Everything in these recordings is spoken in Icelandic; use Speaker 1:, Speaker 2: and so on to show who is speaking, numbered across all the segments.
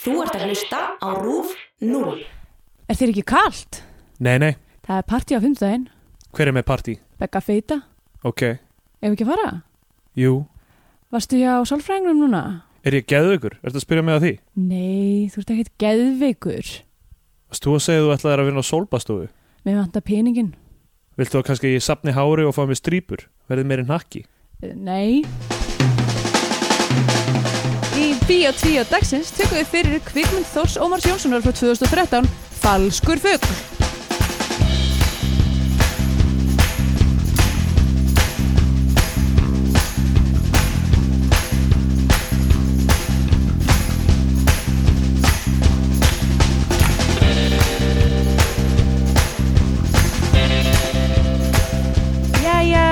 Speaker 1: Þú ert að hlusta á RÚF 0.
Speaker 2: Er þér ekki kalt?
Speaker 3: Nei, nei,
Speaker 2: Það er partí á fimmtudaginn,
Speaker 3: hver er með partí?
Speaker 2: begga feita,
Speaker 3: Ok,
Speaker 2: ef ekki að fara.
Speaker 3: jú,
Speaker 2: Varstu hjá sálfræðingunum núna?
Speaker 3: er ég geðveikur? Ertu að spyrja mig að því?
Speaker 2: Nei, þú ert ekkert geðveikur.
Speaker 3: Varst þú að segja að þú ætlaðir að vinna á sólbastofu?
Speaker 2: Mér vantar peningin.
Speaker 3: Viltu að kannski ég sapni hári og fá mér strýpur? Verðið meiri nakki?
Speaker 2: Eh, Nei,
Speaker 4: Í Bíó 2 dagsins tökum við fyrir kvikmynd Þórs Ómars Jónssonar frá 2013 Falskur fugg Jæja,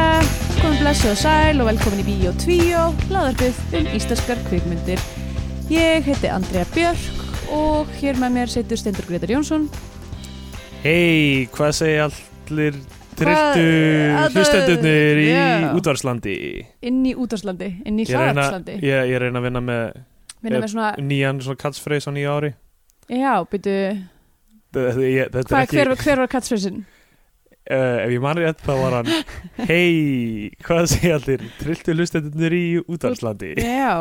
Speaker 4: komum blessuð og sæl og velkomin í Bíó 2 hlaðarbyð um íslenskar kvikmyndir Ég heiti Andrea Björk og hér með mér setur Stendur Gretar Jónsson
Speaker 3: Hei, hvað segja allir trilltu
Speaker 4: Hvað- að-
Speaker 3: hlustendurnir í
Speaker 4: Já.
Speaker 3: útvarslandi?
Speaker 2: inn í útarslandi, inn í
Speaker 3: Ég reyna,
Speaker 2: hlaðarslandi.
Speaker 3: ég, ég reyna að vinna með
Speaker 2: Minna með svona,
Speaker 3: nýjan svona katsfreys á nýja ári.
Speaker 2: já, byrju,
Speaker 3: Þetta ég- þetta
Speaker 2: hvað,
Speaker 3: er ekki,
Speaker 2: hver, hver var katsfreysin?
Speaker 3: uh, ef ég man rétt þá var hann Hei, hvað segja allir trilltu hlustendurnir í útvarslandi?
Speaker 2: Já,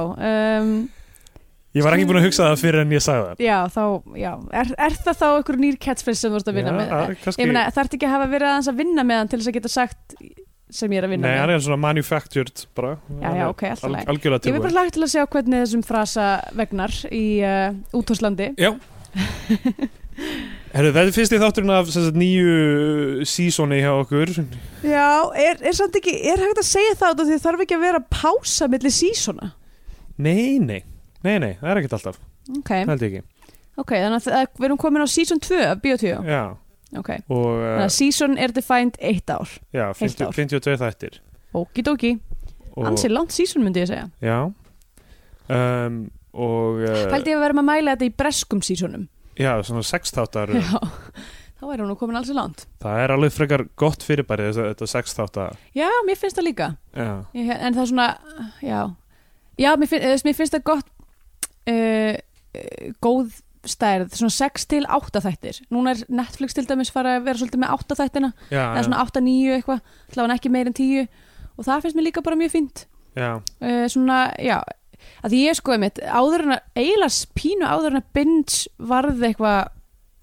Speaker 2: um,
Speaker 3: Ég var ekki búin að hugsa það fyrir en ég sagði það.
Speaker 2: já, þá, já, er, er það þá einhver nýr catchphrase sem þú ert að vinna með?
Speaker 3: að- kannski,
Speaker 2: Ég meina, þarf ekki að hafa verið aðeins að vinna með hann til þess að geta sagt sem ég er að vinna
Speaker 3: Nei, hann
Speaker 2: með?
Speaker 3: er svona manufactured bara.
Speaker 2: Já,
Speaker 3: Hann
Speaker 2: já,
Speaker 3: er
Speaker 2: ok, alltaf
Speaker 3: al-
Speaker 2: læg. Ég
Speaker 3: Algjörlega
Speaker 2: verð
Speaker 3: tilbúin.
Speaker 2: bara lagt til að sjá hvernig þessum frasa vegnar í uh, útvarslandi.
Speaker 3: Já Herru, þetta er fyrsti þátturinn af sem sagt, nýju sísoni hjá okkur
Speaker 2: Já, er, er samt ekki, er hægt að segja það út af því það þarf ekki að vera að pása milli sísona.
Speaker 3: Nei, nei, nei, nei, það er ekkert alltaf
Speaker 2: Ok,
Speaker 3: Það held ég ekki
Speaker 2: ok, þannig að það- við erum komin á season 2 af Biotvíó.
Speaker 3: Já,
Speaker 2: Ok,
Speaker 3: og
Speaker 2: þannig
Speaker 3: uh,
Speaker 2: að season er defined eitt ár.
Speaker 3: já, 50,
Speaker 2: ár.
Speaker 3: 52 þættir
Speaker 2: Okidoki,
Speaker 3: og, Uh.
Speaker 2: ansi langt season myndi ég segja.
Speaker 3: Já um, Og uh,
Speaker 2: Pældi ég að vera að mæla þetta í breskum seasonum.
Speaker 3: Já, svona sex þáttar
Speaker 2: Já, þá er hún komin alls í land.
Speaker 3: Það er alveg frekar gott fyrirbæri þetta, þetta sex þáttar
Speaker 2: Já, mér finnst það líka.
Speaker 3: Já,
Speaker 2: Ég, en það er svona, já, já, mér, finn, eh, mér finnst það gott, uh, góð stærð, svona 6 til 8 þættir. Núna er Netflix til dæmis fara að vera svolítið með 8 þættina,
Speaker 3: já,
Speaker 2: eða svona 8-9 eitthvað, hláðan ekki meir en 10 og það finnst mér líka bara mjög fínt.
Speaker 3: já,
Speaker 2: uh, svona, já að því ég sko einmitt, áður en að eiginlega pínu áður en að binge varð eitthvað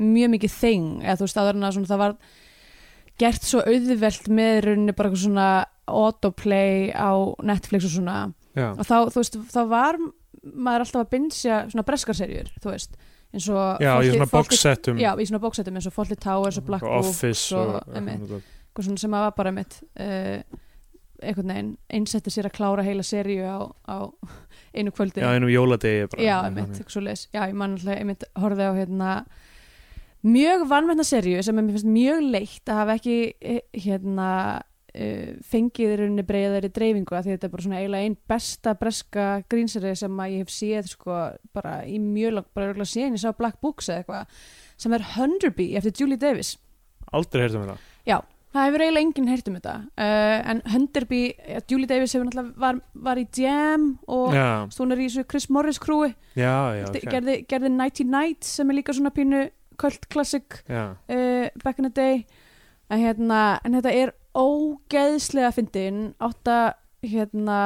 Speaker 2: mjög mikið þing eða þú veist áður en að svona, það var gert svo auðvelt með í rauninni bara eitthvað svona autoplay á Netflix og svona
Speaker 3: já,
Speaker 2: og þá, þú veist, þá var maður alltaf að bingja svona breskarserjur þú veist, eins og
Speaker 3: já í
Speaker 2: Fólkið-
Speaker 3: svona
Speaker 2: Fólkið-
Speaker 3: boxsettum
Speaker 2: já, í svona bóksettum eins og Fawlty Towers og Black Wolf
Speaker 3: Office
Speaker 2: og,
Speaker 3: og,
Speaker 2: einmitt eitthvað svona sem að var bara mitt uh, einhvern veginn einsetti sér að klára heila seríu á, á einu kvöldi
Speaker 3: Já, einum jóladegi bara
Speaker 2: já einmitt, eitthvað svo leis já, ég man alltaf, einmitt horfði á hérna mjög vannmennta seríu sem mér finnst mjög leitt að hafa ekki eh, hérna uh, fengið í rauninni breyðari dreifingu af því þetta er bara svona eiginlega einn besta breska grínserið sem að ég hef séð sko bara í mjög langt bara örgulega séð en ég sá Black Books eða eitthvað sem er Hunderby eftir Julie Davis
Speaker 3: Aldrei um heyrðum við það
Speaker 2: Það hefur eiginlega enginn heyrt um þetta uh, en Hunderby, ja, Julie Davis hefur náttúrulega var, var í Jam og
Speaker 3: Já,
Speaker 2: hún er í þessu Chris Morris krúi
Speaker 3: já, já, ok.
Speaker 2: gerði, gerði Nighty Night sem er líka svona pínu kvöld classic
Speaker 3: já.
Speaker 2: uh, back in the day en, hérna, en þetta er ógeðslega fyndin átta hérna,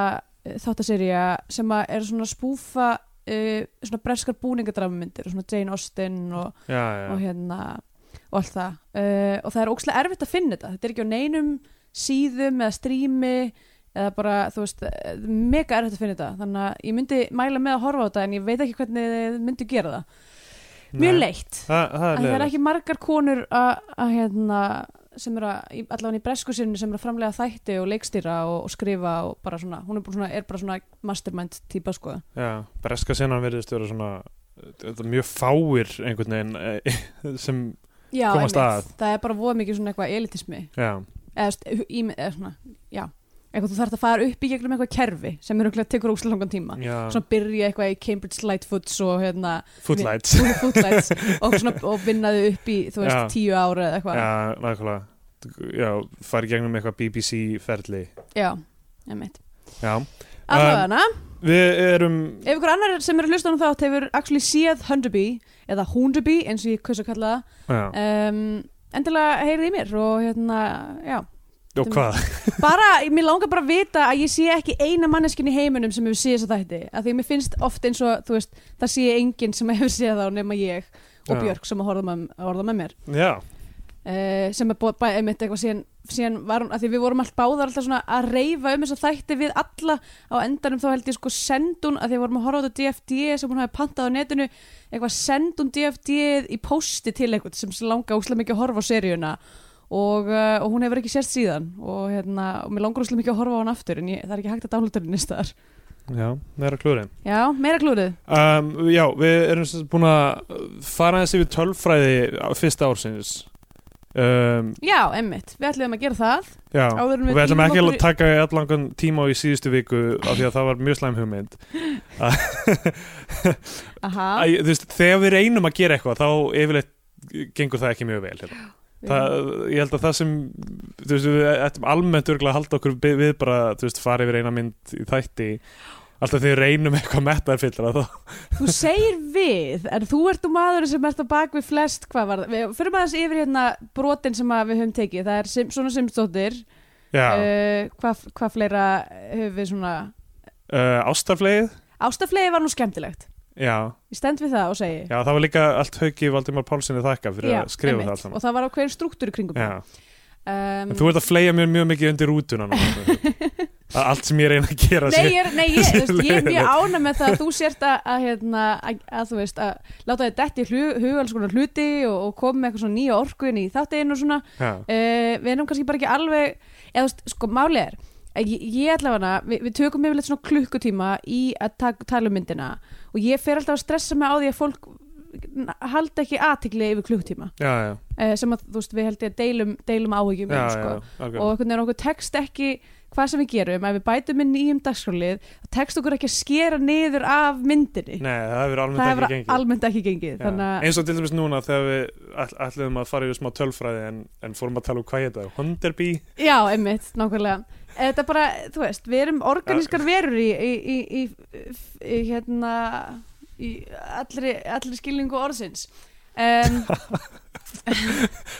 Speaker 2: þáttaserja sem að er svona spúfa uh, svona breskar búningadrafmyndir svona Jane Austen og
Speaker 3: já,
Speaker 2: og
Speaker 3: já.
Speaker 2: hérna og allt það uh, og það er ókslega erfitt að finna þetta þetta er ekki á neinum síðum eða strími eða bara, þú veist, eh, mega erfitt að finna þetta þannig að ég myndi mæla með að horfa á þetta en ég veit ekki hvernig þið myndu gera það mjög
Speaker 3: Nei.
Speaker 2: leitt
Speaker 3: Það,
Speaker 2: en
Speaker 3: það er
Speaker 2: það er
Speaker 3: leiðilegt.
Speaker 2: ekki margar konur að, að hérna sem eru að, í- allavega í breskusinu sem eru að framlega þætti og leikstýra og, og skrifa og bara svona, hún er bara svona, er bara svona mastermind típa sko
Speaker 3: Já, breska senan verðist vera svona þetta er mjög fáir einhvern veginn eh, sem,
Speaker 2: Já,
Speaker 3: Komast
Speaker 2: einmitt. það er bara voða mikið svona eitthvað elitismi
Speaker 3: já,
Speaker 2: eða, þú veist, í, eða svona, já eitthvað þú þarf að fara upp í gegnum eitthvað kerfi sem er okkur tekur óslega langan tíma
Speaker 3: já
Speaker 2: svona byrja eitthvað í Cambridge Lightfoots og hérna
Speaker 3: footlights
Speaker 2: footlights og, svona, og vinnaði upp í þú veist
Speaker 3: Já.
Speaker 2: tíu ára eða eitthvað
Speaker 3: Já, nákvæmlega Já, farið gegnum eitthvað BBC ferli
Speaker 2: já, ég meitt
Speaker 3: Já, Um,
Speaker 2: allavega hana,
Speaker 3: Við erum
Speaker 2: Ef ykkur annar sem er að hlusta á þátt hefur actually séð Hunderby eða Hunderby eins og ég kaus að kalla
Speaker 3: já,
Speaker 2: það um, endilega heyrið í mér og hérna, já
Speaker 3: Og hvað?
Speaker 2: bara, mér langar bara að vita að ég sé ekki eina manneskin í heiminum sem hefur séð þess að þætti af því að mér finnst oft eins og, þú veist, það sé enginn sem hefur séð þá nema ég og
Speaker 3: Já.
Speaker 2: Björk sem að horfa með, að horfa með mér
Speaker 3: Já,
Speaker 2: uh, sem er búið, bæ, einmitt eitthvað síðan, síðan var hún, að því við vorum allt báðar alltaf svona að reyfa um þess að þætti við alla á endanum þá held ég sko sendun að því við vorum að horfa á þetta DFD E sem hún hafi pantað á netinu eitthvað sendun DFD E í pósti til eitthvað sem langar úslega mikið að horfa á seríuna og, uh, og hún hefur ekki sérst síðan og hérna, og mér langar úslega mikið að horfa á hann aftur en ég, það er ekki hægt að dánluta henni staðar
Speaker 3: já, það er að klúri
Speaker 2: Já, meira klúrið
Speaker 3: um, Já, við erum sem sagt búin að fara aðeins yfir tölfræði á fyrsta ársins um,
Speaker 2: Já, emmitt, við ætlum að gera það
Speaker 3: Já, og
Speaker 2: Áður en við
Speaker 3: við ætlum
Speaker 2: dýfum
Speaker 3: ekki
Speaker 2: okkur
Speaker 3: að
Speaker 2: í-
Speaker 3: taka í allangan tíma í síðustu viku af því að það var mjög slæm hugmynd
Speaker 2: Aha,
Speaker 3: Æ, þú veist, Þegar við reynum að gera eitthvað þá yfirleitt gengur það ekki mjög vel hérna. það, Ég held að það sem þú veist, við ættum almennt örgulega að halda okkur bi- við bara, þú veist, fara yfir eina mynd í þætti Alltaf þegar við reynum eitthvað mettaðfyllra þá
Speaker 2: Þú segir við, en þú ert um maður sem ert á bak við flest hvað var það. Við fyrir maður yfir hérna brotin sem að við höfum tekið. Það er sim, svona simstóttir.
Speaker 3: Já,
Speaker 2: Uh, hvað, hvað fleira höfum við svona...
Speaker 3: uh, ástafleið
Speaker 2: Ástaflegi var nú skemmtilegt.
Speaker 3: Já,
Speaker 2: Ég stend við það og segi.
Speaker 3: já, það var líka allt hauki Valdimar Pálssoni þakka fyrir að skrifa það allt saman
Speaker 2: Og það var ákveðin struktúr í kringum.
Speaker 3: Já,
Speaker 2: það. Um,
Speaker 3: en þú ert að fleia mér mjög mikið undir rútuna núna, Að allt sem ég reyna að gera
Speaker 2: Nei,
Speaker 3: sé-
Speaker 2: ég, er- nei, ég, þú veist, ég er mjög
Speaker 3: leiðilegt.
Speaker 2: ána með það að þú sért að, að, hérna, að, að þú veist að láta þið detti hugalls konar hluti og, og koma með eitthvað svona nýja orku inn í þáttegin og svona
Speaker 3: Já,
Speaker 2: uh, við erum kannski bara ekki alveg eða þú veist, sko málið er að ég, ég allavega, við, við tökum yfirleitt svona klukkutíma í að tak, tala um myndina og ég fer alltaf að stressa mig á því að fólk halda ekki aðtikli yfir klukkutíma
Speaker 3: já, já,
Speaker 2: uh, sem að þú veist, við held ég að deilum, deilum áhugjum um,
Speaker 3: já, já,
Speaker 2: sko.
Speaker 3: algjörlega.
Speaker 2: og einhvern veginn okkur tekst ekki hvað sem við gerum, ef við bætum inn nýjum dagskrálið, þá tekst okkur ekki að skera niður af myndinni
Speaker 3: Nei, það hefur almennt
Speaker 2: það
Speaker 3: ekki
Speaker 2: hefur
Speaker 3: gengið
Speaker 2: almennt ekki gengið
Speaker 3: Já.
Speaker 2: þannig að
Speaker 3: Eins og til dæmis núna þegar við all, ætluðum að fara yfir smá tölfræði en, en fórum að tala um hvað ég þetta Honderby
Speaker 2: Já, einmitt, nákvæmlega Eh, Þetta er bara, þú veist, við erum organískar
Speaker 3: Ah.
Speaker 2: verur í, í, í, í, í hérna í allri, allri skilningu orðsins um,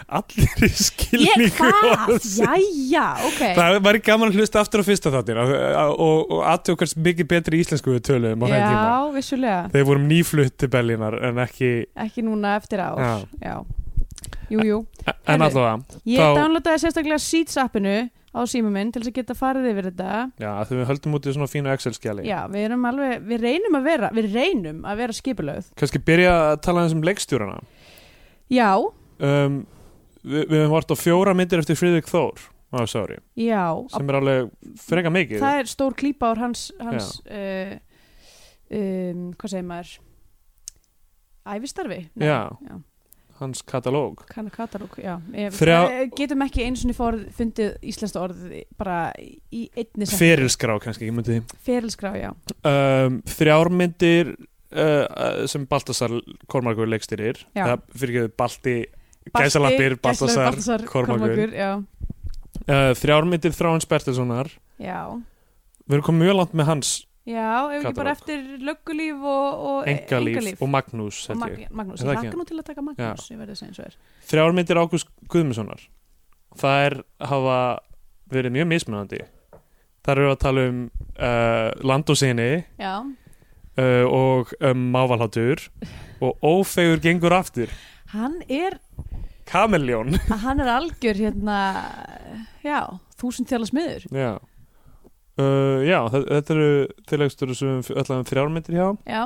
Speaker 3: Allir í skilningu
Speaker 2: Ég hvað?
Speaker 3: orðsins.
Speaker 2: Jæja, ok
Speaker 3: Það væri gaman að hlusta aftur á fyrsta þáttir og, og, og aðtöku hvers mikið betri íslensku við töluðum á þeim tíma
Speaker 2: Já, vissulega,
Speaker 3: Þeir vorum nýflutt til Berlínar en ekki
Speaker 2: ekki núna eftir ár Já,
Speaker 3: Já.
Speaker 2: Jú, jú
Speaker 3: En
Speaker 2: Heyrðu.
Speaker 3: allavega,
Speaker 2: Ég
Speaker 3: Þá-
Speaker 2: downloadaði sérstaklega Seeds appinu á síma minn til þess að geta farið yfir þetta
Speaker 3: já, þegar við höldum út í svona fínu Excel-skjali
Speaker 2: Já, við erum alveg, við reynum að vera við reynum að vera skipulöð
Speaker 3: Kannski byrja að tala eins um leikstjórana
Speaker 2: Já,
Speaker 3: um, við, við höfum vart á fjóra myndir eftir Friðrik Þór á þessu ári
Speaker 2: já, á
Speaker 3: sem er alveg freka mikið
Speaker 2: það er stór klípa úr hans, hans uh, um, hvað segir maður æfistarfi Nei,
Speaker 3: Já.
Speaker 2: já.
Speaker 3: hans katalóg
Speaker 2: Kan- katalóg, já. Ég,
Speaker 3: Þrjá-
Speaker 2: eh, getum ekki eins og forð, fundið íslenskt orð bara í einni sem
Speaker 3: ferilskrá kannski, ég myndi
Speaker 2: ferilskrá, já
Speaker 3: um, þrjármyndir uh, sem Baltasar Kormakur leikstýrir
Speaker 2: Já.
Speaker 3: það fyrir ekki Balti
Speaker 2: Balti,
Speaker 3: Gæsalappir,
Speaker 2: Gæsalappir,
Speaker 3: Baltasar,
Speaker 2: Baltasar,
Speaker 3: Kormakur
Speaker 2: já.
Speaker 3: uh, þrjármyndir Þráins Bertilssonar
Speaker 2: já,
Speaker 3: við erum komið mjög langt með hans
Speaker 2: já, ef ekki bara
Speaker 3: Katalóg.
Speaker 2: eftir löggulíf og, og e-
Speaker 3: engalíf,
Speaker 2: Einkalíf.
Speaker 3: og Magnús
Speaker 2: og
Speaker 3: held ég.
Speaker 2: Mag Magnús,
Speaker 3: Er
Speaker 2: ég
Speaker 3: það ekki?
Speaker 2: hlakka nú til að taka Magnús ég verði að segja eins og er
Speaker 3: þrjár myndir Ágúst Guðmundssonar það er hafa verið mjög mismunandi þar eru að tala um uh, land og sinni
Speaker 2: já,
Speaker 3: uh, og um, mávalhátur og ófegur gengur aftur
Speaker 2: hann er
Speaker 3: kameljón
Speaker 2: hann er algjör hérna já, þúsund þjála smiður
Speaker 3: já. Uh, já, þe- þetta eru tilægstur sem við öllum þrjármyndir hjá
Speaker 2: já,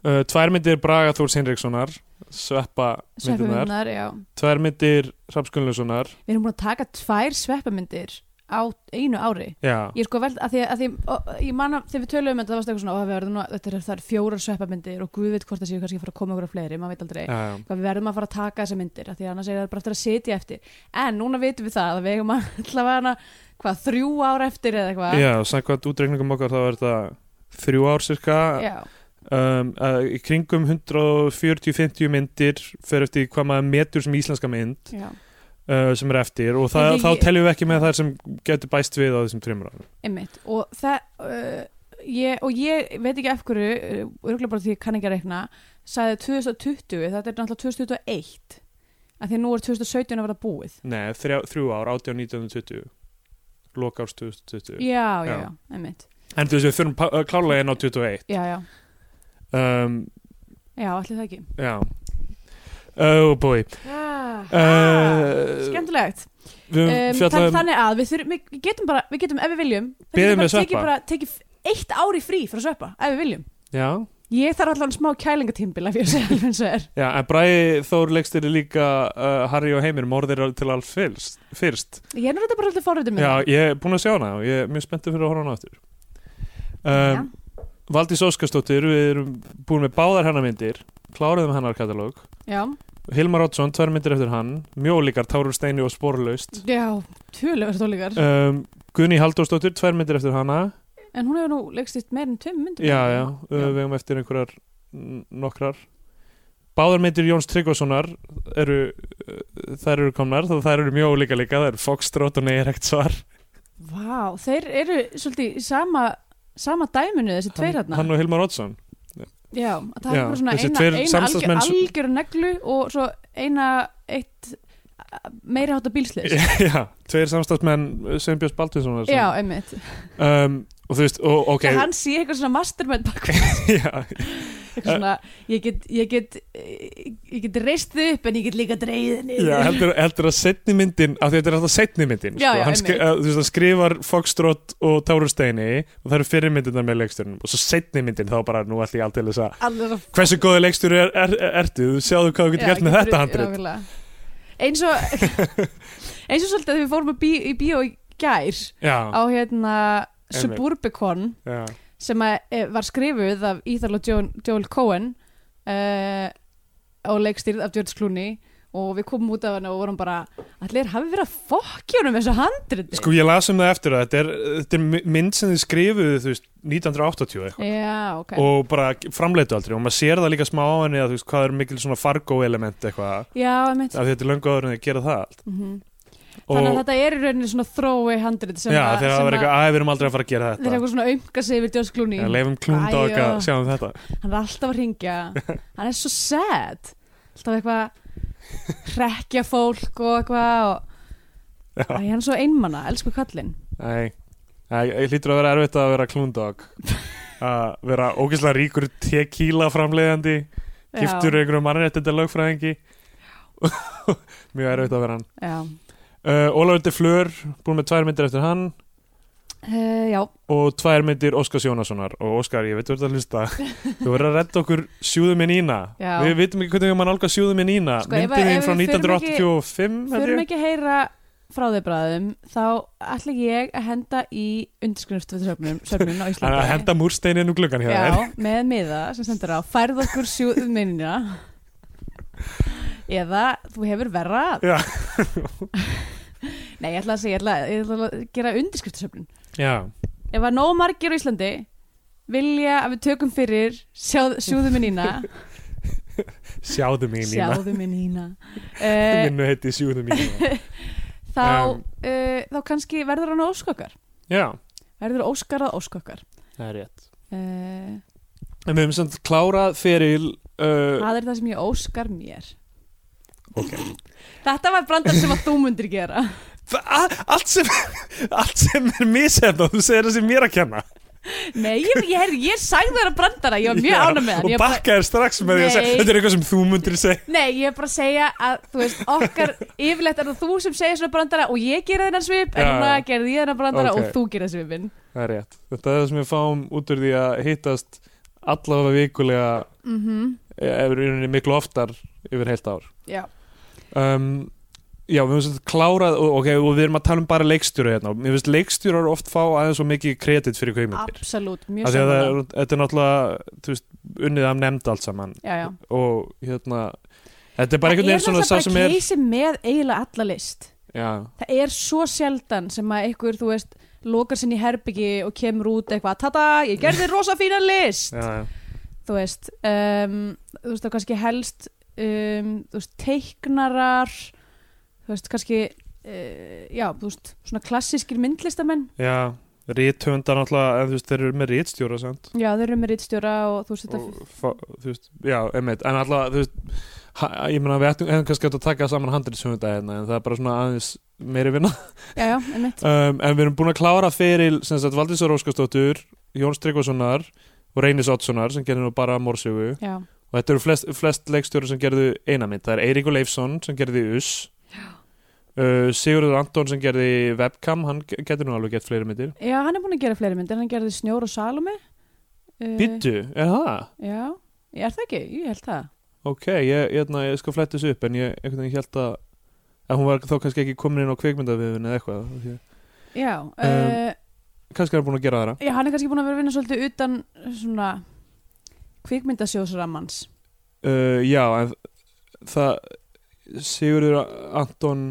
Speaker 3: uh, tværmyndir Braga Þórs Hinrikssonar sveppa myndirnar
Speaker 2: sveppamyndunar, já
Speaker 3: tværmyndir Hrafskunlussonar
Speaker 2: við erum búin að taka tvær sveppamyndir á einu ári
Speaker 3: já,
Speaker 2: ég er sko veld, að því að því og, ég manna, þegar við töluðum um þetta, það varst eitthvað svona ó, við verðum nú, þetta er það er fjórar sveppamyndir og guð veit hvort það séu kannski að fara að koma okkur á fleiri, maður veit aldrei
Speaker 3: já, já.
Speaker 2: hvað við verðum að fara að taka þessar myndir af því að annars er það bara eftir að setja eftir en núna vitum við það að við eigum að allavega hana, hvað, þrjú ár eftir eða eitthvað
Speaker 3: já samkvæmt útreikningum okkar þá er þetta þrjú ár cirka
Speaker 2: Já.
Speaker 3: um, uh, í kringum 140-50 myndir fer eftir því hvað maður metur sem íslenska mynd
Speaker 2: Já.
Speaker 3: uh, sem er eftir og það,
Speaker 2: Ég-
Speaker 3: þá teljum við ekki með þær sem getur bæst við á þessum trimur árum
Speaker 2: Einmitt, og það uh, ég, og ég veit ekki af hverju örgulega bara því ég kann ekki að reikna sagði 2020, þetta er náttúrulega 2021 af því að nú er 2017 að vera búið
Speaker 3: Nei, þrjá, þrjú ár, 18, 19, 20 Loka árs 2020
Speaker 2: já, já,
Speaker 3: Já.
Speaker 2: já, einmitt
Speaker 3: En þú veist, við þurfum pá- uh, klárlega inn á 21
Speaker 2: já, já,
Speaker 3: um,
Speaker 2: já, allir það ekki
Speaker 3: Já Oh boy Eh, uh,
Speaker 2: Ah, skemmtilegt
Speaker 3: Við
Speaker 2: um, þann,
Speaker 3: höfum fjallaðum
Speaker 2: þannig að við, þurfum, við getum bara við getum ef við viljum við
Speaker 3: Biðjum
Speaker 2: getum bara
Speaker 3: við sveppa.
Speaker 2: tekið, bara, tekið eitt ári frí frá sveppa ef við viljum
Speaker 3: Já,
Speaker 2: ég þarf allan smá kælingatímbil ef ég sé alveg eins og er
Speaker 3: já, en Bræði Þór leikstýri líka uh, Harry og Heimir morðir til alls fyrst, fyrst.
Speaker 2: ég er náttúrulega bara alltaf forritum
Speaker 3: Já, ég er búin að sjá hana og ég er mjög spenntið fyrir að horfa hana aftur um, Valdís Óskarsdóttir, við erum búin með báðar hennar myndir kláruðum hennar katalóg
Speaker 2: já,
Speaker 3: Hilmar Oddsson, tvær myndir eftir hann mjög líkar, Tárur Steini og Sporlaust
Speaker 2: já tjöluverst ólíkar
Speaker 3: um, Gunni Halldórsdóttir, tvær myndir eftir hana
Speaker 2: en hún hefur nú leikstist meir en tveim myndum
Speaker 3: Já, já, uh, við hefum eftir einhverjar n- nokkrar Báðar myndir Jóns Tryggvasonar eru, uh, þær eru komnar þá þær eru mjög líka líka, það eru Foxtrot og Neyrekt svar
Speaker 2: Vá, þeir eru svolítið í sama sama dæminu þessi tveir
Speaker 3: hann,
Speaker 2: hérna
Speaker 3: hann og Hilmar Oddsson
Speaker 2: Já, það
Speaker 3: Já,
Speaker 2: er bara svona
Speaker 3: þessi
Speaker 2: eina,
Speaker 3: tveir
Speaker 2: eina algjör,
Speaker 3: samstarfsmenn-
Speaker 2: algjör neglu og svo eina eitt meira hátta bílslis
Speaker 3: Já, tveir samstagsmenn Sveinbjörns Baldvinssonar
Speaker 2: Já, einmitt
Speaker 3: um, Og þú veist, og, ok
Speaker 2: okay. Hann sé eitthvað svona mastermind bak við,
Speaker 3: já,
Speaker 2: eitthvað svona, ég get, ég get eh, ég get reist þið upp en ég get líka dreigðið niður
Speaker 3: já, heldur, heldur að setni myndin af því þetta er alltaf setni myndin
Speaker 2: Já,
Speaker 3: sko.
Speaker 2: já,
Speaker 3: hann, skri,
Speaker 2: einmitt.
Speaker 3: að, þú veist, hann skrifar Foxtrot og Tárur Steini og það eru fyrir myndirnar með leikstjörnum og svo setni myndin þá bara nú ætlum ég alltaf þess að
Speaker 2: Allir að
Speaker 3: hversu góði leikstjóri er, er, er, ertu þú sjáðu hvað þú getur gert með þetta handrit
Speaker 2: handrið Eins og eins og svolítið að við fórum að bí, í bíó í gær á
Speaker 3: já,
Speaker 2: hérna
Speaker 3: Einmitt.
Speaker 2: Suburbicon
Speaker 3: já,
Speaker 2: sem að, eh, var skrifuð af Íþarl og Joel, Joel Cohen uh, og leikstýrð af George Clooney og við komum út af hann og vorum bara allir hafi verið að fokkja honum þessu handriti
Speaker 3: sko ég las um það eftir að þetta er, þetta er my- mynd sem þið skrifuðu þú veist, 1980 eitthvað
Speaker 2: Já, ok
Speaker 3: sko. og bara framleitu aldrei og maður sér það líka smá á henni að þú veist hvað er mikil svona fargo element eitthvað
Speaker 2: Já, einmitt
Speaker 3: af því þetta er löngu áður en þið gera það allt
Speaker 2: mm
Speaker 3: og
Speaker 2: Þannig að þetta er í rauninni svona throwaway handrit sem
Speaker 3: já,
Speaker 2: að,
Speaker 3: þegar það
Speaker 2: sem
Speaker 3: var eitthvað, að við erum aldrei að fara að gera
Speaker 2: þeir eru
Speaker 3: þetta
Speaker 2: eitthvað svona auðga sig yfir George Clooney
Speaker 3: Já, leifum klúnd á
Speaker 2: Æ,
Speaker 3: eitthvað,
Speaker 2: já.
Speaker 3: sjáum um þetta
Speaker 2: Hann er alltaf að ringja Hann er svo sad Alltaf eitthvað hrekja fólk og eitthvað og...
Speaker 3: Já.
Speaker 2: Æ, hann er svo einmana, elsku kallinn
Speaker 3: Nei, Nei, ég hlýtur að vera erfitt að vera klúndog að vera ógeðslega ríkur tequila framleiðandi
Speaker 2: Já.
Speaker 3: giftur einhverjum mannréttinda lögfræðingi mjög erfitt að vera hann
Speaker 2: Já,
Speaker 3: uh, Ólafur de Fleur, búin með tvær myndir eftir hann
Speaker 2: uh, já
Speaker 3: og tvær myndir Óskars Jónassonar og Óskar, ég veit þú ert að hlusta þú verður að redda okkur sjúðu minn ína
Speaker 2: Já.
Speaker 3: við vitum ekki hvernig mann álga sjúðu minn ína
Speaker 2: Sko,
Speaker 3: sko,
Speaker 2: ef-
Speaker 3: myndin
Speaker 2: ef
Speaker 3: þín frá
Speaker 2: við förum ekki-
Speaker 3: 1985 held
Speaker 2: Förum
Speaker 3: ég.
Speaker 2: ekki að heyra frá þeir bræðum þá ætla ég að henda í undirskrifstu við söfnum, söfnum á
Speaker 3: Þannig að
Speaker 2: Íslandi
Speaker 3: henda um múrsteinin úr gluggan hér
Speaker 2: Já, með miða sem sendur á færð okkur sjúðu minnina eða þú hefur verra að.
Speaker 3: Já.
Speaker 2: Nei, ég ætla að segja, ég ætla, ég ætla að gera undirskriftasöfnun
Speaker 3: Já.
Speaker 2: ef að nóg margir á Íslandi vilja að við tökum fyrir sjá, sjúðu minnina
Speaker 3: sjáðu minn ína
Speaker 2: sjáðu minnina uh,
Speaker 3: minnu heiti sjúðu minn ína
Speaker 2: þá,
Speaker 3: Um.
Speaker 2: uh, þá kannski verður hann óskokkar
Speaker 3: Já,
Speaker 2: verður Óskar að Óskokkar
Speaker 3: það er rétt
Speaker 2: uh,
Speaker 3: En við höfum samt klárað feril uh,
Speaker 2: það er það sem ég óskar mér
Speaker 3: Ok.
Speaker 2: þetta var brandar sem að þú mundir gera
Speaker 3: það- a- allt, sem, allt sem er mishefna þú segir þessi mér að kenna
Speaker 2: nei, ég, ég, ég, ég sagði þér að brandara ég var mjög
Speaker 3: Já,
Speaker 2: ánum með hann
Speaker 3: og
Speaker 2: ég bara,
Speaker 3: bakka er strax með því að segja
Speaker 2: Nei.
Speaker 3: þetta er eitthvað sem þú mundir segja
Speaker 2: nei, ég er bara að segja að þú veist, okkar yfirleitt er það þú sem segir svona brandara og ég gera þennan svip en
Speaker 3: Já.
Speaker 2: núna gerði ég þennan brandara
Speaker 3: Ok.
Speaker 2: og þú gera svipin
Speaker 3: Það er rétt. Þetta er það sem við fáum út úr því að hittast allavega vikulega
Speaker 2: mm
Speaker 3: e- ef við erum miklu oftar yfir heilt ár.
Speaker 2: já,
Speaker 3: Um, já, við höfum svolítið klárað og, okay, og við erum að tala um bara leikstjóru hérna. Mér finnst leikstjórar oft fá aðeins svo mikið kredit fyrir kveimildir.
Speaker 2: absolutt, Ah, mjög
Speaker 3: Af því að það
Speaker 2: samanlega
Speaker 3: er, þetta er náttúrulega þú veist, unnið af nefnd allt saman
Speaker 2: já, já
Speaker 3: og hérna þetta er bara einhvern
Speaker 2: það er
Speaker 3: veginn svona sá
Speaker 2: náttúrulega
Speaker 3: sem
Speaker 2: bara
Speaker 3: er
Speaker 2: keisi með eiginlega alla list
Speaker 3: já,
Speaker 2: það er svo sjaldan sem að einhver, þú veist, lokar sinni í herbyggi og kemur út eitthvað, tata, ég gerði rosa fína list,
Speaker 3: já, já,
Speaker 2: þú veist um, þú veist, þá kannski helst um, þú veist, teiknarar eh, þú veist, kannski uh, já, þú veist, svona klassískir myndlistamenn
Speaker 3: já Rithöndar náttúrulega, en þú veist, þeir eru með ritstjóra samt
Speaker 2: já, þeir eru með rittstjóra og þú veist þetta
Speaker 3: og, fa- þú veist, já, einmitt en alltaf, þú veist ha- ég meina, við ættum hefðum kannski átt að taka saman handriðshöfunda hérna, en það er bara svona aðeins meiri vinna
Speaker 2: já, já, einmitt,
Speaker 3: um, en við erum búin að klára fyrir sem sagt Valdísar Óskarsdóttur, Jón Tryggvasonar og Reynis Oddssonar sem gerði nú bara Mórsjögu
Speaker 2: já,
Speaker 3: og þetta eru flest, flest leikstjóri sem gerðu eina mynd það er Eiríkur Leifsson sem gerði Us uh, Sigurður Anton sem gerði Webcam, hann ge- getur nú alveg gett fleiri myndir
Speaker 2: já, hann er búin að gera fleiri myndir hann gerði Snjór og Salome uh,
Speaker 3: Bittu, er það?
Speaker 2: já, ég er það ekki, ég held það
Speaker 3: Ok, ég, ég, ég, ég sko flætti þessu upp en ég einhvern veginn held að að hún var þá kannski ekki komin inn á kvikmyndaviðun eða eitthvað af því að-
Speaker 2: já,
Speaker 3: Um,
Speaker 2: uh,
Speaker 3: kannski er hann búin að gera það
Speaker 2: já, hann er kannski búin að vera að vinna svolítið utan svona kvikmyndasjóðsrammans
Speaker 3: uh, Já, en það Sigurður Anton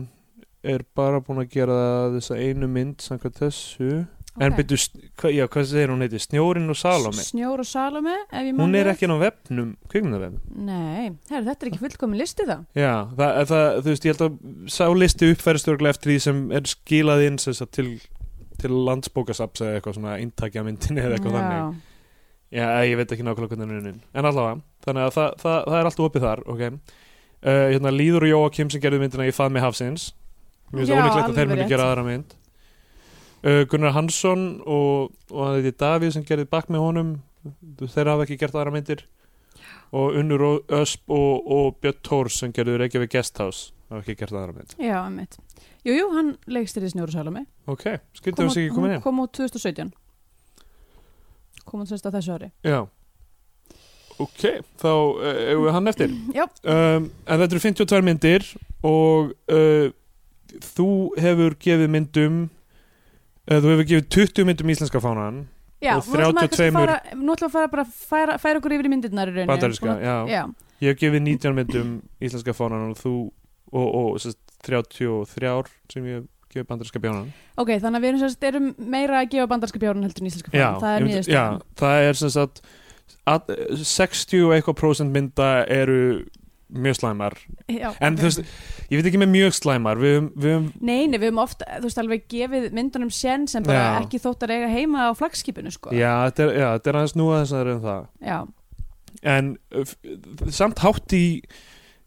Speaker 3: er bara búin að gera þessa einu mynd samkvæmt þessu En byrju, hva, já, hvað segir hún heiti? Snjórin og Salome
Speaker 2: Snjór og Salome, ef ég man
Speaker 3: Hún er
Speaker 2: rétt.
Speaker 3: ekki inn á vefnum, kvikmyndavefnum
Speaker 2: Nei, herru, þetta er ekki fullkomin listi þá
Speaker 3: Já, það, er það, þú veist, ég held að sá listi uppfærist örgulega eftir því sem er skilað inn sem sagt, til, til landsbókasaps eða eitthvað svona intakja myndinni eða eitthvað þannig Já, eh, ég veit ekki nákvæmlega hvernig hann er unnin En allavega, þannig að það, það, það er allt opið þar ok uh, hérna, Líður og Jóakim sem gerðu myndina í Faðmi Hafsins Mjög
Speaker 2: Já,
Speaker 3: svo ólíklegt að
Speaker 2: alveg
Speaker 3: þeir muni
Speaker 2: rétt.
Speaker 3: gera aðra mynd uh, Gunnar Hansson og, og hann heiti Davíð sem gerði bakk með honum Þeir hafa ekki gert aðra myndir Og Unnur Ó- Ösp og, og Björn Tórs sem gerðu Reykjavík Guesthouse hafa ekki gert aðra mynd
Speaker 2: Já, já, einmitt Jú, jú, hann leikstýrði Snjór og Salome
Speaker 3: Ok, skildum við sig ekki komin inn
Speaker 2: kom út 2017 Kom út sérst á þessu ári
Speaker 3: Já Ok, þá uh, eigum við hann eftir
Speaker 2: Já,
Speaker 3: um, En þetta eru 52 myndir og uh, þú hefur gefið myndum uh, þú hefur gefið 20 myndum íslenska fánan
Speaker 2: já nú
Speaker 3: Og
Speaker 2: ætlum við að kannski
Speaker 3: 32
Speaker 2: fara- Nú ætlum við að fara bara að færa, færa okkur yfir í myndirnar í rauninni
Speaker 3: bandaríska,
Speaker 2: Búin
Speaker 3: já.
Speaker 2: að- Já,
Speaker 3: Ég hef gefið 19 myndum íslenska fánan og þú og, og sest, 33 sem ég hef gefið bandaríska bjánan
Speaker 2: ok, þannig að við erum, sérst, erum meira að gefa bandarska bjórn heldur en íslenska
Speaker 3: Já,
Speaker 2: fánan
Speaker 3: um-
Speaker 2: Það er
Speaker 3: ég myndi- já,
Speaker 2: niðurstöðan
Speaker 3: það er sem sagt að, 60 og eitthvað prósent mynda eru mjög slæmar
Speaker 2: Já,
Speaker 3: en
Speaker 2: ok.
Speaker 3: þú veist, ég veit ekki með mjög slæmar við höfum, við höfum
Speaker 2: Nei, nei, við höfum oft, þú veist, alveg gefið myndunum sén sem bara
Speaker 3: Já.
Speaker 2: ekki þótt að eiga heima á flagskipinu, sko
Speaker 3: já, þetta er, já, þetta er aðeins nú aðeins aðeins en það
Speaker 2: Já,
Speaker 3: en uh, f- samt hátt í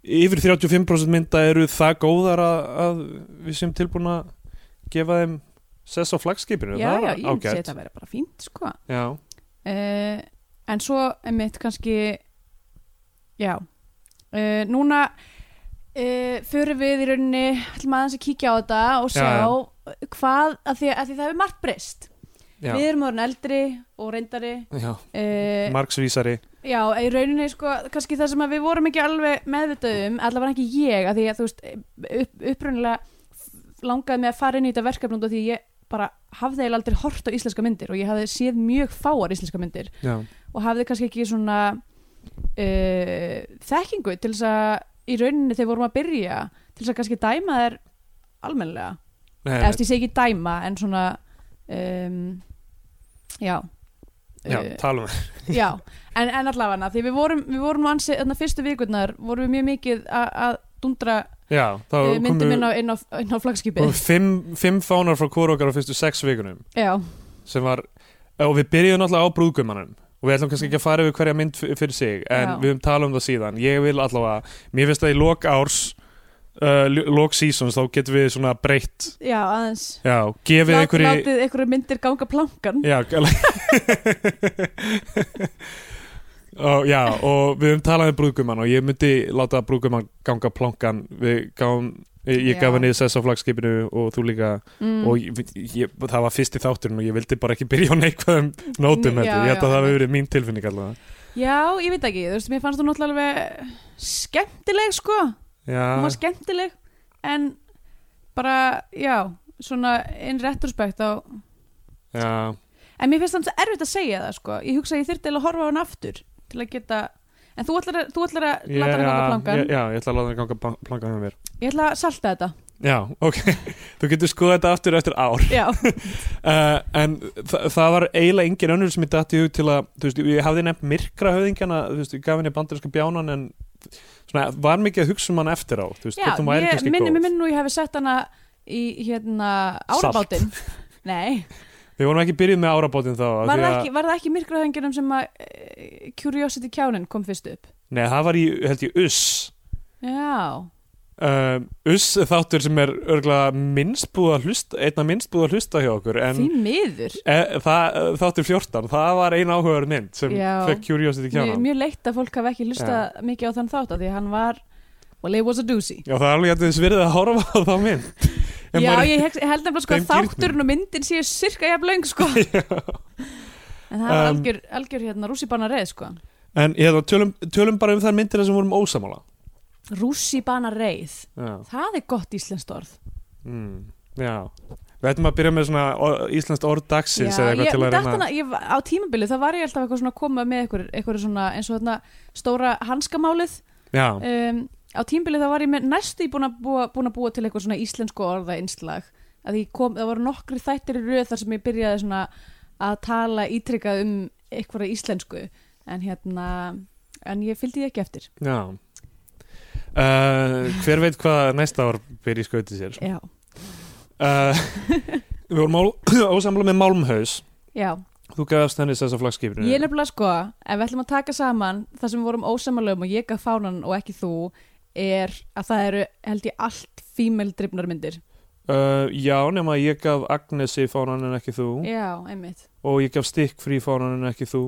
Speaker 3: yfir 35% mynda eru það góðar að, að við sem tilbúin að gefa þeim sess á flagskipinu
Speaker 2: já,
Speaker 3: það
Speaker 2: já,
Speaker 3: var
Speaker 2: ég myndi segja
Speaker 3: ágætt.
Speaker 2: þetta að vera bara fínt, sko
Speaker 3: já,
Speaker 2: uh, en svo mitt kannski já uh, núna uh, fyrir við í rauninni ætlum aðeins að kíkja á þetta og
Speaker 3: Já,
Speaker 2: sjá hvað, af því, af því það hefur margt breyst
Speaker 3: já,
Speaker 2: við erum orðin eldri og reyndari
Speaker 3: já.
Speaker 2: uh,
Speaker 3: margsvísari
Speaker 2: já, í rauninni sko, kannski það sem að við vorum ekki alveg meðvitaðum, allavega ekki ég af því að þú veist, upp, upprunnilega langaði mig að fara inn í þetta verkefnum því ég bara hafði eiginlega aldrei hort á íslenska myndir og ég hafði séð mjög fáar íslenska myndir
Speaker 3: já,
Speaker 2: og hafði kannski ekki svona uh, þekkingu til þess að í rauninni þegar vorum að byrja til þess að kannski dæma þær almennilega,
Speaker 3: nei,
Speaker 2: eða þú veist, ég segi ekki dæma en svona um, já
Speaker 3: já, um
Speaker 2: Eh,
Speaker 3: talum við
Speaker 2: já, en, en allavega því við vorum, við vorum ansi, þannig fyrstu vikurnar vorum við mjög mikið a- að dundra
Speaker 3: já, þá
Speaker 2: uh, myndum inn
Speaker 3: komu,
Speaker 2: á, inn á, inn á flagskipið
Speaker 3: komu fimm, fimm fánar frá hvora okkar á fyrstu sex vikunum
Speaker 2: já,
Speaker 3: sem var, eh, og við byrjuðum náttúrulega á brúðgumannum og við ætlum kannski ekki að fara yfir hverja mynd f- fyrir sig en
Speaker 2: Já.
Speaker 3: við höfum talað um það síðan ég vil allavega, mér finnst að í lok árs uh, l- lok seasons þá getum við svona breytt
Speaker 2: já, aðeins
Speaker 3: já, gefið
Speaker 2: Lát-
Speaker 3: einhverju
Speaker 2: látið einhverju myndir ganga plankan
Speaker 3: já, gala- og, já, og við höfum talað um brúðgumann og ég myndi láta brúðgumann ganga plonkan við gáum Ég, ég
Speaker 2: Já.
Speaker 3: gaf henni sess á flagskipinu og þú líka
Speaker 2: mm.
Speaker 3: og ég, ég, það var fyrst í þátturinn og ég vildi bara ekki byrja á neikvæðum
Speaker 2: Já,
Speaker 3: nótum heldur, ég held
Speaker 2: já,
Speaker 3: að það hafi
Speaker 2: einmitt.
Speaker 3: verið mín tilfinning allavega
Speaker 2: Já, ég veit ekki, þú veist, mér fannst hún náttúrulega alveg skemmtileg, sko, hún var
Speaker 3: já,
Speaker 2: skemmtileg, en bara, já, svona inn retrospekt á,
Speaker 3: já,
Speaker 2: en mér finnst þannig erfitt að segja það, sko, ég hugsa að ég þyrfti eiginlega að horfa á hann aftur til að geta, en þú ætlar að, þú ætlar að
Speaker 3: ég,
Speaker 2: láta hann ganga
Speaker 3: já,
Speaker 2: plangan,
Speaker 3: já, ég ætla að láta hann ganga plan- plankan með mér
Speaker 2: ég ætla að salta þetta,
Speaker 3: já, ok, þú getur skoðað þetta aftur eftir ár
Speaker 2: já,
Speaker 3: uh, en þa það var eiginlega engin önnur sem ég datt í hug til að, þú veist, ég hafði nefnt myrkra höfðingjana, þú veist, ég gaf henni bandarinska bjánan en svona, var mikið að hugsa um hann eftir á, þú veist,
Speaker 2: já,
Speaker 3: hvort hún væri
Speaker 2: ég
Speaker 3: kannski
Speaker 2: minni,
Speaker 3: góð
Speaker 2: mér minni nú ég hefði sett hana í, hérna,
Speaker 3: Salt.
Speaker 2: árabátinn, nei,
Speaker 3: Við vorum ekki byrjuð með árabótin þá af
Speaker 2: Var
Speaker 3: því
Speaker 2: það
Speaker 3: að-
Speaker 2: ekki, var það ekki myrkrahöngjunum sem að eh, Curiosity kjánin kom fyrst upp?
Speaker 3: Nei, það var í, held ég, Uss
Speaker 2: Já,
Speaker 3: uh, Uss er þáttur sem er örgulega minnstbúða hlusta einna minnstbúða hlusta hjá okkur en
Speaker 2: því miður
Speaker 3: e, það, þáttur 14, það var eina áhugaður mynd sem
Speaker 2: Já.
Speaker 3: fekk Curiosity
Speaker 2: Mjög,
Speaker 3: kjána
Speaker 2: mjög leitt að fólk hafi ekki hlusta mikið á þann þátt af því að hann var Well, it was a doozy
Speaker 3: Já, það er alveg að þess verið að horfa á þá mynd En
Speaker 2: Já,
Speaker 3: maður-
Speaker 2: ég held held nefnilega sko að
Speaker 3: Þeim gírnum.
Speaker 2: þátturinn og myndin séu sirka jafn löng sko En það var
Speaker 3: Um,
Speaker 2: algjör, algjör hérna rússibanar reið sko
Speaker 3: En ég hefði tölum, tölum bara um þær myndir sem vorum ósamála
Speaker 2: Rússibanar reið,
Speaker 3: Já,
Speaker 2: það er gott íslenskt orð
Speaker 3: mm, já. Við ættum að byrja með svona or, íslenskt orð dagsins eða eitthvað
Speaker 2: ég,
Speaker 3: til að
Speaker 2: datt
Speaker 3: reyna
Speaker 2: hana- ég, var- á tímabilið það var ég alltaf eitthvað svona að koma með eitthvað, eitthvað svona eins og þarna stóra hanskamálið
Speaker 3: Já,
Speaker 2: um, á tímabilið það var ég með næstu búin að búa, búin að búa til eitthvað svona íslensku orða innslag að ég kom, það voru nokkri þættir í röð þar sem ég byrjaði svona að tala ítrykkað um eitthvað íslensku en hérna en ég fylgdi því ekki eftir
Speaker 3: já uh, Hver veit hvað næsta ár byrja í skauti sér sko?
Speaker 2: já,
Speaker 3: uh, Við vorum mál- ósamlega með Malmhaus
Speaker 2: já.
Speaker 3: Þú gafst henni þess að flagskipinu
Speaker 2: ég er nefnilega sko ef við ætlum að taka saman það sem við vorum ósamalögum og ég gaf fánan og ekki þú er að það eru held ég allt female drifnar myndir
Speaker 3: uh, Já, nema ég gaf Agnesi fánan en ekki þú
Speaker 2: já, einmitt
Speaker 3: og ég gaf Stikk frí fánan en ekki þú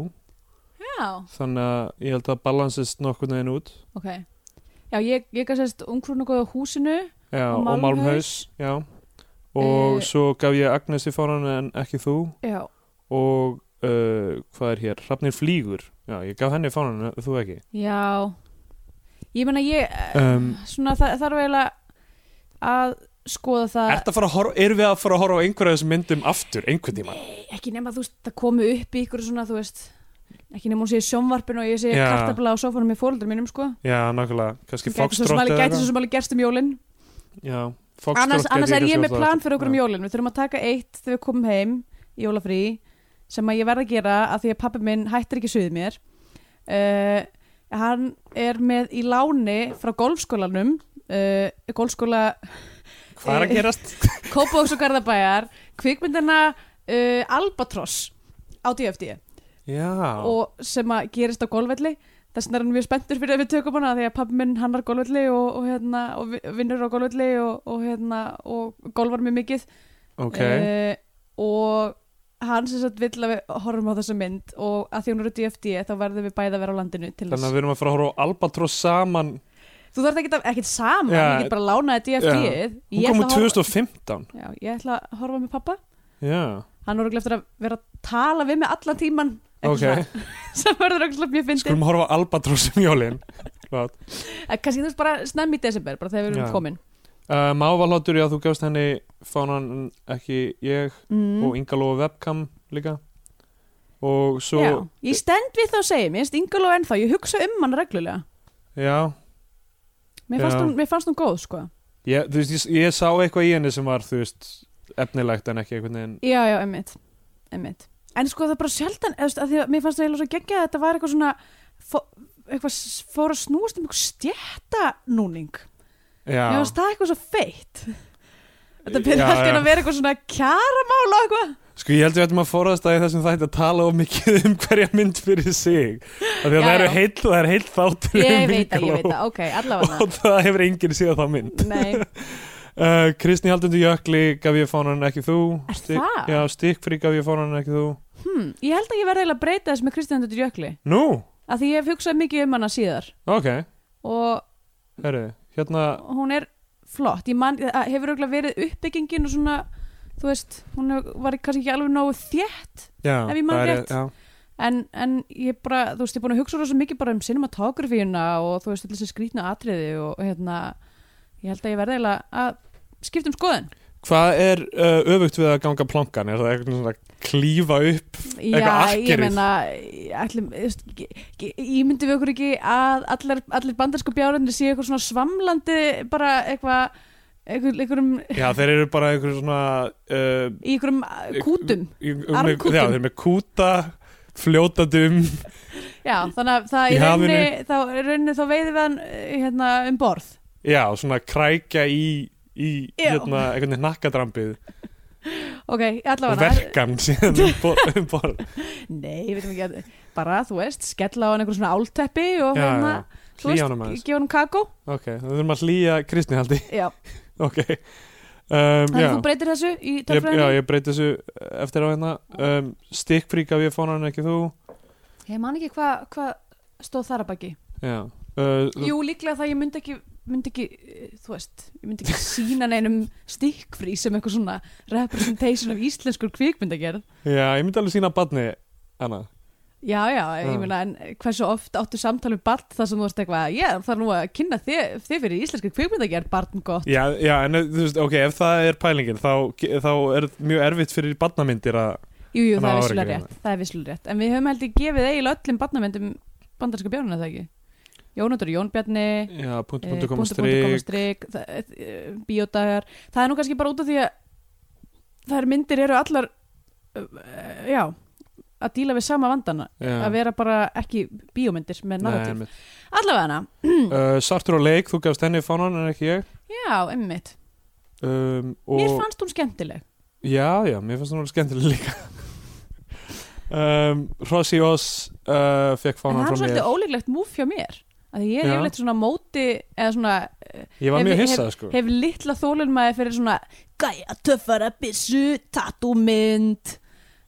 Speaker 2: já,
Speaker 3: þannig að ég held að balansist nokkurn veginn út
Speaker 2: ok já, ég, ég gaf sérst ungkrún og góða húsinu
Speaker 3: já,
Speaker 2: Og
Speaker 3: og,
Speaker 2: Malmhaus.
Speaker 3: Malmhaus já. og
Speaker 2: Eh.
Speaker 3: svo gaf ég Agnesi fánan en ekki þú
Speaker 2: já,
Speaker 3: og uh, hvað er hér, Hrafnir Flýgur já, ég gaf henni fánan en þú ekki
Speaker 2: já ég meina ég
Speaker 3: um,
Speaker 2: svona það þarf eiginlega að skoða það
Speaker 3: Ertu að fara að horfa, erum við að fara að horfa á einhverja af þessum myndum aftur, einhvern tíma?
Speaker 2: ekki nema þú veist, það komi upp í ykkur svona, þú veist ekki nema hún sé í sjónvarpinu og ég sé
Speaker 3: Já.
Speaker 2: kartabla á sofanum í fólundur mínum, sko
Speaker 3: Já, nákvæmlega, kannski
Speaker 2: gæti svo sem
Speaker 3: Foxtrot
Speaker 2: alveg-
Speaker 3: eða
Speaker 2: gæti svo
Speaker 3: eitthvað.
Speaker 2: sem alveg gerst um jólin
Speaker 3: Já, Foxtrot
Speaker 2: annars,
Speaker 3: gæti
Speaker 2: annars er
Speaker 3: kannski
Speaker 2: ég með
Speaker 3: orðað
Speaker 2: plan
Speaker 3: þetta.
Speaker 2: fyrir okkur um
Speaker 3: Já.
Speaker 2: jólin við þurfum að taka eitt þegar við komum heim í jólafrí sem að ég verð að gera að því að pappi minn hættir ekki suðið mér uh, hann er með í láni frá golfskólanum uh, golfskóla
Speaker 3: Hvað er
Speaker 2: Eh,
Speaker 3: að gerast?
Speaker 2: Kópavóks og Garðabæjar kvikmyndina uh, Albatross á DFD
Speaker 3: Já,
Speaker 2: og sem að gerist á golfvelli þess vegna er hann mjög spenntur fyrir að við tökum hana af því að pappi minn hannar golfvelli og, og, hérna, og vi- vinnur á golfvelli og, og, hérna, og golfar mjög mikið
Speaker 3: ok
Speaker 2: Eh, og hann sem sagt vill að við horfum á þessa mynd og að því hún eru DFD þá verðum við bæði að vera á landinu til
Speaker 3: Þannig
Speaker 2: þess.
Speaker 3: að við erum að fara að horfa á Albatross saman
Speaker 2: Þú þarf ekkit, að- ekkit saman,
Speaker 3: Já.
Speaker 2: ég get bara að lána þetta DFD.
Speaker 3: Já.
Speaker 2: Yeah.
Speaker 3: Hún kom úr 2015
Speaker 2: Já, ég ætla að horfa með pappa.
Speaker 3: Já,
Speaker 2: Hann voru eftir að vera að tala við mig allan tíman.
Speaker 3: ok
Speaker 2: Sem verður okkur mjög fyndið.
Speaker 3: Skulum horfa á Albatross um jólin
Speaker 2: En Kannski þú veist bara snemm í desember, bara þegar við erum
Speaker 3: Já.
Speaker 2: komin.
Speaker 3: uh, Mávalóttur, já, þú gafst henni fánan en ekki ég
Speaker 2: Mm.
Speaker 3: og Inga Lóa Webcam líka og svo
Speaker 2: Já, ég stend við þá að segja, mér finnst Ingoló ennþá, ég hugsa um hann reglulega.
Speaker 3: Já,
Speaker 2: Mér fannst,
Speaker 3: Já.
Speaker 2: hún, mér fannst hún góð, sko.
Speaker 3: ég, þú veist, ég, ég sá eitthvað í henni sem var, þú veist, efnilegt en ekki einhvern veginn
Speaker 2: Já, já, emmitt, emmitt. En sko það er bara sjaldan, eða, þú veist, að því að mér fannst það eiginlega svo geggjað að þetta var eitthvað svona, fó, eitthvað s- fór að snúast um eitthvað stjættanúning. Mér
Speaker 3: Já,
Speaker 2: fannst það eitthvað svo feitt. Þetta
Speaker 3: Já,
Speaker 2: byrði allt í einu
Speaker 3: já.
Speaker 2: að vera eitthvað svona kjaramál og eitthvað.
Speaker 3: sko ég held við ættum að forðast að í þessum þætti að tala of mikið um hverja mynd fyrir sig af því að
Speaker 2: Já,
Speaker 3: það eru
Speaker 2: já.
Speaker 3: heill, það er heill
Speaker 2: Ég
Speaker 3: þáttur um
Speaker 2: veit það, ég
Speaker 3: Inga
Speaker 2: veit
Speaker 3: Lóu.
Speaker 2: það, ok, allavega.
Speaker 3: og það hefur enginn síðan þá mynd
Speaker 2: Nei,
Speaker 3: uh, Kristni Haldundur Jökli gaf ég fánan en ekki þú
Speaker 2: Er
Speaker 3: Stik-
Speaker 2: það?
Speaker 3: Já, Stikkfrí gaf ég fánan en ekki þú
Speaker 2: hmm, ég held að ég verði eiginlega að breyta þess með Kristján Duttur Jökli,
Speaker 3: Nú,
Speaker 2: að því ég hef hugsað mikið um hana síðar
Speaker 3: ok,
Speaker 2: og
Speaker 3: herru, hérna
Speaker 2: hún er flott ég man, það hefur auðvitað verið uppbyggingin og svona, þú veist, hún hefur- var kannski ekki alveg nógu þétt
Speaker 3: Já,
Speaker 2: Ef ég man
Speaker 3: það er-
Speaker 2: rétt.
Speaker 3: já.
Speaker 2: en, en ég bara, þú veist, ég er búin að hugsa rosa mikið bara um cinematografíuna og þú veist, öll þessi skrýtna atriði og hérna, ég held að ég verði eiginlega að skipta um skoðun
Speaker 3: Hvað er uh, öfugt við að ganga plankan? Er það eitthvað svona að klífa upp?
Speaker 2: Já, ég
Speaker 3: akkerið.
Speaker 2: meina ætlum, þú veist, ég- ég- ímyndum við okkur ekki að allar, allir bandarsku bjárunni séu eitthvað svona svamlandi bara eitthvað eitthvað- einhverjum-
Speaker 3: Já, þeir eru bara einhver svona uh,
Speaker 2: í einhverjum uh, kútum
Speaker 3: í- um-
Speaker 2: Armkútum.
Speaker 3: Já, þeir eru með kúta fljótandi um
Speaker 2: Já, þannig að það
Speaker 3: Í
Speaker 2: í rauninni,
Speaker 3: hafinu.
Speaker 2: þá, í rauninni þá veiðum við hann eh, hérna, um borð.
Speaker 3: Já, svona krækja í í
Speaker 2: Já.
Speaker 3: hérna, einhvern veginn nakkadrambið
Speaker 2: ok, allavega
Speaker 3: verkan síðan um borð um borð.
Speaker 2: nei, við veitum ekki að bara, þú veist, skella á hann einhver svona álteppi og
Speaker 3: Já,
Speaker 2: hérna,
Speaker 3: já,
Speaker 2: þú
Speaker 3: hlýja
Speaker 2: veist,
Speaker 3: honum aðeins
Speaker 2: gefa hann kakó
Speaker 3: ok, það þurfum að hlýja kristni haldi
Speaker 2: já,
Speaker 3: ok um,
Speaker 2: þannig
Speaker 3: já.
Speaker 2: að þú breytir þessu í
Speaker 3: Ég, já,
Speaker 2: tölfræðinni,
Speaker 3: ég breyti þessu eftir á hérna um, stikkfrík af ég fóna hann ekki þú
Speaker 2: ég man ekki hvað hva stóð þar að baki
Speaker 3: já uh,
Speaker 2: Jú, líklega það ég myndi ekki, myndi ekki eh, þú veist, ég myndi ekki sína neinum stikkfrí sem eitthvað svona representation af íslenskur kvikmyndagerð
Speaker 3: já, ég myndi alveg sína badni hana
Speaker 2: Já, já, ég
Speaker 3: Já.
Speaker 2: meina, en hversu oft áttu samtal við barn þar sem þú veist eitthvað, já, það er nú að kynna þið, þið fyrir íslenska kvikmyndagerð, barn gott.
Speaker 3: já, já, en eh, þú veist, ok, ef það er pælingin þá, þá er mjög erfitt fyrir badnamyndir að
Speaker 2: Jú, jú,
Speaker 3: En
Speaker 2: það er
Speaker 3: það var
Speaker 2: vissulega
Speaker 3: ekki hérna.
Speaker 2: rétt, það er vissulega rétt, en við höfum held ég gefið eiginlega öllum barnamyndum bandarska björnuna það ekki. Jónundur Jónbjarni,
Speaker 3: já, punkt,
Speaker 2: eh,
Speaker 3: punktu koma
Speaker 2: punktur, punktur, komma, strik,
Speaker 3: strik
Speaker 2: það- eh, bíódagar það er nú kannski bara út af því að þær myndir eru allar eh, já að díla við sama vandana að vera bara ekki bíómyndir með narratív
Speaker 3: uh,
Speaker 2: allavega hana,
Speaker 3: Sartur Uh, og leik, þú gafst henni fánan en ekki ég
Speaker 2: já, einmitt
Speaker 3: um,
Speaker 2: mér
Speaker 3: og,
Speaker 2: fannst hún skemmtileg
Speaker 3: Já, já, mér fannst hún alveg skemmtileg líka um, Rossi Oss uh, fekk
Speaker 2: en það er
Speaker 3: fánan frá mér
Speaker 2: svolítið ólíklegt múf hjá mér að ég er
Speaker 3: Já.
Speaker 2: yfirleitt svona á móti eða svona eh,
Speaker 3: Ég var
Speaker 2: hef-
Speaker 3: mjög
Speaker 2: hef-
Speaker 3: hissað sko
Speaker 2: hef litla þólunmaði fyrir svona gæja töffara byssu, tattúmynd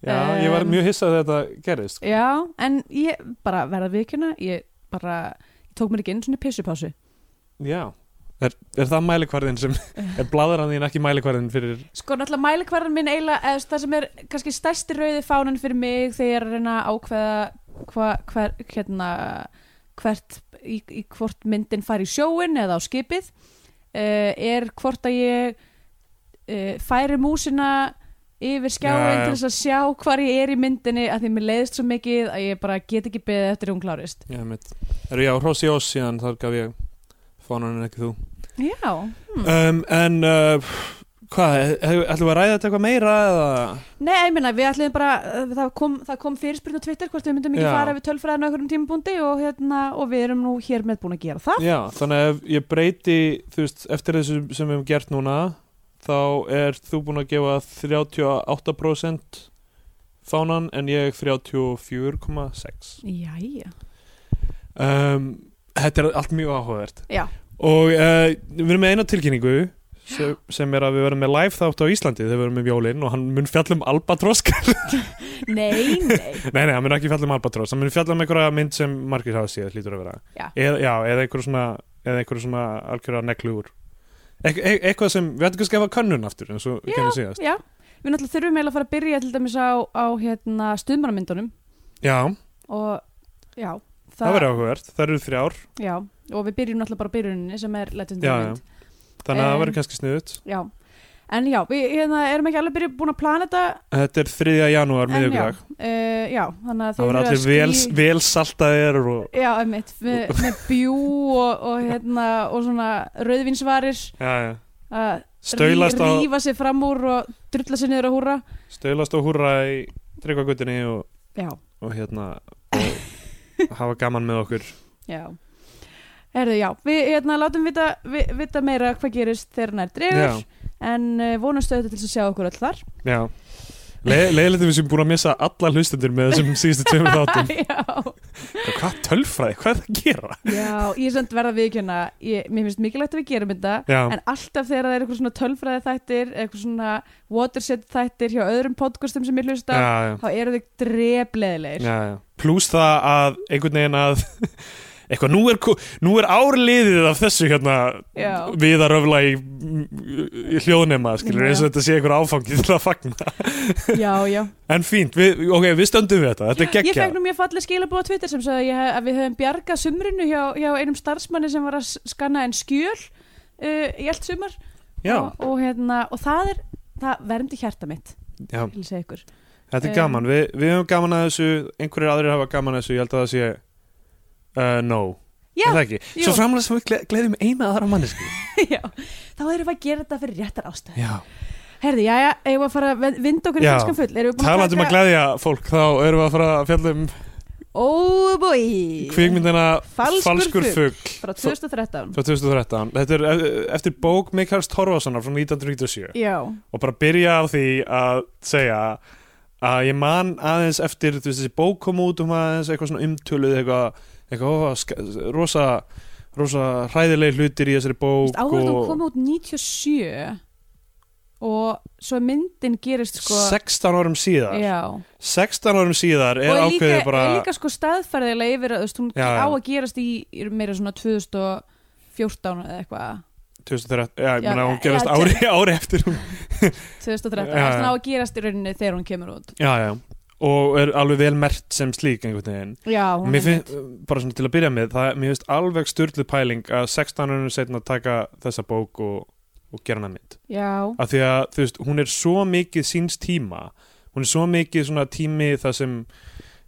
Speaker 3: Já, ég var
Speaker 2: em,
Speaker 3: mjög hissað þegar þetta gerðist sko.
Speaker 2: Já, en ég bara verða vikuna, ég bara ég tók mér ekki einu svona pissupásu.
Speaker 3: Já, er, er það mælikvarðin sem er bladran þín ekki mælikvarðin fyrir
Speaker 2: Sko náttúrulega mælikvarðan minn eiginlega, eða það sem er kannski stærsti rauði fánan fyrir mig þegar ég er að reyna að ákveða hva, hver, hérna, hvert, í, í hvort myndin fær í sjóin eða á skipið, uh, er hvort að ég uh, færi músina yfir skjáin
Speaker 3: Já, já.
Speaker 2: til þess að sjá hvar ég er í myndinni að því mér leiðist svo mikið að ég bara get ekki beðið eftir að hún klárist.
Speaker 3: Já, mitt Eru já, Rossi Oss síðan þar gaf ég fánan en ekki þú
Speaker 2: Já, Hmm.
Speaker 3: um, En uh, hvað, hef- ætlum við að ræða þetta eitthvað meira eða
Speaker 2: Nei, ég meina, við ætlum bara, uh, það kom, það kom fyrirspyrn á Twitter hvort við myndum ekki
Speaker 3: Já.
Speaker 2: fara við tölfræðinu á einhverjum tímabúndi og, hérna, og við erum nú hér með búin að gera það.
Speaker 3: Já, þannig að ef ég breyti þú veist, eftir þessu sem við hefum gert núna þá er þú búin að gefa 38% fánan en ég 34,6
Speaker 2: Jæja.
Speaker 3: um, Þetta er allt mjög áhugavert
Speaker 2: Já.
Speaker 3: og uh, við erum með eina tilkynningu sem, sem er að við verðum með live þátt á Íslandi þegar við verðum með Jólin og hann mun fjalla um Albatross
Speaker 2: Nei, nei.
Speaker 3: Nei, nei, hann mun ekki fjalla um Albatross hann mun fjalla um einhverja mynd sem margir hafa séð hlýtur að vera
Speaker 2: Já.
Speaker 3: eða, já, eða einhverju svona eða einhverju svona algjörða neglugur Eit- e eitthvað sem, við ættum kannski að hafa könnun aftur eins og
Speaker 2: Já.
Speaker 3: kennum síðast
Speaker 2: Já, við náttúrulega þurfum eiginlega að fara að byrja til dæmis á, á hérna, stuðmannamyndunum
Speaker 3: Já,
Speaker 2: og já.
Speaker 3: það verður áhugavert, það eru þrjár
Speaker 2: Já, og við byrjum náttúrulega bara á byrjuninni sem er
Speaker 3: Já,
Speaker 2: lettundumynd.
Speaker 3: já. þannig að það
Speaker 2: Em.
Speaker 3: verður kannski sniðut
Speaker 2: Já. En já, við hérna, erum ekki alveg byrjuð búin að plana þetta.
Speaker 3: Þetta er 3. janúar,
Speaker 2: en já,
Speaker 3: miðvikudag
Speaker 2: uh, já, þannig að þið
Speaker 3: Það
Speaker 2: eruð
Speaker 3: verður
Speaker 2: að
Speaker 3: allir vel,
Speaker 2: skí-
Speaker 3: vel saltaðir og
Speaker 2: Já, einmitt, með, með bjú og, og, hérna, og svona rauðvinsvarir
Speaker 3: já, já.
Speaker 2: að rí-
Speaker 3: Stöylast, á,
Speaker 2: rífa sig fram úr og drulla sig niður að húra
Speaker 3: stöylast á húrra í tryggvagutinni og,
Speaker 2: Já,
Speaker 3: og hérna og hafa gaman með okkur
Speaker 2: já Herðu, já, við hérna, látum vita, vi- vita meira hvað gerist þegar hann er dregur
Speaker 3: Já,
Speaker 2: en uh, vonumstu auðvitað til þess að sjá okkur öll þar
Speaker 3: já Le Leðilegt við sem búin að missa alla hlustendur með þessum síðustu tveimur þáttum
Speaker 2: Já,
Speaker 3: Hvað tölfræði, hvað er það að gera?
Speaker 2: já, ég samt verða viðkjöna ég, Mér finnst mikilvægt að við gerum þetta
Speaker 3: Já,
Speaker 2: En alltaf þegar það er eitthvað svona tölfræði þættir eitthvað svona watershed þættir hjá öðrum podcastum sem ég hlusta á,
Speaker 3: já, já.
Speaker 2: þá eru þau drefleðilegir
Speaker 3: já, já. Plús það að einhvern veginn að eitthvað, nú er, ko- nú er árliðið af þessu hérna
Speaker 2: Já.
Speaker 3: við að röfla í, í hljóðnema, skilur,
Speaker 2: Já,
Speaker 3: eins
Speaker 2: já.
Speaker 3: og þetta sé einhver áfangi til að fagna.
Speaker 2: Já, já
Speaker 3: En fínt, við, ok, við stöndum við þetta, þetta er
Speaker 2: Ég
Speaker 3: geggja.
Speaker 2: fekk nú mjög fallið skilabóð á Twitter sem sagði að, ég, hef- að við höfum bjargað sumrinu hjá, hjá einum starfsmanni sem var að s- skanna en skjöl uh, í allt sumar
Speaker 3: Já,
Speaker 2: og, og, hérna, og það er það verndi hjarta mitt,
Speaker 3: já,
Speaker 2: vil ég segja ykkur
Speaker 3: þetta er
Speaker 2: Um,
Speaker 3: gaman, við, við höfum gaman að þessu, einhverjir aðrir hafa gaman að þessu, ég held að það sé uh, no,
Speaker 2: Já,
Speaker 3: er það ekki?
Speaker 2: jú.
Speaker 3: Svo framlega sem við gle gleðum eina aðra mannesku.
Speaker 2: já, þá erum við að gera þetta fyrir réttar ástæði
Speaker 3: Já,
Speaker 2: Herði, já, já, eigum við að fara að vind- vinda okkur í
Speaker 3: Já.
Speaker 2: franskan full Erum við búin að
Speaker 3: talandum um að
Speaker 2: taka
Speaker 3: gleðja fólk, þá erum við að fara að fjallum
Speaker 4: Oh boy
Speaker 3: Kvikmyndina
Speaker 4: Falskur
Speaker 3: Falskur
Speaker 4: fugl.
Speaker 3: fugl
Speaker 4: Frá 2013
Speaker 3: frá 2013 Þetta er e- eftir bók Mikaels Torfasonar frá 1997
Speaker 4: Já
Speaker 3: og bara byrja á því að segja að ég man aðeins eftir þú veist, þessi bók kom út um aðeins eitthvað svona umtöluð eitthvað, eitthvað ó, sk- rosa, rosa hræðileg hlutir í þessari bók
Speaker 2: Áhverjum
Speaker 3: og
Speaker 2: kom um út 97 og svo myndin gerist sko
Speaker 3: 16 árum síðar
Speaker 2: Já.
Speaker 3: 16 árum síðar er
Speaker 2: og er
Speaker 3: ákveðið
Speaker 2: líka,
Speaker 3: bara
Speaker 2: er líka sko staðferðilega yfir að þú veist, hún
Speaker 3: Já, já.
Speaker 2: á að gerast í í meira svona 2014 eða eitthvað
Speaker 3: 2013, já, ég
Speaker 2: Já,
Speaker 3: meina hún
Speaker 2: já,
Speaker 3: gerast
Speaker 2: já,
Speaker 3: ári, ári eftir hún-
Speaker 2: 2013,
Speaker 3: Já, já.
Speaker 2: það á að gerast í rauninni þegar hún kemur út
Speaker 3: já, já, og er alveg vel mert sem slík einhvern veginn
Speaker 2: Já, hún
Speaker 3: Mér finnst, bara svona til að byrja með það, mér finnst alveg styrlu pæling að 16 árum setna taka þessa bók og, og gera hana mynd
Speaker 2: Já,
Speaker 3: af því að þú veist, hún er svo mikið síns tíma, hún er svo mikið svona tími þar sem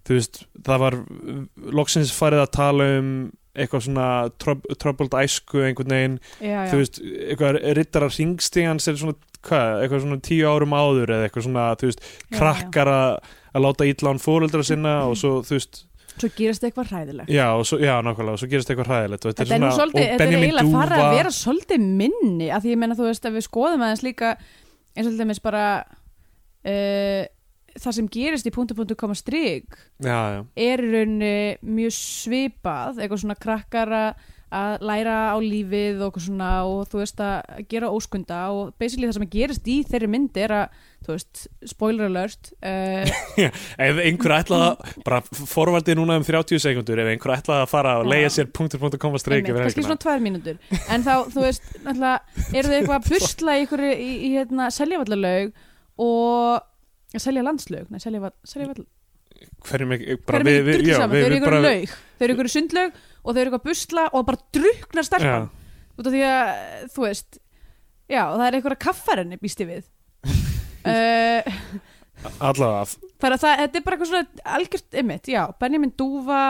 Speaker 3: þú veist, það var uh, loksins farið að tala um eitthvað svona troub troubled æsku einhvern veginn,
Speaker 2: já, já
Speaker 3: þú veist, eitthvað rittara ringstíðans er svona, hvað, eitthvað svona tíu árum áður eða eitthvað svona, þú veist,
Speaker 2: já, Mm-hmm.
Speaker 3: krakkar að að láta ítla án fóreldra sinna og svo, þú veist,
Speaker 2: já. Svo gerist eitthvað hræðilegt
Speaker 3: Já, og svo, já, nákvæmlega, og svo gerist eitthvað hræðilegt og
Speaker 2: Þetta er nú
Speaker 3: svona-
Speaker 2: svolítið,
Speaker 3: og
Speaker 2: þetta er
Speaker 3: Benjamin
Speaker 2: eiginlega
Speaker 3: Dúfa-
Speaker 2: farið að vera svolítið minni af því ég meina þú veist að við skoðum aðeins líka eins og til dæmis bara uh, það sem gerist í punktu punktu koma strik
Speaker 3: Já, já,
Speaker 2: er í rauninni mjög svipað eitthvað svona krakkar að- að læra á lífið og, eitthvað svona, og þú veist að gera óskunda og basically það sem gerist í þeirri mynd er að þú veist, spoiler alert uh,
Speaker 3: ef einhver ætlaði að bara forvaldið núna um 30 sekundur ef einhver ætlaði að fara og leiða
Speaker 2: Já.
Speaker 3: sér punktur punktur koma streik
Speaker 2: einmitt,
Speaker 3: yfir
Speaker 2: kannski
Speaker 3: helgina
Speaker 2: svona tvær mínútur en þá, þú veist, náttúrulega eru þau eitthvað að busla í, ykkur, í, í hérna, seljavallalaug og selja landslaug, nei, selja, selja vall
Speaker 3: hverjum ekki, bara
Speaker 2: hverjum ekki
Speaker 3: við, við,
Speaker 2: drullið
Speaker 3: já,
Speaker 2: saman, þau
Speaker 3: við,
Speaker 2: eru
Speaker 3: við
Speaker 2: ykkur
Speaker 3: bara við,
Speaker 2: laug þau eru ykkur sundlaug og þau eru ykkur að busla og bara druknar stelpan út af því að, þú veist já, það er ykkur að kaffar henni býst ég við uh,
Speaker 3: allavega,
Speaker 2: það er að það, þetta er bara eitthvað svona algjört ymmit, já, Benjamin Dúfa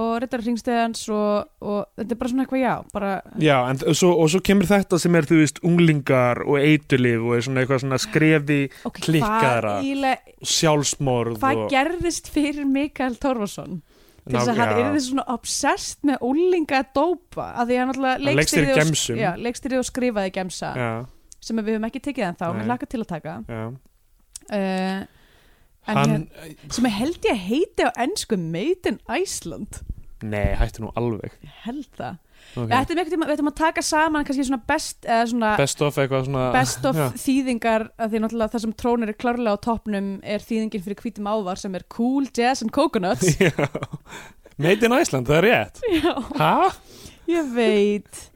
Speaker 2: og Rittara Hringsteðans og, og þetta er bara svona eitthvað já bara,
Speaker 3: já, en þ- svo, og svo kemur þetta sem er, þú veist, unglingar og eitulif og er svona eitthvað svona skrefi
Speaker 2: ok,
Speaker 3: Klikkaðra.
Speaker 2: hvað ílega
Speaker 3: og sjálfsmorð
Speaker 2: hvað
Speaker 3: og,
Speaker 2: gerðist fyrir Mikael Torfason til þess
Speaker 3: Ná,
Speaker 2: að hann
Speaker 3: já.
Speaker 2: er svona obsessed með úlinga að dópa að því að hann alltaf
Speaker 3: Hann leikstýrði
Speaker 2: leikstýrði og,
Speaker 3: gemsum.
Speaker 2: já, leikstýrði og skrifaði gemsa
Speaker 3: Já,
Speaker 2: sem við höfum ekki tekið en þá,
Speaker 3: Nei.
Speaker 2: mér hlaka til að taka
Speaker 3: já
Speaker 2: uh, en hérna-
Speaker 3: Hann,
Speaker 2: hér- sem ég held ég heiti á ennsku Made in Iceland
Speaker 3: nei, hættu nú alveg
Speaker 2: Ég held það,
Speaker 3: okay.
Speaker 2: þetta er mjög tíma við ættum að taka saman kannski svona best eða svona best,
Speaker 3: Best of eitthvað svona
Speaker 2: of
Speaker 3: já.
Speaker 2: þýðingar að því náttúrulega það sem trónir er klárlega á toppnum er þýðingin fyrir hvítum ávar sem er Cool Jazz and Coconuts
Speaker 3: Já. Made in Iceland, það er rétt
Speaker 2: Já,
Speaker 3: Hæ?
Speaker 2: ég veit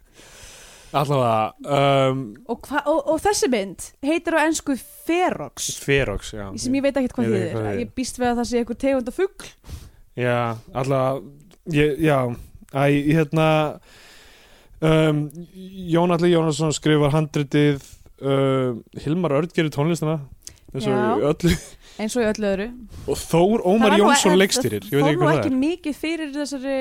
Speaker 3: Allavega um,
Speaker 2: og, hva, og, og þessi mynd heitir á ennsku Ferox
Speaker 3: Ferox, já
Speaker 2: sem ég veit ekkert
Speaker 3: Ég
Speaker 2: hvað
Speaker 3: veit
Speaker 2: þýðir
Speaker 3: ekki hvað þýðir.
Speaker 2: ég býst við að það sé einhver tegund af fugg
Speaker 3: Já, allavega ég, Já, æ, hérna um, Jón Alli Jónasson skrifar handritið uh, Hilmar Örd gerir tónlistina eins og í
Speaker 2: Já.
Speaker 3: öllu
Speaker 2: eins og í öllu öðru
Speaker 3: og Þór Ómar Jónsson leikstýrir ég veit
Speaker 2: Það
Speaker 3: ekki hvað
Speaker 2: fór nú
Speaker 3: það
Speaker 2: ekki mikið fyrir þessari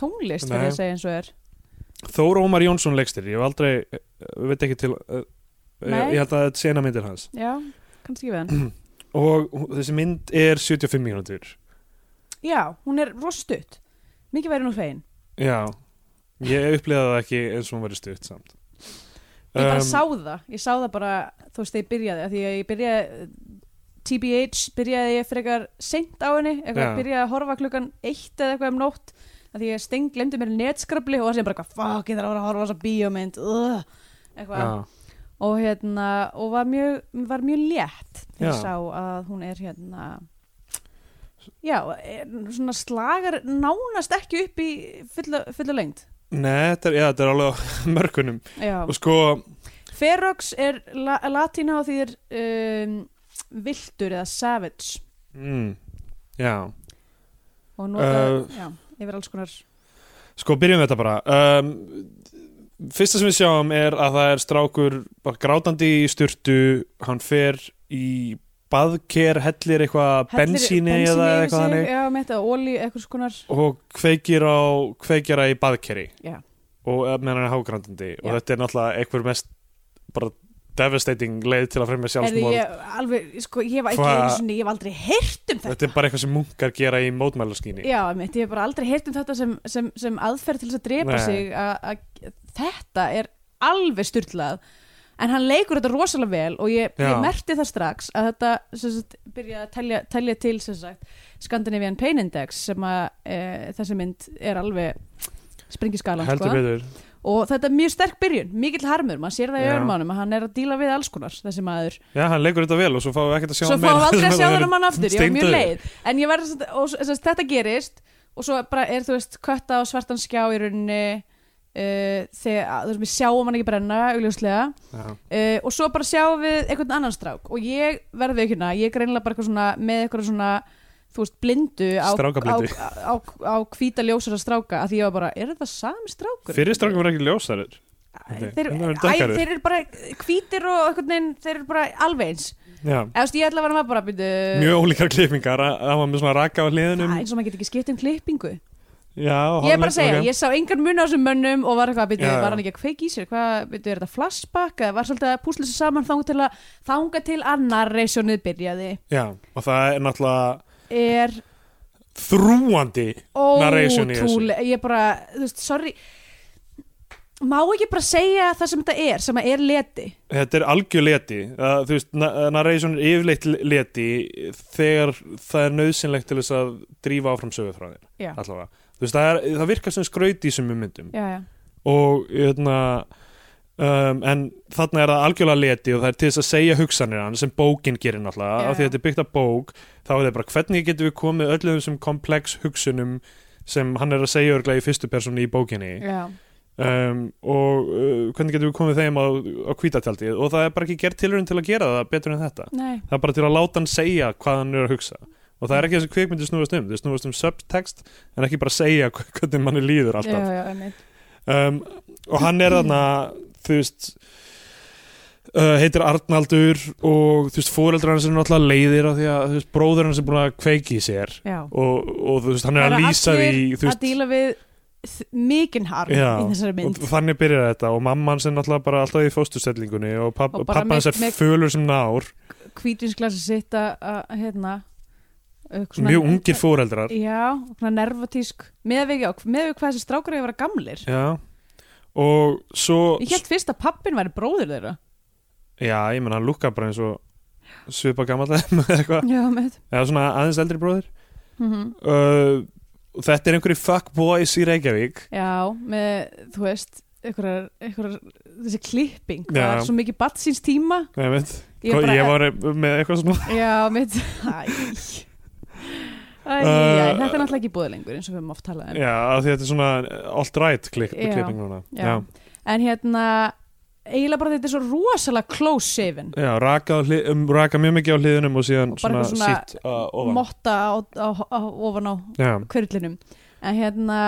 Speaker 2: tónlist
Speaker 3: Nei.
Speaker 2: fyrir að segja eins og er
Speaker 3: er Þór Ómar Jónsson leikstýrir, ég hef aldrei ég veit ekki til uh,
Speaker 2: Nei.
Speaker 3: ég held að þetta sena myndir hans
Speaker 2: Já, kannski við hann
Speaker 3: og þessi mynd er 75 mínútur
Speaker 2: Já, hún er rostutt Mikið væri nú fegin
Speaker 3: Já, ég upplýða það ekki eins og hún verið stutt samt
Speaker 2: Ég bara
Speaker 3: Um,
Speaker 2: sá það, ég sá það bara þú veist þegar ég byrjaði, af því að ég byrjaði TBH byrjaði ég frekar seint á henni, eitthvað
Speaker 3: Já.
Speaker 2: byrjaði að horfa klukkan eitt eða eitthvað um nótt af því ég steng, glemdi mér netskrabli og það sem bara eitthvað, fuck, ég þarf að fara að horfa á þessa bíómynd ugh, eitthvað,
Speaker 3: Já,
Speaker 2: og hérna og var mjög, var mjög létt þegar
Speaker 3: Já.
Speaker 2: ég sá að hún er hérna já, er svona slagar nánast ekki upp í fulla, fulla lengt
Speaker 3: Nei, þetta er, já, þetta er alveg á mörkunum
Speaker 2: já.
Speaker 3: og sko,
Speaker 2: ferox er la latína og því er um, viltur eða savage
Speaker 3: mm, já
Speaker 2: og nota,
Speaker 3: Uh,
Speaker 2: já, yfir alls konar
Speaker 3: sko byrjum við þetta bara um, fyrsta sem við sjáum er að það er strákur bara grátandi í styrtu hann fer í baðker, hellir eitthvað
Speaker 2: Hellir
Speaker 3: bensíni eða
Speaker 2: yfir
Speaker 3: eitthvað
Speaker 2: sig,
Speaker 3: þannig
Speaker 2: já, með þetta, olí, eitthvað konar
Speaker 3: og kveikir á kveikjara í baðkeri
Speaker 2: Já.
Speaker 3: og eh, meðan hann er hágrandandi og
Speaker 2: Já.
Speaker 3: þetta er náttúrulega einhver mest bara devastating leið til að fremja
Speaker 2: Herðu,
Speaker 3: sjálfsmóð
Speaker 2: ég, alveg, sko, ég hef ekki
Speaker 3: Hva-
Speaker 2: einu sinni, ég hef aldrei heyrt um þetta.
Speaker 3: þetta er bara eitthvað sem munkar gera í mótmælaskýni
Speaker 2: Já, mitt, ég hef bara aldrei heyrt um þetta sem, sem, sem aðferð til þess að drepa
Speaker 3: Nei.
Speaker 2: sig að að- þetta er alveg styrlað en hann leikur þetta rosalega vel og ég,
Speaker 3: Já.
Speaker 2: ég merti það strax að þetta sem sagt, byrja að telja, telja til sem sagt, Scandinavian Pain Index sem að e, þessi mynd er alveg springiskalan
Speaker 3: heldur
Speaker 2: sko.
Speaker 3: betur
Speaker 2: og þetta er mjög sterk byrjun, mikill harmur maður sér það í
Speaker 3: Já.
Speaker 2: örum ánum að hann er að díla við alls konar þessi maður
Speaker 3: já, hann leikur þetta vel og svo fáum við ekkert að sjá
Speaker 2: svo
Speaker 3: hann
Speaker 2: fáum
Speaker 3: meira.
Speaker 2: við aldrei að sjá
Speaker 3: Þannig
Speaker 2: þennan mann aftur ég var mjög
Speaker 3: steindauður.
Speaker 2: leið en ég var, og, og, og, þetta gerist og svo bara er þú veist kötta á svartan skjá í rauninni uh, þegar þú veist við sjáum hann ekki brenna augljóslega
Speaker 3: Já.
Speaker 2: uh, og svo bara sjáum við einhvern annan strák og ég verði ekki hérna, ég er greinlega bara eitthvað svona, með eitthvað svona þú veist blindu á,
Speaker 3: Strákablindu.
Speaker 2: á, á, á, á hvíta ljósara stráka að því ég var bara, er þetta sami strákur?
Speaker 3: fyrir strákum er ekki ljósarir
Speaker 2: Æ,
Speaker 3: Þeir
Speaker 2: þeir, æ,
Speaker 3: eru dökkarir.
Speaker 2: þeir eru bara hvítir og einhvern veginn, þeir eru bara alveg eins
Speaker 3: já.
Speaker 2: eða þú veist, ég ætla að vera maður bara byrju
Speaker 3: mjög ólíkar klippingar að- að hafa með svona raka á
Speaker 2: Það
Speaker 3: hliðunum
Speaker 2: er eins og maður getur ekki skipt um klippingu
Speaker 3: já,
Speaker 2: Ég er bara að segja, ég sá engan mun á þessum mönnum og var eitthvað, byrju,
Speaker 3: Já, já.
Speaker 2: var hann ekki að kveiki í sér hvað, byrju, er þetta flashback, eða var svolítið að púsla þessu saman þanga til að þanga til að narrationið byrjaði
Speaker 3: já, og það er náttúrulega
Speaker 2: er
Speaker 3: þrúandi Narration í þessu.
Speaker 2: ótrúlega ég bara, þú veist, sorry má ekki bara segja það sem þetta er sem að er leti
Speaker 3: þetta er algjör leti það, þú veist, na- narration er yfirleitt leti þegar það er nöðsynlegt til þess að drífa áfram sögu frá þér
Speaker 2: Já,
Speaker 3: allavega, þú veist, það, er, það virkar sem skraut í sumum myndum
Speaker 2: já, já,
Speaker 3: og hérna um, en þarna er það algjörlega leti og það er til þess að segja hugsanir hann sem bókin gerir náttúrulega,
Speaker 2: Já,
Speaker 3: af
Speaker 2: já.
Speaker 3: því að þetta er byggt af bók þá er það bara hvernig getum við komið öllum þessum komplex hugsunum sem hann er að segja örglega í fyrstu persónu í bókinni
Speaker 2: já.
Speaker 3: um, og uh, hvernig getum við komið þeim á, á kvítatjaldið og það er bara ekki gerð tilurinn til að gera það betur en þetta
Speaker 2: Nei,
Speaker 3: það er bara til að láta hann segja hvað hann er að hugsa og það er ekki þessi kvikmyndi snúast um þau snúast um subtext en ekki bara segja hva- hvernig manni líður
Speaker 2: já,
Speaker 3: alltaf
Speaker 2: já, einmitt.
Speaker 3: um, og hann er þarna þú veist Uh, heitir Arnaldur og þú veist fóreldrar hans er náttúrulega leiðir af því að þú veist bróður hans er búin að kveiki í sér
Speaker 2: já
Speaker 3: og, og þú veist hann er
Speaker 2: Það
Speaker 3: að
Speaker 2: eru
Speaker 3: lýsa því
Speaker 2: allir
Speaker 3: þú
Speaker 2: að díla við þ- mikinn harm
Speaker 3: Já,
Speaker 2: í þessari mynd
Speaker 3: og þannig byrjar þetta og mamma hans er náttúrulega bara alltaf í fósturstellingunni og, papp,
Speaker 2: Og
Speaker 3: og
Speaker 2: bara
Speaker 3: pappa hans
Speaker 2: með-
Speaker 3: er
Speaker 2: með-
Speaker 3: fölur sem nár
Speaker 2: kvítvinsglasi sitt að- að hérna eitthvað svona-
Speaker 3: mjög ungir fóreldrar
Speaker 2: já, svona nervatísk með við, já, með við hvað þessi strákar hefur verið gamlir
Speaker 3: já. og svo
Speaker 2: ég held fyrst að pappin væri bróður þeirra
Speaker 3: já, ég menn hann lukkar bara eins og svipa gammal eða
Speaker 2: já, með
Speaker 3: svona aðeins eldri bróðir
Speaker 2: mm
Speaker 3: uh, og þetta er einhverju fuckboys í Reykjavík
Speaker 2: já, með, þú veist einhverjar, einhverjar, þessi klipping
Speaker 3: Já.
Speaker 2: var svo mikið batt síns tíma
Speaker 3: Nei, veit,
Speaker 2: Ég
Speaker 3: ég,
Speaker 2: bara- e-
Speaker 3: var með eitthvað svona
Speaker 2: já, með æ, æ, æ,
Speaker 3: Uh,
Speaker 2: þetta er náttúrulega ekki búið lengur eins og við höfum oft talað um
Speaker 3: já, af því þetta er svona alt-right klik,
Speaker 2: Já.
Speaker 3: klipping núna
Speaker 2: Já. en hérna, eiginlega bara þetta er svo rosalega close shaven
Speaker 3: Já, raka, á hli- um, raka mjög mikið á hliðunum og síðan
Speaker 2: Og bara
Speaker 3: svona,
Speaker 2: eitthvað
Speaker 3: svona
Speaker 2: svona
Speaker 3: sítt uh, ofan
Speaker 2: motta á, á, á, ofan á
Speaker 3: Já,
Speaker 2: kverlinum en hérna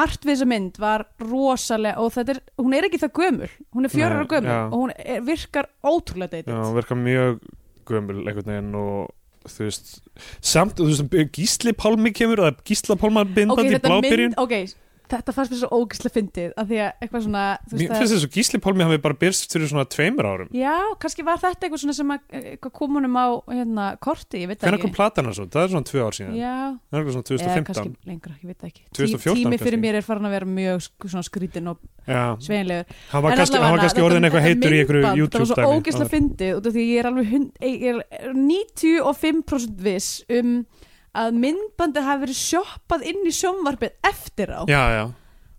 Speaker 2: margt við þessa mynd var rosalega og þetta er, hún er ekki það gömul hún er fjörar
Speaker 3: Nei,
Speaker 2: og gömul
Speaker 3: já.
Speaker 2: og hún er, virkar ótrúlega
Speaker 3: Já,
Speaker 2: deytið
Speaker 3: hún virkar mjög gömul einhvern veginn og þú veist samt, þú veist, Gísli Pálmi kemur eða Gísla Pálma bindandi í
Speaker 2: þetta
Speaker 3: blábyrjun
Speaker 2: ok, þetta fannst mér svo ógislega fyndið af því að eitthvað svona þú
Speaker 3: Mér
Speaker 2: veist
Speaker 3: finnst
Speaker 2: að,
Speaker 3: þess að Gísli Pálmi hafi bara byrst fyrir svona tveimur árum
Speaker 2: já, kannski var þetta eitthvað svona sem að, eitthvað kom honum á hérna, korti, ég veit það
Speaker 3: Hvernig kom
Speaker 2: ekki
Speaker 3: platan hans út? Það er svona tvö ár síðan
Speaker 2: já,
Speaker 3: Það er eitthvað svona
Speaker 2: eða
Speaker 3: 2015
Speaker 2: kannski lengra, ég veit það ekki Tí-
Speaker 3: 2014
Speaker 2: tími fyrir
Speaker 3: kannski.
Speaker 2: mér er farin að vera mjög sk- svona skrítin og
Speaker 3: Já,
Speaker 2: sveinlegur
Speaker 3: hann var
Speaker 2: En
Speaker 3: kannski,
Speaker 2: allavega,
Speaker 3: hann var kannski orðin
Speaker 2: þetta-
Speaker 3: eitthvað
Speaker 2: þetta
Speaker 3: heitur í einhverju
Speaker 2: myndband,
Speaker 3: YouTube
Speaker 2: Það var svo
Speaker 3: dæmi
Speaker 2: ógeðslega fyndið út af því ég er alveg hund, ég er 95% viss um að myndbandið hafi verið sjoppað inn í sjónvarpið eftir á
Speaker 3: Já, já,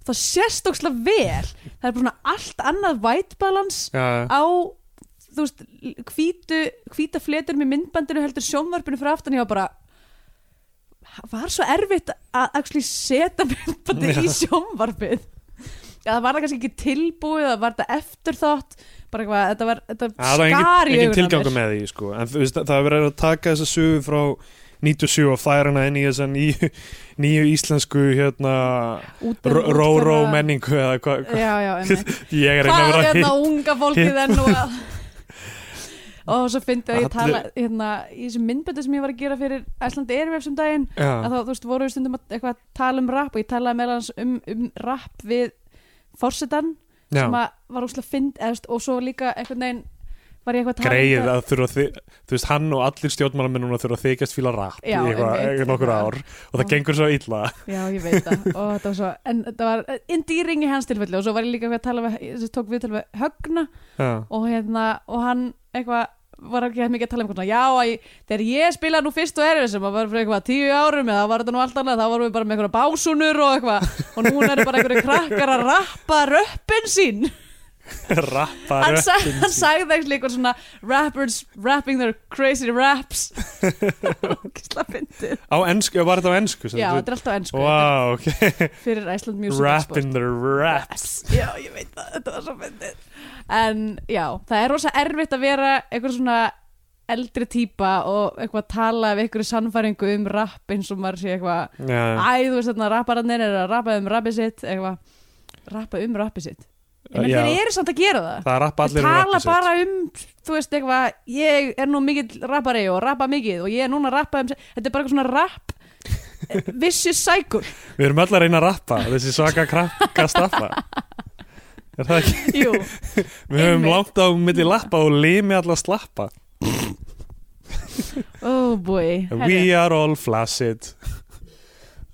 Speaker 2: það sést ógeðslega vel það er bara svona allt annað white balance
Speaker 3: já, já,
Speaker 2: á þú veist, hvítu, hvíta fletur með myndbandinu heldur sjónvarpinu fyrir aftan ég var bara var svo erfitt að actually setja myndbandið í sjónvarpið eða var það kannski ekki tilbúið eða var þetta eftir þátt bara eitthvað, þetta var þetta
Speaker 3: það var
Speaker 2: skar
Speaker 3: engin,
Speaker 2: í
Speaker 3: engin
Speaker 2: augun á
Speaker 3: tilgangu með því sko. en þú veist, það er verið að taka þessa sögu frá 97 og færa hana inn í þessa nýju, nýju íslensku hérna,
Speaker 2: Út- útfæra-
Speaker 3: ró-ró menningu eða hvað hva,
Speaker 2: já, já, einmitt.
Speaker 3: ég er að reyna
Speaker 2: hvað
Speaker 3: að
Speaker 2: er
Speaker 3: vera
Speaker 2: hérna
Speaker 3: hitt
Speaker 2: unga fólkið enn og að og svo fyndi að ég
Speaker 3: Allir-
Speaker 2: tala hérna, í þessum myndböndum sem ég var að gera fyrir Æslandi Erfjöfsum daginn að
Speaker 3: Já,
Speaker 2: þá, þú veist, voru við stundum að eitthvað að tala um rap og ég talaði meðal hans um, um rap við forsetan
Speaker 3: Já.
Speaker 2: sem að var óslega fynd eðst, og svo líka einhvern veginn var ég eitthvað að tala um
Speaker 3: greið
Speaker 2: þetta-
Speaker 3: að þurfa að þi- þú veist, hann og allir stjórnmálamenn núna þurfa að þykjast fíla rap
Speaker 2: Já,
Speaker 3: í eitthvað,
Speaker 2: einmitt.
Speaker 3: nokkur ár og það
Speaker 2: Og-
Speaker 3: gengur svo illa
Speaker 2: Já, ég veit það og þetta var svo, en þetta var indýring í hans tilfelli og svo var ég líka eitthvað að tala við, þessi tók við tala við Högna
Speaker 3: já,
Speaker 2: og hérna, og hann eitthvað var ekki mikið að tala um eitthvað svona, já, ég, þegar ég spilaði nú fyrst og erfið sem var fyrir eitthvað tíu árum eða var þetta nú allt annað, þá vorum við bara með eitthvað básunur og eitthvað, og núna eru bara einhverju krakkar að rappa röppin sín
Speaker 3: rappa
Speaker 2: hann, sag,
Speaker 3: röppin
Speaker 2: hann
Speaker 3: sín.
Speaker 2: sagði eitthvað eitthvað svona rappers rapping their crazy raps Ógisla fyndið
Speaker 3: á ennsku, var þetta á ennsku?
Speaker 2: Já, þetta er alltaf ennsku
Speaker 3: wow, ok,
Speaker 2: fyrir Iceland Music
Speaker 3: rap
Speaker 2: Expo.
Speaker 3: in the rap
Speaker 2: Já, ég veit það, þetta var svo fyndið En já, það er rosa erfitt að vera eitthvað svona eldri típa og eitthvað að tala við eitthvað sannfæringu um rapp eins og maður sé eitthvað
Speaker 3: já,
Speaker 2: Æ, þú veist þarna, rapparannir eru að rappa um rappið sitt eitthvað, rappa um rappið sitt En
Speaker 3: Já.
Speaker 2: þeir eru samt að gera það
Speaker 3: það rappa
Speaker 2: Þeir
Speaker 3: allir um
Speaker 2: tala
Speaker 3: rappið sitt.
Speaker 2: bara um, þú veist, eitthvað ég er nú mikill rappari og rappa mikið og ég er núna að rappa um, þetta er bara eitthvað svona rapp eh, vicious cycle
Speaker 3: Við erum öll að reyna að rappa þessi svaka krakka staffa Er það ekki?
Speaker 2: Jú,
Speaker 3: Við höfum
Speaker 2: Einmitt.
Speaker 3: langt á milli lappa og limi alla slappa
Speaker 2: oh boy
Speaker 3: We are all flaccid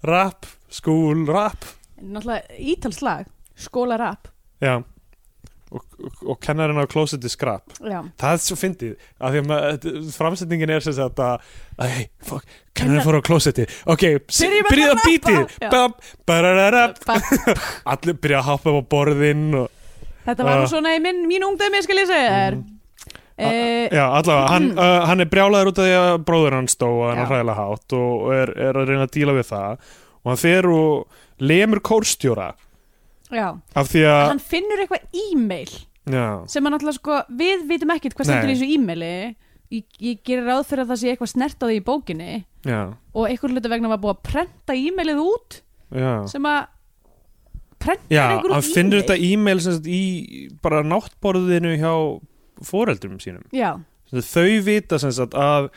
Speaker 3: Rap, skúl, rap
Speaker 2: Náttúrulega ítalslag, skóla rapp
Speaker 3: Já Og, og, og kennarinn á klósetti skrap
Speaker 2: Já,
Speaker 3: Það er svo fyndið af því að ma- þetta- framsetningin er sem sagt að að, Hey, fuck, kennarinn fór á klósetti Ok, s-
Speaker 2: Byrjum að
Speaker 3: byrjið að
Speaker 2: rappa.
Speaker 3: bítið
Speaker 2: Já.
Speaker 3: Bam, barararap.
Speaker 2: bara,
Speaker 3: Allir byrja að hoppa upp á borðin og,
Speaker 2: þetta var nú
Speaker 3: Ah. Mm.
Speaker 2: svona í minn, mín ungdæmi, skal ég segja þér Eh,
Speaker 3: Já, allavega, hann, uh, hann er brjálaður út af því að bróður hann stó og hann
Speaker 2: Já.
Speaker 3: er hræðilega hátt og og er, er að reyna að díla við það og hann fer og lemur kórstjóra
Speaker 2: Já,
Speaker 3: af því að
Speaker 2: hann finnur eitthvað e-mail
Speaker 3: já,
Speaker 2: sem að náttúrulega sko, við vitum ekkert hvað stendur
Speaker 3: Nei.
Speaker 2: í þessu e-maili ég, ég gerir ráð fyrir að það sé eitthvað snert á því í bókinni
Speaker 3: já,
Speaker 2: og einhver hluta vegna var búið að prenta e-mailið út
Speaker 3: já
Speaker 2: sem að prentar
Speaker 3: Já,
Speaker 2: einhver út
Speaker 3: hann finnur þetta e-mail sem sagt í bara náttborðinu hjá foreldrum sínum
Speaker 2: Já,
Speaker 3: Sem sagt, þau vita sem sagt að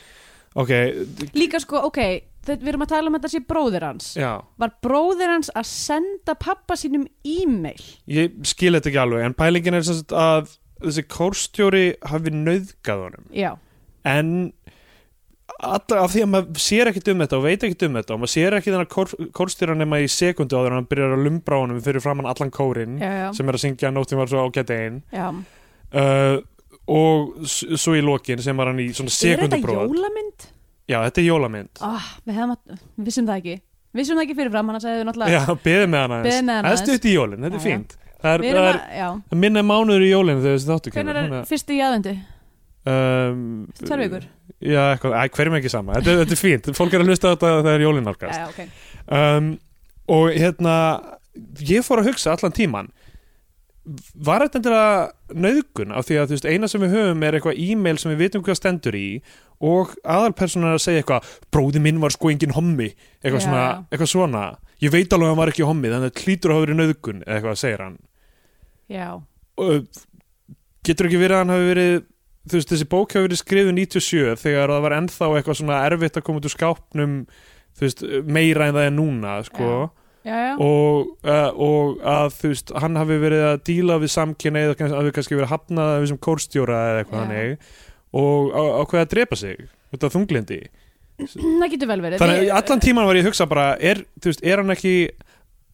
Speaker 3: ok, d-
Speaker 2: líka sko, ok þetta, við erum að tala um að þetta sé bróðir hans
Speaker 3: já
Speaker 2: var bróðir hans að senda pappa sínum e-mail
Speaker 3: ég skil þetta ekki alveg en pælingin er sem sagt að þessi kórstjóri hafi nauðgað honum
Speaker 2: Já,
Speaker 3: en alla, af því að maður sér ekkert um þetta og veit ekkert um þetta og maður sér ekki þennan kór, kórstýra nema í sekundu áður en hann byrjar að lumbra á honum fyrir framann allan kórin
Speaker 2: já, já,
Speaker 3: sem er að syngja nóttin var svo ágætt einn
Speaker 2: já.
Speaker 3: uh, og s- svo í lokin sem var hann í svona
Speaker 2: Er þetta
Speaker 3: sekundubróð
Speaker 2: jólamynd?
Speaker 3: Já, þetta er jólamynd
Speaker 2: Ah, við, hefum að, við vissum það ekki Við vissum það ekki fyrir fram, hann sagði við náttúrulega
Speaker 3: Já, beðið með hana
Speaker 2: Beðið með hana
Speaker 3: Það er
Speaker 2: aðeins.
Speaker 3: stutt í jólin,
Speaker 2: Já,
Speaker 3: þetta er
Speaker 2: já.
Speaker 3: fínt Það er,
Speaker 2: Við
Speaker 3: það
Speaker 2: erum
Speaker 3: er
Speaker 2: að, já,
Speaker 3: minna en mánuður í jólin þegar þessi þáttu
Speaker 2: hvenær er
Speaker 3: kemur
Speaker 2: fyrsti jáðundi?
Speaker 3: um,
Speaker 2: Tvær vikur?
Speaker 3: Já, eitthvað, æ, hverjum ekki sama Þetta, þetta er fínt, fólk er að hlusta á þetta þegar er jólin
Speaker 2: Já,
Speaker 3: nálgast
Speaker 2: já, ok
Speaker 3: um, og hérna ég fór að hugsa allan tíman var þetta endilega nöðgun af því að þú veist, eina sem við höfum er eitthvað e-mail sem við vitum hvað stendur í og aðalpersonar að segja eitthvað bróði minn var sko engin hommi eitthvað,
Speaker 2: Já,
Speaker 3: svona,
Speaker 2: já.
Speaker 3: eitthvað svona, ég veit alveg að hann var ekki hommi þannig að klítur að hafa verið nöðgun eða eitthvað segir hann
Speaker 2: Já,
Speaker 3: og, getur ekki verið að hann hafi verið þú veist, þessi bók hafi verið skrifuð 97 þegar það var ennþá eitthvað svona erfitt að koma út úr skápnum þú veist, meira en það er núna sko.
Speaker 2: Já. já, já,
Speaker 3: og, uh, og að þú veist, hann hafi verið að díla við samkynneið og hafi kannski verið hafnað af þessum kórstjóra eða eitthvað
Speaker 2: Já.
Speaker 3: hannig og á, á hvað að drepa sig út af þunglindi
Speaker 2: það getur vel verið
Speaker 3: þannig
Speaker 2: Við-
Speaker 3: að allan tíman var ég að hugsa bara er, þú veist, er hann ekki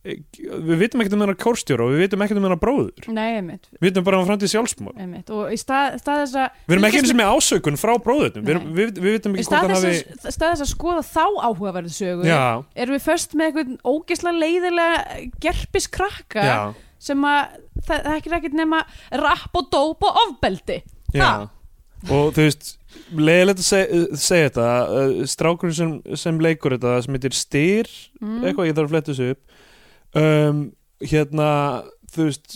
Speaker 3: við vitum ekkert um hennar kórstjóra og við vitum ekkert um hennar bróður
Speaker 2: Nei, einmitt,
Speaker 3: við vitum bara um framtíð sjálfsmór
Speaker 2: einmitt Og í stað, stað þess að
Speaker 3: við erum ekki
Speaker 2: fylgjast
Speaker 3: eins og með ásökun frá bróðurnum við, erum- við, við vitum
Speaker 2: Í
Speaker 3: ekki
Speaker 2: stað
Speaker 3: hvort hann
Speaker 2: þess,
Speaker 3: hafi
Speaker 2: að, stað þess að skoða þá áhugaverðu sögu
Speaker 3: já,
Speaker 2: erum við först með einhvern ógeðslega leiðilega gerpis krakka
Speaker 3: já,
Speaker 2: sem að það, það er ekkert nema rapp og dóp og ofbeldi
Speaker 3: já.
Speaker 2: Ha?
Speaker 3: og þú veist leiðilegt að seg, segja þetta uh, strákurinn sem, sem leikur þetta sem heitir Styr
Speaker 2: Mm.
Speaker 3: eitthvað ég þarf að fletta þessu upp um, hérna þú veist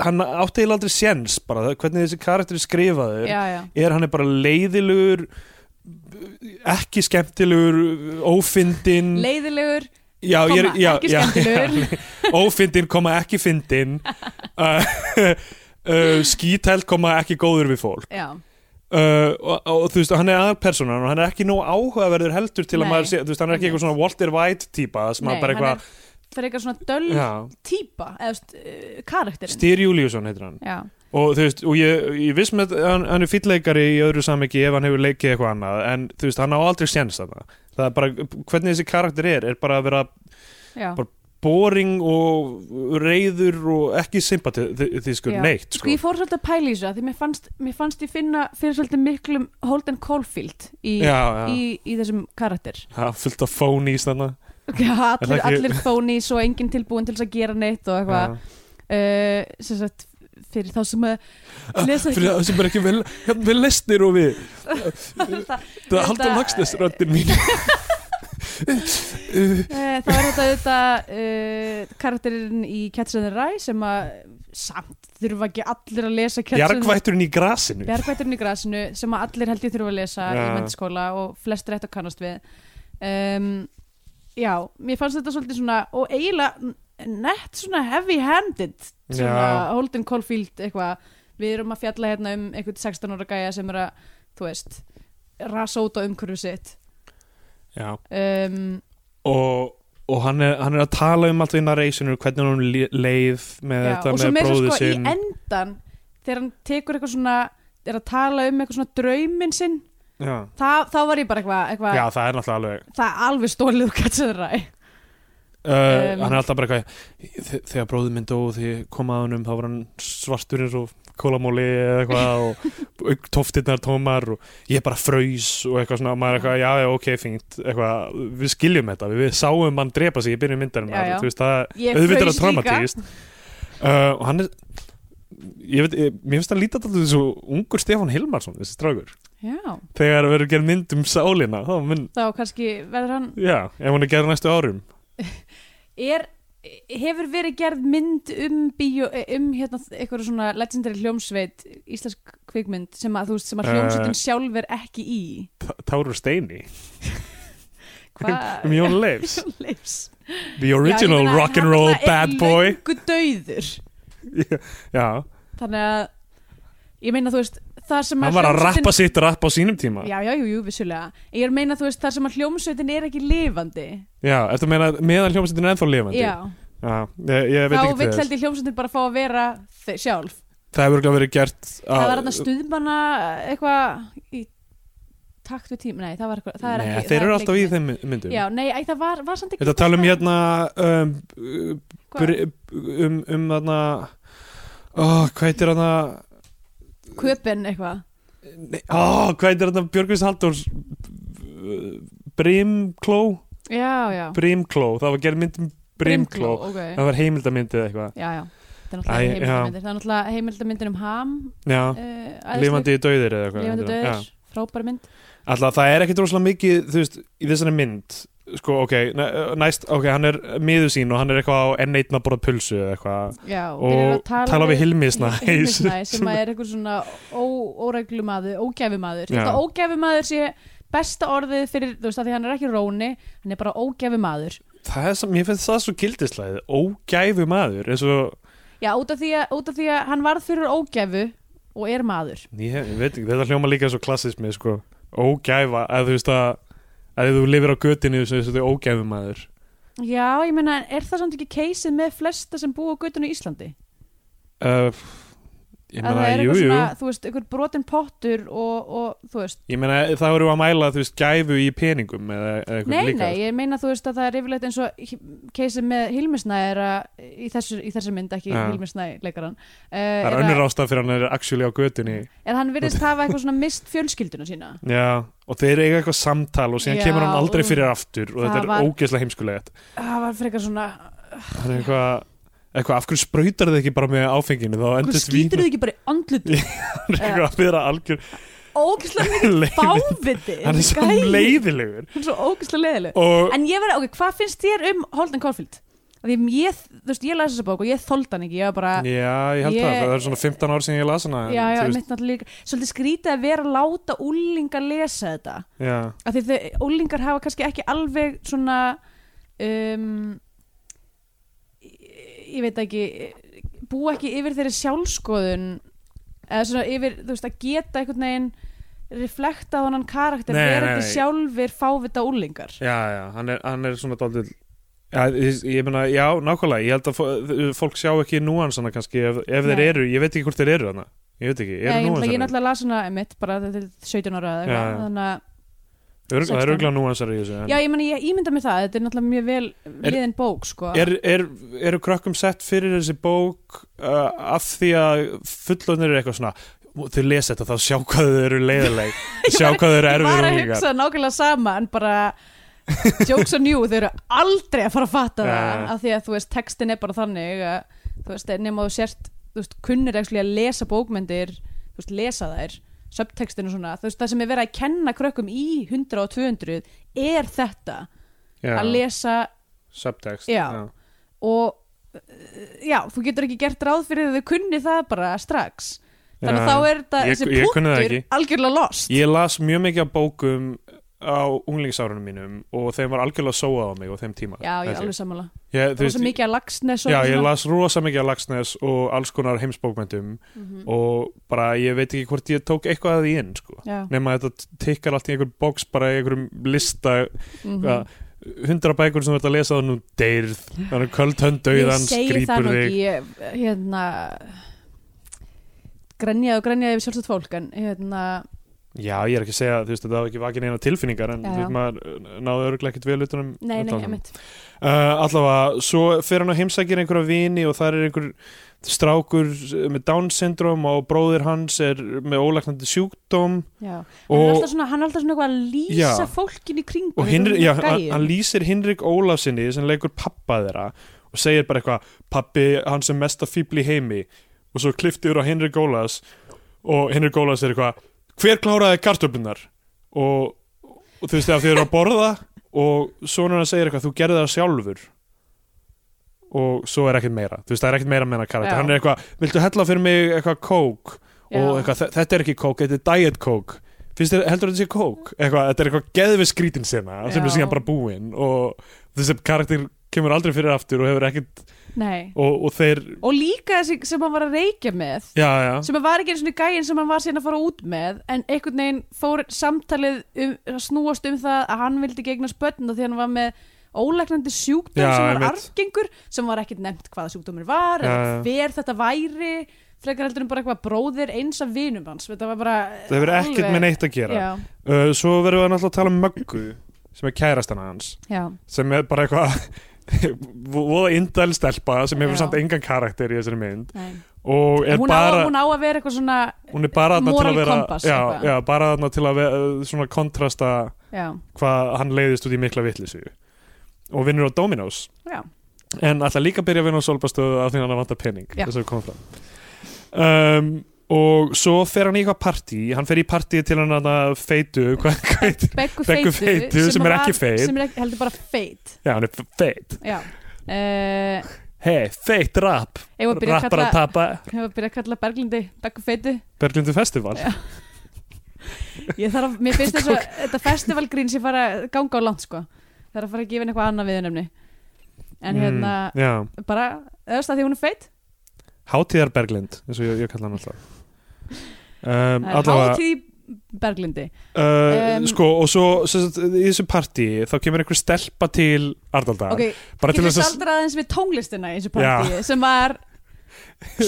Speaker 3: hann átti eiginlega aldrei séns bara það- hvernig þessi karakter er skrifaður
Speaker 2: já, já.
Speaker 3: er hann er bara leiðilugur ekki skemmtilugur ófindin
Speaker 2: leiðilegur,
Speaker 3: já, ég er-
Speaker 2: koma,
Speaker 3: já,
Speaker 2: ekki
Speaker 3: já,
Speaker 2: skemmtilegur
Speaker 3: já, ófindin koma ekki fyndin uh, uh, skítælt koma ekki góður við fólk
Speaker 2: já,
Speaker 3: Uh, og, og, og þú veist, hann er aðalpersonan og hann er ekki nóg áhugaverður heldur til að
Speaker 2: Nei.
Speaker 3: maður sé, þú veist, hann er ekki eitthvað svona Walter White típa sem
Speaker 2: Nei,
Speaker 3: að bara
Speaker 2: hann
Speaker 3: eitthvað
Speaker 2: fyrir eitthvað svona döll
Speaker 3: Já,
Speaker 2: típa eða st- eh, karakterinn
Speaker 3: Styr Júliusson heitir hann
Speaker 2: já,
Speaker 3: og þú veist, og ég, ég viss með að hann, hann er fýtleikari í öðru samviki ef hann hefur leikið eitthvað annað, en þú veist, hann á aldrei sjens þarna, það er bara, hvernig þessi karakter er, er bara að vera
Speaker 2: já.
Speaker 3: Bara boring og reyður og ekki sympatískur
Speaker 2: Já.
Speaker 3: neitt,
Speaker 2: Sko
Speaker 3: sko
Speaker 2: ég fór svolítið að pæla í þessu af því mér fannst, mér fannst ég finna fyrir svolítið miklum Holden Caulfield í,
Speaker 3: Já, já,
Speaker 2: í, í þessum karakter
Speaker 3: það er fullt af fónís þarna
Speaker 2: Já,
Speaker 3: Er það
Speaker 2: allir,
Speaker 3: ekki-
Speaker 2: allir fónis og enginn tilbúin til þess að gera neitt og eitthvað uh, sem sagt fyrir þá sem að lesa
Speaker 3: fyrir það sem er ekki vel, vel lesnir og við
Speaker 2: það,
Speaker 3: það er halda
Speaker 2: Þetta-
Speaker 3: lagsnes röndin mín
Speaker 2: uh, þá er þetta auðvitað uh, karakterinn í Cats and the Rye sem að samt þurfa ekki allir að lesa Cats and the Rye
Speaker 3: Bjargvætturinn í grasinu
Speaker 2: Bjargvætturinn í grasinu sem að allir held ég þurfa að lesa í
Speaker 3: Já.
Speaker 2: mentaskóla og flestir þetta kannast við um, Já, mér fannst þetta svolítið svona og eiginlega n- nett svona heavy-handed svona
Speaker 3: Já.
Speaker 2: Holden Caulfield eitthvað við erum að fjalla hérna um einhvern 16 ára gæja sem er að, þú veist rasa út á umhverfu sitt
Speaker 3: Já.
Speaker 2: um,
Speaker 3: og, og hann, er, hann er að tala um allt í narrationinu, hvernig hann le- leið með
Speaker 2: já, og
Speaker 3: þetta
Speaker 2: svo
Speaker 3: með
Speaker 2: með þess
Speaker 3: bróðu
Speaker 2: sko í
Speaker 3: sinn
Speaker 2: endan þegar hann tekur eitthvað svona er að tala um eitthvað svona drauminn sinn
Speaker 3: já.
Speaker 2: það, þá var ég bara eitthvað, eitthvað
Speaker 3: já, það er náttúrulega alveg
Speaker 2: það er alveg stólið úr katsöðræ
Speaker 3: Uh,
Speaker 2: Um.
Speaker 3: hann er alltaf bara eitthvað þe- þegar bróðið minn dó og því ég kom að honum þá var hann svartur eins og kólamóli eða eitthvað og tóftirnar tómar og ég bara fröys og eitthvað svona og maður er eitthvað já já ok fínt eitthvað við skiljum þetta við, við sáum hann drepa sig í byrjun myndarinn
Speaker 2: Já, já.
Speaker 3: þú veist það
Speaker 2: Ég
Speaker 3: auðvitað er
Speaker 2: fraus
Speaker 3: það traumatískt uh, og hann er ég veit ég, mér finnst hann lítið alltaf þessu ungur Stefán Hilmarsson þessi strákur
Speaker 2: já,
Speaker 3: þegar verður gerð mynd um sálina þá mun
Speaker 2: þá kannski verður hann
Speaker 3: já ef hann er gerð næstu árum
Speaker 2: er, hefur verið gerð mynd um bíó, um hérna eitthvað svona legendary hljómsveit íslensk kvikmynd sem að þú veist sem að
Speaker 3: Eh.
Speaker 2: hljómsveitin sjálf er ekki í
Speaker 3: Tá- Tárur Steini
Speaker 2: hvað
Speaker 3: um Jón Leifs
Speaker 2: Leifs
Speaker 3: The original rock and roll bad boy
Speaker 2: löngu dauður
Speaker 3: Já,
Speaker 2: þannig að ég meina þú veist það sem
Speaker 3: hann var að
Speaker 2: hljómsveitin-
Speaker 3: rappa sitt rapp á sínum tíma Já,
Speaker 2: já, já, jú, jú, vissulega ég er að meina þú veist það sem að hljómsveitin er ekki lifandi
Speaker 3: eftir að meina meðan hljómsveitin er ennþá lifandi
Speaker 2: já,
Speaker 3: Já, ég, ég veit
Speaker 2: þá
Speaker 3: ekki
Speaker 2: vill
Speaker 3: til þess
Speaker 2: heldur hljómsveitin bara fá að vera þe- sjálf
Speaker 3: Það hefur örugglega verið gert
Speaker 2: það var þarna stuðmanna eitthvað í takt við tíma, nei það var eitthvað það er
Speaker 3: Nei,
Speaker 2: ekki,
Speaker 3: Þeir
Speaker 2: það er
Speaker 3: eru alltaf í
Speaker 2: leikmynd.
Speaker 3: þeim myndum
Speaker 2: já, nei, æ, það var, var samt ekki
Speaker 3: Þetta tala um hérna um,
Speaker 2: Hvað?
Speaker 3: um, um, um þarna oh, Hvað heitir þarna
Speaker 2: köpen eitthvað
Speaker 3: Nei, oh, Hvað heitir þarna Björgvins Halldórs Brimkló
Speaker 2: já, já,
Speaker 3: Brimkló, það var gerð myndum Brimkló,
Speaker 2: ok
Speaker 3: það var heimildamyndið eitthvað
Speaker 2: já, já, það er náttúrulega
Speaker 3: Æ, já.
Speaker 2: heimildamyndir það er náttúrulega heimildamyndir um ham
Speaker 3: Já,
Speaker 2: uh, æðisleg-
Speaker 3: lifandi döðir eða eitthvað
Speaker 2: lifandi
Speaker 3: heitir það. Já.
Speaker 2: döður, frábæra mynd
Speaker 3: Alltaf það er ekkit rosalega mikið þú veist, í þessari mynd sko, ok, næ- næst, ok, hann er miður sín og hann er eitthvað á enn einn að borða pulsu eða eitthvað,
Speaker 2: já,
Speaker 3: Og
Speaker 2: byrjar að
Speaker 3: tala við Hilmisnæ
Speaker 2: Hilmisnæ sem að er eitthvað svona óreglumadur, ógæfumadur
Speaker 3: Já.
Speaker 2: þetta ógæfumadur sé besta orðið fyrir, þú veist að því hann er ekki róni hann er bara ógæfumadur
Speaker 3: það er sem, ég finnst það svo gildislæði ógæfu maður, eins og
Speaker 2: Já, út af því að, út af því að hann varð fyrir ógæfu og er maður.
Speaker 3: ég, ég veit ekki, þetta hljóma líka svo klassismi, sko, ógæfa að þú veist að, að þú lifir á götinu þessu þessu ógæfu maður
Speaker 2: Já, ég meina, er það samt ekki keysið með flesta sem búa á göttunum í Íslandi?
Speaker 3: uh, ég
Speaker 2: að það
Speaker 3: meina,
Speaker 2: er
Speaker 3: jú,
Speaker 2: eitthvað
Speaker 3: jú
Speaker 2: svona, þú veist, einhver brotin pottur og, og þú veist,
Speaker 3: ég meina, e, það eru að mæla, þú veist, gæfu í peningum eða, eða eitthvað
Speaker 2: nei,
Speaker 3: líka
Speaker 2: nei, ég meina þú veist að það er yfirleitt eins og keysið með Hilmisnæ er að, í þessu, í þessu mynd ekki
Speaker 3: Já.
Speaker 2: Hilmisnæ leikaran, uh,
Speaker 3: það
Speaker 2: er,
Speaker 3: er
Speaker 2: að,
Speaker 3: önnur ástæð fyrir hann er actually á götunni
Speaker 2: er hann virðist hafa eitthvað svona mist fjölskylduna sína.
Speaker 3: Já, og þeir eiga eitthvað samtal og síðan
Speaker 2: Já,
Speaker 3: kemur hann aldrei
Speaker 2: og-
Speaker 3: fyrir aftur og þetta
Speaker 2: Það
Speaker 3: er
Speaker 2: var-
Speaker 3: ógeðslega heimskulegt
Speaker 2: Það var frekar svona,
Speaker 3: Hann er eitthvað, eitthvað af hverju sprautar þið ekki bara með áfenginu þá
Speaker 2: hvað
Speaker 3: endist vín
Speaker 2: skýtur þau ekki bara í andlutu?
Speaker 3: hann er eitthvað að byrja algjör
Speaker 2: Ógæslega mikið
Speaker 3: leiði
Speaker 2: fáviti.
Speaker 3: Hann er svo
Speaker 2: gæi.
Speaker 3: leiðilegur
Speaker 2: Hann er svo ógæslega leiðileg.
Speaker 3: og
Speaker 2: En ég verði, ok, hvað finnst þér um Holden Caulfield? Af Því ég, þú veist, ég las þessa bók og ég þóldi hann ekki, ég var bara,
Speaker 3: Já, ég held
Speaker 2: Ég-
Speaker 3: það, það er svona 15 ár síðan ég las hana en
Speaker 2: já, já,
Speaker 3: þú
Speaker 2: mitt náttúrulega líka, svolítið skrítið að vera að láta úlingar lesa þetta.
Speaker 3: já,
Speaker 2: Af því þau, úlingar hafa kannski ekki alveg svona, um, ég ég veit ekki, búa ekki yfir þeirri sjálfskoðun, eða svona yfir, þú veist, að geta einhvern veginn reflekta á hann karakter,
Speaker 3: Nei, nei,
Speaker 2: verandi
Speaker 3: nei.
Speaker 2: sjálfir fávita úlingar.
Speaker 3: já, já, hann er, hann er svona daldil Ja, ég, ég meina, já, nákvæmlega, ég held að fó- fólk sjá ekki núansana kannski ef, ef þeir
Speaker 2: Nei.
Speaker 3: eru, ég veit ekki hvort þeir eru þarna ég veit ekki,
Speaker 2: Ég, ég,
Speaker 3: eru
Speaker 2: náttúrulega- ég
Speaker 3: núansar
Speaker 2: náttúrulega las hana emitt bara þetta er 17 ára eða
Speaker 3: Já,
Speaker 2: eitthvað,
Speaker 3: já.
Speaker 2: þannig að
Speaker 3: Örg- það
Speaker 2: 16.
Speaker 3: eru örgulega núansar í þessu en-
Speaker 2: Já, ég, meni, ég ímynda mér það, þetta er náttúrulega mjög vel
Speaker 3: Er-
Speaker 2: liðin bók, sko
Speaker 3: er, er, eru krökkum sett fyrir þessi bók uh, af því að fullonir eru eitthvað svona þau lesa þetta þá sjá hvað þau eru leiðileg sjá hvað þau
Speaker 2: Ég
Speaker 3: eru
Speaker 2: var
Speaker 3: erfið
Speaker 2: að hugsa nákvæmlega sama en bara jokes on you, þau eru aldrei að fara að fatta
Speaker 3: Ja.
Speaker 2: það af því að þú veist, textin er bara þannig að, þú veist, nema þú sért þú veist, kunnir ekki að lesa bókmyndir þú veist, lesa þær subtextinu svona, þú veist, það sem er verið að kenna krökkum í 100 og 200 er þetta, að
Speaker 3: já,
Speaker 2: lesa
Speaker 3: subtext
Speaker 2: Já. og uh, já, þú getur ekki gert ráð fyrir að þau kunni það bara strax þannig að
Speaker 3: Já.
Speaker 2: þá er þetta,
Speaker 3: Ég-
Speaker 2: þessi
Speaker 3: ég kunni það
Speaker 2: punktur
Speaker 3: ekki.
Speaker 2: algjörlega lost
Speaker 3: ég las mjög mikið af bókum á unglingsárunum mínum og þeim var algjörlega sóað á mig á þeim tíma
Speaker 2: já, ég
Speaker 3: held
Speaker 2: er alveg sammála
Speaker 3: ég,
Speaker 2: það var svo mikið að lagsnes og
Speaker 3: Já, ég
Speaker 2: svona.
Speaker 3: las rosa mikið af Laxness og alls konar heimsbókmyndum
Speaker 2: Mhm.
Speaker 3: og bara ég veit ekki hvort ég tók eitthvað að því inn, sko.
Speaker 2: já,
Speaker 3: Nefn að þetta tikkar allt í einhver bóks bara í einhverjum lista,
Speaker 2: mm
Speaker 3: hvað, hundra bækur sem þú ert að lesa þannig deyrð, þannig köld hönd dauðan,
Speaker 2: ég segi það
Speaker 3: skrýpur
Speaker 2: nú
Speaker 3: þig.
Speaker 2: ekki ég, hérna grenjaði og grenjaði yfir sjálfsagt fólk en hérna,
Speaker 3: Já, ég er ekki að segja, þú veist, þetta hafa ekki vakið neina tilfinningar en
Speaker 2: Já,
Speaker 3: þú veist,
Speaker 2: já.
Speaker 3: maður uh, náðu öruglega ekkert vel um utanum.
Speaker 2: nei, nei,
Speaker 3: utanum.
Speaker 2: ég mitt
Speaker 3: Uh, allavega, svo fer hann og heimsækir einhverja vini og það er einhver strákur uh, með Down syndrom og bróðir hans er með ólæknandi sjúkdóm
Speaker 2: já. hann, er
Speaker 3: og,
Speaker 2: alltaf svona, hann er alltaf svona eitthvað að lýsa
Speaker 3: Já.
Speaker 2: fólkinu í kringum
Speaker 3: og
Speaker 2: þetta er
Speaker 3: Hinrik,
Speaker 2: svona
Speaker 3: já, hann,
Speaker 2: gæi.
Speaker 3: hann lýsir Hinrik Ólafsinni sem leikur pappa þeirra og segir bara eitthvað, pappi hann sem mesta fíbl í heimi og svo kliftiður á Hinrik Ólafs og Hinrik Ólafs er eitthvað hver kláraði kartöflunar og, og þú veist þegar þau eru að borða og sonur hann segir eitthvað, þú gerði það sjálfur og svo er ekkert meira þú veist það er ekkert meira með hann karakter
Speaker 2: Já.
Speaker 3: hann er eitthvað, viltu hella fyrir mig eitthvað kók
Speaker 2: Já.
Speaker 3: og eitthvað, "Þe- þetta er ekki kók, þetta er diet kók finnst þér, heldur þetta sé kók eitthvað, þetta er eitthvað geðvið skrítin sinna sem
Speaker 2: Já.
Speaker 3: er síðan bara búin og þessi karakter kemur aldrei fyrir aftur og hefur ekkert,
Speaker 2: Nei.
Speaker 3: og, og þeir
Speaker 2: og líka þessi sem hann var að reykja með
Speaker 3: já, já,
Speaker 2: sem að var ekki einu svona gæin sem hann var síðan að fara út með en einhvern veginn fór samtalið um, að snúast um það að hann vildi gegna spötn og því hann var með ólegnandi sjúkdóm
Speaker 3: Já,
Speaker 2: sem var
Speaker 3: einmitt.
Speaker 2: arfgengur sem var ekkert nefnt hvaða sjúkdómur var
Speaker 3: Já,
Speaker 2: eða
Speaker 3: já.
Speaker 2: hver þetta væri frekar heldur en bara eitthvað bróðir eins af vinum hans þetta var bara
Speaker 3: það hefur ekkert með neitt að gera
Speaker 2: já,
Speaker 3: uh, svo verðum við náttúrulega að tala um Möggu sem er kærastana hans
Speaker 2: já,
Speaker 3: sem er bara eitthvað voða indæl stelpa sem hefur
Speaker 2: Já.
Speaker 3: samt engan karakter í þessari mynd
Speaker 2: nei.
Speaker 3: og er
Speaker 2: hún,
Speaker 3: bara
Speaker 2: á, hún á að vera eitthvað svona
Speaker 3: hún er bara þarna til
Speaker 2: Moral
Speaker 3: að vera
Speaker 2: compass,
Speaker 3: já,
Speaker 2: eitthvað.
Speaker 3: já, bara þarna til að vera, svona kontrasta
Speaker 2: já,
Speaker 3: hvað hann leiðist út í mikla vitleysu og vinnur á Dominos
Speaker 2: já,
Speaker 3: en alltaf líka að byrja að vinna á solbastöðu af því að hann vantar pening
Speaker 2: Já.
Speaker 3: þess að koma fram um, og svo fer hann í eitthvað partí hann fer í partí til hann að feitu hvað hvað heitir
Speaker 2: beggu
Speaker 3: Beggu
Speaker 2: feitu,
Speaker 3: feitu sem er
Speaker 2: var-
Speaker 3: ekki feit.
Speaker 2: sem er ekki, heldur bara feit
Speaker 3: já hann er feit
Speaker 2: já uh,
Speaker 3: hei feit rap
Speaker 2: Ég var að byrja að
Speaker 3: rappar
Speaker 2: kalla,
Speaker 3: að tapa
Speaker 2: ég var að, byrja að kalla Berglindi Beggu feitu
Speaker 3: Berglindu festival
Speaker 2: Já. Ég þarf að, mér finnst þess að þetta festivalgrín sem fara að ganga á land sko Það er að fara að gefa henni eitthvað annað viðnefni En hérna,
Speaker 3: mm, já
Speaker 2: bara, öðvist að því hún er feit
Speaker 3: hátíðar Berglind eins og ég, ég kalla hann alltaf um,
Speaker 2: Það er hátíð í Berglindi
Speaker 3: Uh,
Speaker 2: Um,
Speaker 3: sko og svo sem sagt, í þessu partí þá kemur einhver stelpa til Ardaldar
Speaker 2: Ok,
Speaker 3: bara til
Speaker 2: getur
Speaker 3: þess
Speaker 2: við
Speaker 3: að
Speaker 2: aldrei aðeins við tónlistina í þessu partíi sem var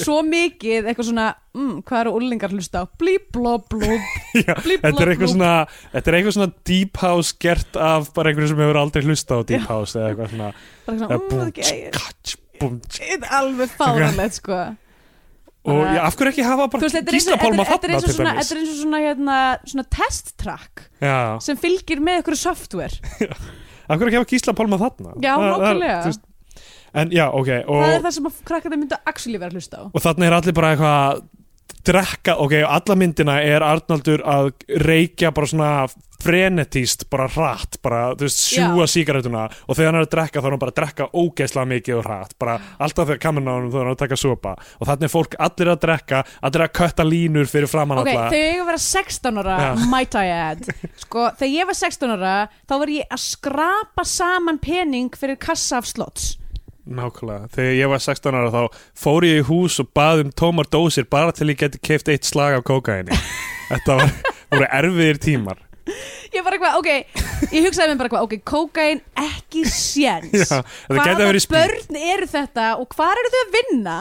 Speaker 2: svo mikið eitthvað svona, mm, hvað eru úlingar hlusta á? Blí, bló, bló,
Speaker 3: já,
Speaker 2: blí, bló,
Speaker 3: þetta er
Speaker 2: bló
Speaker 3: eitthvað svona þetta er eitthvað svona deep house gert af bara einhverju sem hefur aldrei hlustað á deep house eða eitthvað svona
Speaker 2: Bara
Speaker 3: eða
Speaker 2: svona, mm,
Speaker 3: búm,
Speaker 2: ok,
Speaker 3: katsch, búm, tsk.
Speaker 2: þetta er alveg fáralegt sko
Speaker 3: og
Speaker 2: Bara-
Speaker 3: já, af hverju ekki hafa
Speaker 2: Þú
Speaker 3: bara
Speaker 2: veist, þetta er eins og-
Speaker 3: gíslapálma
Speaker 2: þetta er- þetta er
Speaker 3: þarna
Speaker 2: eins og svona,
Speaker 3: til dæmis
Speaker 2: þetta er eins og svona, hérna, svona test track
Speaker 3: já,
Speaker 2: sem fylgir með ykkur software
Speaker 3: af hverju ekki hafa gíslapálma þarna
Speaker 2: Já,
Speaker 3: Það- það er,
Speaker 2: nákvæmlega.
Speaker 3: þú veist, en já, ok
Speaker 2: það er
Speaker 3: og,
Speaker 2: það sem að krakkarnir myndu actually vera að hlusta á
Speaker 3: og þarna er allir bara eitthvað drekka, ok, og alla myndina er Arnaldur að reykja bara svona frenetíst, bara hratt bara, þú veist, sjúa sígarettuna og þegar hann er að drekka þá er hann bara að drekka ógeðslega mikið og hratt, bara alltaf þegar kamerun á hann þá er hann að taka sopa og þannig er fólk allir að drekka, allir að kötta línur fyrir framann
Speaker 2: Ok,
Speaker 3: alla
Speaker 2: þegar ég var 16 ára,
Speaker 3: Já.
Speaker 2: might I add Sko, þegar ég var 16 ára þá var ég að skrapa saman pening fyrir kassa af slots
Speaker 3: Nákvæmlega, þegar ég var 16 ára þá fór ég í hús og bað um tómar dósir bara til ég geti keift eitt slag af kókaini Þetta var, voru erfiðir tímar
Speaker 2: Ég bara hvað, ok Ég hugsaði mér bara hvað, ok, kókain ekki séns
Speaker 3: Já, þetta gæti að verið spýt
Speaker 2: börn eru þetta og hvar eru þau að vinna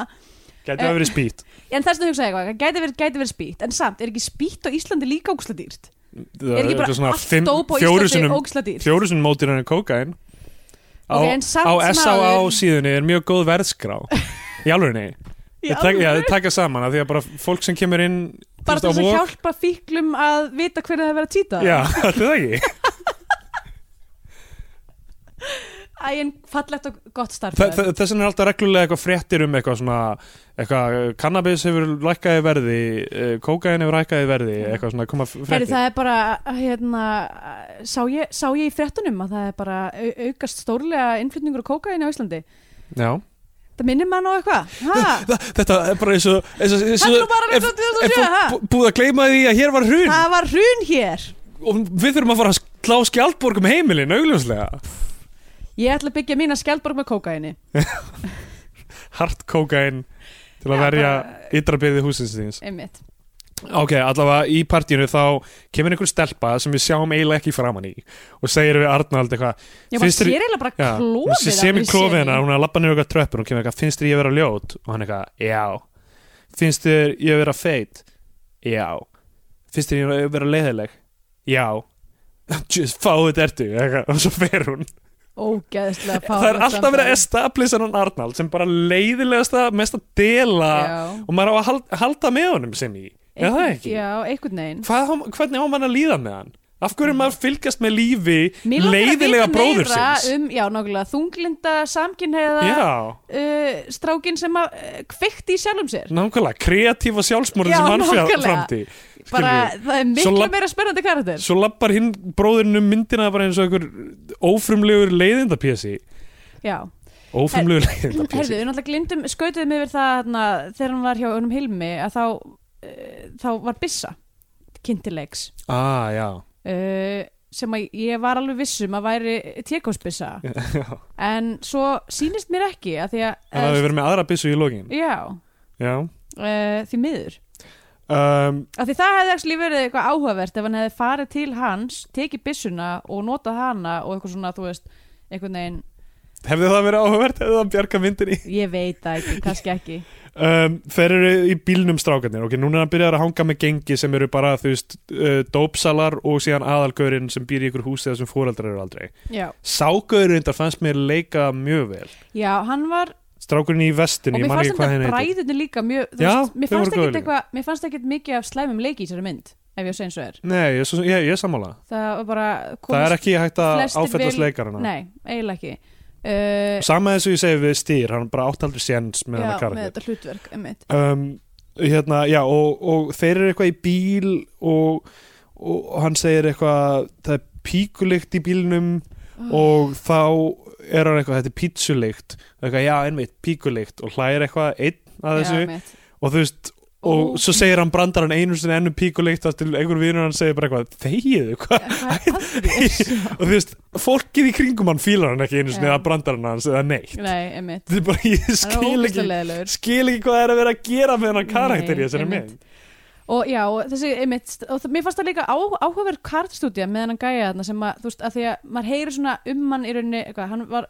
Speaker 3: Gæti að verið spýt
Speaker 2: En þess vegna hugsaði ég eitthvað, gæti verið, gæti verið spýtt En samt, er ekki spýtt á Íslandi líka ógslag dýrt?
Speaker 3: Það
Speaker 2: Er ekki bara
Speaker 3: svona
Speaker 2: allt
Speaker 3: fimm-
Speaker 2: dóp á
Speaker 3: fjórum
Speaker 2: Íslandi
Speaker 3: sinnum-
Speaker 2: ógslag dýrt?
Speaker 3: fjóru sinni mótir henni kókain á,
Speaker 2: Ok, en samt
Speaker 3: á
Speaker 2: sem
Speaker 3: S.A.A.
Speaker 2: áður-
Speaker 3: síðunni er mjög góð verðskrá í alvegni
Speaker 2: Í
Speaker 3: ég tek, já,
Speaker 2: alvöru?
Speaker 3: ég taka saman að því að bara fólk sem kemur inn þú
Speaker 2: Bara til
Speaker 3: veist, á
Speaker 2: þess að
Speaker 3: Vog-
Speaker 2: hjálpa fíklum að vita hvernig það er verið að týta
Speaker 3: já, þetta er það ekki
Speaker 2: Æ, en fallegt og gott starf
Speaker 3: Þa- þa- þess vegna er alltaf reglulega eitthvað fréttir um eitthvað svona eitthvað, eh, cannabis hefur lækkaði verði eh, kókain hefur hækkaði verði eitthvað svona koma f-
Speaker 2: Heri,
Speaker 3: fréttir
Speaker 2: Mm. það er bara, hérna, sá ég, sá ég í fréttunum að það er bara au aukast stórlega innflytningur á kókain á Íslandi.
Speaker 3: já
Speaker 2: Það minnir mann á eitthvað. Ha?
Speaker 3: Þa- þetta er bara eins og eins og- eins
Speaker 2: Þetta er nú
Speaker 3: og-
Speaker 2: bara
Speaker 3: ef-
Speaker 2: árið 2007,
Speaker 3: ef
Speaker 2: ha?
Speaker 3: bú- búið að gleyma því að hér var hrun
Speaker 2: Það var hrun hér.
Speaker 3: og við þurfum að fara að slá skjaldborg um heimilin augljóslega
Speaker 2: Ég ætla að byggja mína skjaldborg með kókaini.
Speaker 3: hart kókain til að
Speaker 2: Já,
Speaker 3: verja
Speaker 2: bara-
Speaker 3: ytrabyrði húsins þins
Speaker 2: Einmitt.
Speaker 3: ok, allavega í partíinu þá kemur einhver stelpa sem við sjáum eiginlega ekki framan í og segir við Arnald eitthvað
Speaker 2: Ég bara
Speaker 3: "Finnst þér-
Speaker 2: sér eiginlega bara
Speaker 3: Já,
Speaker 2: klófið.
Speaker 3: hún sé
Speaker 2: af
Speaker 3: sem í
Speaker 2: þeirri
Speaker 3: klófið hennar,
Speaker 2: seríu.
Speaker 3: hún er að labba niður eitthvað tröppur hún kemur eitthvað, finnst þér ég vera ljót? og hann eitthvað, já finnst þér ég vera feit? já finnst þér ég vera leiðileg? já just fáið ertu eitthvað, og svo fer hún
Speaker 2: Ógeðslega fárið.
Speaker 3: það er alltaf verið að establish hann Arnald sem bara leiðilegasta, mest að dela og maður á að halda, halda með honum sem í, er það ekki?
Speaker 2: Já, einhvern veginn.
Speaker 3: Hvað, á- hvernig á mann að líða með hann? af hverju er maður að fylgjast með lífi
Speaker 2: Mér langar að
Speaker 3: leiðilega
Speaker 2: vita
Speaker 3: bróður
Speaker 2: meira
Speaker 3: síns?
Speaker 2: Um, já, nákvæmlega, þunglinda, samkynheiða,
Speaker 3: já
Speaker 2: uh, strákin sem að uh, kveikti í sjálfum sér.
Speaker 3: Nákvæmlega, kreatífa sjálfsmorðin
Speaker 2: Já,
Speaker 3: sem hann
Speaker 2: nákvæmlega.
Speaker 3: fyrir framti
Speaker 2: bara, það er miklu
Speaker 3: Svo lab-
Speaker 2: meira spennandi karakter
Speaker 3: Svo lappar hinn bróðurinn um myndina bara eins og einhver ófrumlegur leiðindapési
Speaker 2: já,
Speaker 3: Ófrumlegur
Speaker 2: herðu,
Speaker 3: leiðindapési
Speaker 2: við náttúrulega glindum skautuðum yfir það hana, þegar hann var hjá önum Hilmi að þá, uh, þá var Bissa kynntilegs
Speaker 3: Ah, já
Speaker 2: uh, sem að ég var alveg vissum að væri tékósbissa
Speaker 3: Þannig
Speaker 2: en svo sýnist mér ekki að eh, því að,
Speaker 3: að við verum með aðra byssu í lokin
Speaker 2: já,
Speaker 3: Já
Speaker 2: uh, því miður
Speaker 3: um,
Speaker 2: Af því það hefði ekki verið eitthvað áhugavert ef hann hefði farið til hans, tekið byssuna og notað hana og eitthvað svona, þú veist, einhvern veginn,
Speaker 3: Hefði það verið áhugavert hefði það bjarga myndinni
Speaker 2: ég veit það ekki, kannski ekki.
Speaker 3: um, Þeir eru í bílnum strákarnir Ok, núna er hann byrjar að hanga með gengi sem eru bara, þú veist, uh, dópsalar og síðan aðalgaurinn sem býr í ykkur húsi þar sem fóreldrar eru aldrei
Speaker 2: Já.
Speaker 3: Ságaurinn þar fannst mér leika mjög vel
Speaker 2: Já, hann var
Speaker 3: strákurinn í vestinu,
Speaker 2: og
Speaker 3: ég
Speaker 2: mér
Speaker 3: man
Speaker 2: fannst
Speaker 3: ekki hvað henni
Speaker 2: þetta
Speaker 3: heitir
Speaker 2: bræðinu líka mjög, þú
Speaker 3: Já,
Speaker 2: veist, mér
Speaker 3: þau
Speaker 2: fannst
Speaker 3: voru góð
Speaker 2: ekkit
Speaker 3: líka.
Speaker 2: eitthvað mér fannst ekkit mikið af slæmum leik í þessari mynd ef ég á að segja eins og er
Speaker 3: Nei, ég, er svo, ég, ég er sammála
Speaker 2: það var bara
Speaker 3: Það er ekki hægt að
Speaker 2: flestir
Speaker 3: áfellast
Speaker 2: vel-
Speaker 3: leikarana
Speaker 2: nei, eiginlega ekki uh,
Speaker 3: Sama eins og ég segi við stýr, hann bara átt aldrei séns með
Speaker 2: Eh, já, með
Speaker 3: hann að karakter
Speaker 2: þetta hlutverk einmitt.
Speaker 3: um, hérna, já, og, og þeir eru eitthvað í bíl og, og hann segir eitthvað það er píkulikt í bílnum
Speaker 2: Ah.
Speaker 3: og þá er hann eitthvað þetta er pítsulikt, eitthvað, já, einmitt píkulikt og hlægir eitthvað einn að
Speaker 2: Já,
Speaker 3: þessu
Speaker 2: einmitt.
Speaker 3: og þú veist og
Speaker 2: Ó,
Speaker 3: svo segir hann brandarann einu sinni ennum píkulikt þar til einhver vinur hann segir bara eitthvað þegiðu, hvað
Speaker 2: hvað er að þér?
Speaker 3: og þú veist, fólkið í kringum hann fílar hann ekki einu sinni
Speaker 2: Já.
Speaker 3: að brandarann hans eða neitt
Speaker 2: nei, einmitt
Speaker 3: þetta er bara, ég
Speaker 2: hann er
Speaker 3: skil ekki
Speaker 2: ógæslega leðilegur
Speaker 3: skil ekki hvað það er að vera að gera með hennar karakter
Speaker 2: Nei,
Speaker 3: í þessari
Speaker 2: einmitt.
Speaker 3: mynd
Speaker 2: og já, og þessi, einmitt, og það, mér fannst það líka á, áhugaverð kartstúdía með hennan gæja þarna sem að, þú veist, að því að maður heyri svona um hann í rauninni, eitthvað, hann var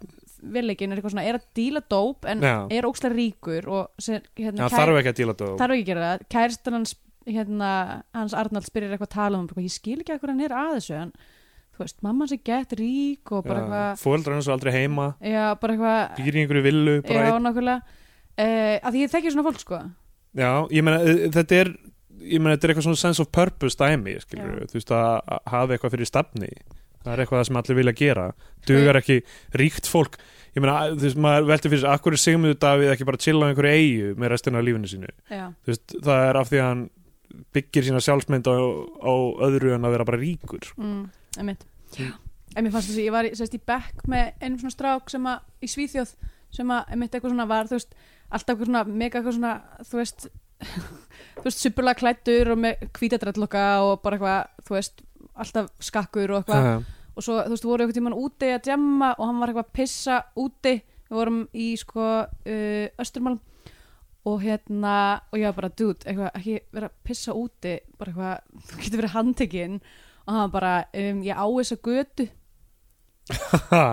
Speaker 2: velleikinn er eitthvað svona, er að díla dóp en
Speaker 3: Já.
Speaker 2: er ókslega ríkur og sem,
Speaker 3: Já,
Speaker 2: hérna,
Speaker 3: þarf ekki að díla þetta
Speaker 2: þarf ekki að gera það kæristan hans, hérna, hans Arnald spyrir eitthvað að tala um, eitthvað, ég skil ekki að hvernig hann er að þessu, en þú veist, mamma hans er gett rík og bara eitthvað,
Speaker 3: fóldra hans er aldrei heima
Speaker 2: já, bara eitthvað
Speaker 3: býr í einhverju villu bara
Speaker 2: já,
Speaker 3: einn.
Speaker 2: nákvæmlega uh, að því ég þekki svona fólk, sko
Speaker 3: já, ég meina, eh, þetta er ég meina, þetta er eitthvað svona sense of purpose dæmi skilur, þú veist, að að hafa eitthvað fyrir stafni það er eitthvað sem allir vilja gera dugar ekki ríkt fólk ég meina, að- þú veist, maður velti fyrir sér akkur er Sigmundur Davíð ekki bara chill á einhverju eigu með restina af lífinu sínu
Speaker 2: já,
Speaker 3: þú veist, það er af því að hann byggir sína sjálfsmynd á, á öðru en að vera bara ríkur
Speaker 2: mm, einmitt
Speaker 3: Mm.
Speaker 2: en mér fannst þess að ég var í- sest, í bekk með einum svona strák sem að í Svíþjóð sem að einmitt eitthvað svona var þú veist, alltaf eitthvað svona mega eitthvað svona þú veist, þú veist superlega klættur og með hvítadrættlokka og bara eitthvað þú veist, alltaf skakkur og eitthvað
Speaker 3: Já.
Speaker 2: og svo þú veist, voru eitthvað tíman úti að djemma og hann var eitthvað að pissa úti við vorum í sko uh, östurmálum og hérna og ég var bara, dude, eitthvað, ekki vera að pissa úti bara eitthvað, þú getur verið handtekinn og hann bara, um, ég á þessa götu
Speaker 3: Ha,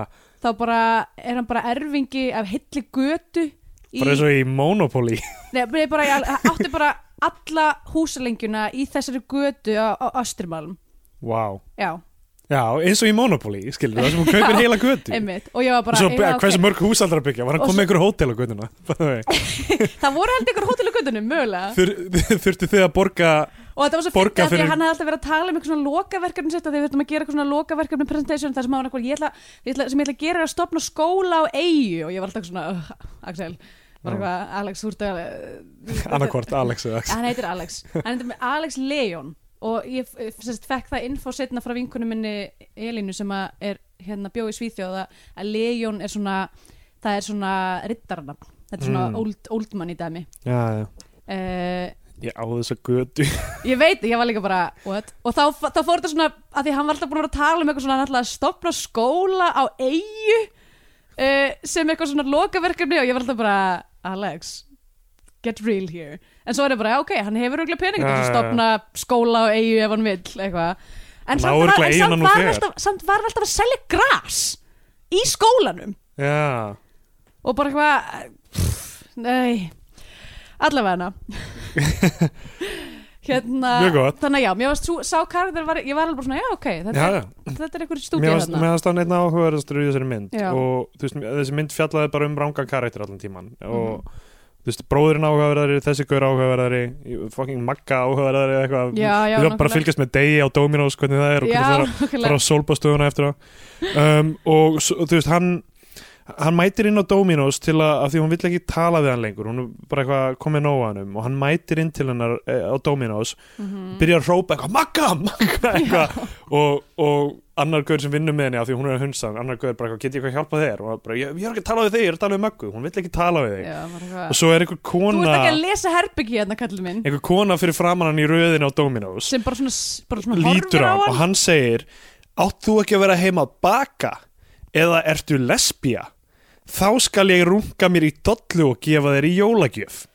Speaker 2: þá bara er hann bara erfingi af hilli götu í,
Speaker 3: bara eins og í Monopoly
Speaker 2: nei, nei, bara, ég átti bara alla húsalengjuna í þessari götu á, á Östurmalm
Speaker 3: wow.
Speaker 2: já,
Speaker 3: Já, eins og í Monopoly, skilur það sem hún kaupir heila götu
Speaker 2: einmitt og ég var
Speaker 3: Og
Speaker 2: bara,
Speaker 3: Svo, eh,
Speaker 2: já, ok.
Speaker 3: hversu mörg hús aldrei að byggja, var hann
Speaker 2: Og
Speaker 3: komið
Speaker 2: svo-
Speaker 3: einhverju hótel á göduna
Speaker 2: það voru held ykkur hótel á götunum, mögulega
Speaker 3: Þur, Þurftu þið að borga
Speaker 2: og þetta var svo
Speaker 3: Borga
Speaker 2: fyrir að því
Speaker 3: fyrir-
Speaker 2: að hann hafði alltaf verið að tala um eitthvað svona lokaverkefni sitt að við þurfum að gera eitthvað svona lokaverkefni presentation þar sem hann var eitthvað ég ætla, ég ætla, sem ég ætla að gera er að stopna skóla á eigu og ég var alltaf svona uh, Axel, var
Speaker 3: Já.
Speaker 2: eitthvað Alex úr dag
Speaker 3: annarkvort Alex eða Axel
Speaker 2: hann heitir Alex, hann heitir með Alex Leon og ég eh, sérst, fekk það info setna frá vinkunum minni Elínu sem að er hérna bjóð í Svíþjóð að að Leon er svona það er svona riddarnafn þetta er svona
Speaker 3: Mm.
Speaker 2: old, old money dæmi
Speaker 3: Já, já,
Speaker 2: uh,
Speaker 3: ég á þessa götu
Speaker 2: Ég veit, ég var líka bara, what? Og þá, þá fór þetta svona, að því hann var alltaf búin að vera að tala um eitthvað svona, hann ætlaði að stopna skóla á eigu uh, sem eitthvað svona lokaverkefni og ég var alltaf bara, Alex, get real here. En svo er það bara, ok, hann hefur auðvitað pening til þess að
Speaker 3: Já, já, já.
Speaker 2: stopna skóla á eigu ef hann vill, eitthvað. En
Speaker 3: Hann á
Speaker 2: samt var,
Speaker 3: örugglega
Speaker 2: en
Speaker 3: eiguna
Speaker 2: samt
Speaker 3: nú
Speaker 2: var, hann
Speaker 3: þegar.
Speaker 2: alltaf, samt var hann alltaf að selja gras í skólanum
Speaker 3: Já,
Speaker 2: og bara eitthvað pff, nei allavega hana hérna
Speaker 3: Mjög gott.
Speaker 2: þannig að já, mér varst svo, sá karakter var, ég var alveg bara svona já ok, þetta,
Speaker 3: já,
Speaker 2: er,
Speaker 3: já
Speaker 2: þetta er einhver
Speaker 3: Mér
Speaker 2: stúdíu
Speaker 3: varst-
Speaker 2: þarna
Speaker 3: mér varst hann einn áhugaverðastur í þessari mynd
Speaker 2: Já.
Speaker 3: og þú veist, þessi mynd fjallaði bara um rángan karakter allan tíman
Speaker 2: Mhm.
Speaker 3: og þú veist, bróðurinn áhugaverðari, þessi gaur áhugaverðari fucking magga áhugaverðari eða eitthvað,
Speaker 2: Já, já,
Speaker 3: við þarfum bara
Speaker 2: nákvæmlega.
Speaker 3: að fylgjast með degi á Dominos, hvernig það er og
Speaker 2: já,
Speaker 3: hvernig það
Speaker 2: okkurlega
Speaker 3: fara á sólbastöðuna eftir á um, og s- og þú veist hann hann mætir inn á Dominos til að, af því hún vill ekki tala við hann lengur hún er bara eitthvað komið nóg að hann og hann mætir inn til hennar eh, á Dominos
Speaker 2: Mhm.
Speaker 3: byrjar að hrópa eitthvað magga, magga eitthvað og, og annar gaur sem vinnur með henni af því hún er að hunsa hann, annar gaur bara eitthvað, get ég eitthvað hjálpa þér og hann bara, ég, ég er ekki að tala við þig, ég er að tala við möggu hún vill ekki tala við þig
Speaker 2: já, bara
Speaker 3: og
Speaker 2: eitthvað
Speaker 3: svo er
Speaker 2: þú
Speaker 3: einhver
Speaker 2: ert
Speaker 3: kona
Speaker 2: ekki að lesa herbyggi hérna kallið minn
Speaker 3: einhver kona fyrir framann hann í röðin á Dominos
Speaker 2: sem bara svona, s- bara svona horfir
Speaker 3: lítur
Speaker 2: á
Speaker 3: á hann og hann segir átt þú ekki að vera heima að baka eða ertu lesbía þá skal ég runga mér í dollu og gefa þér í jólagjöf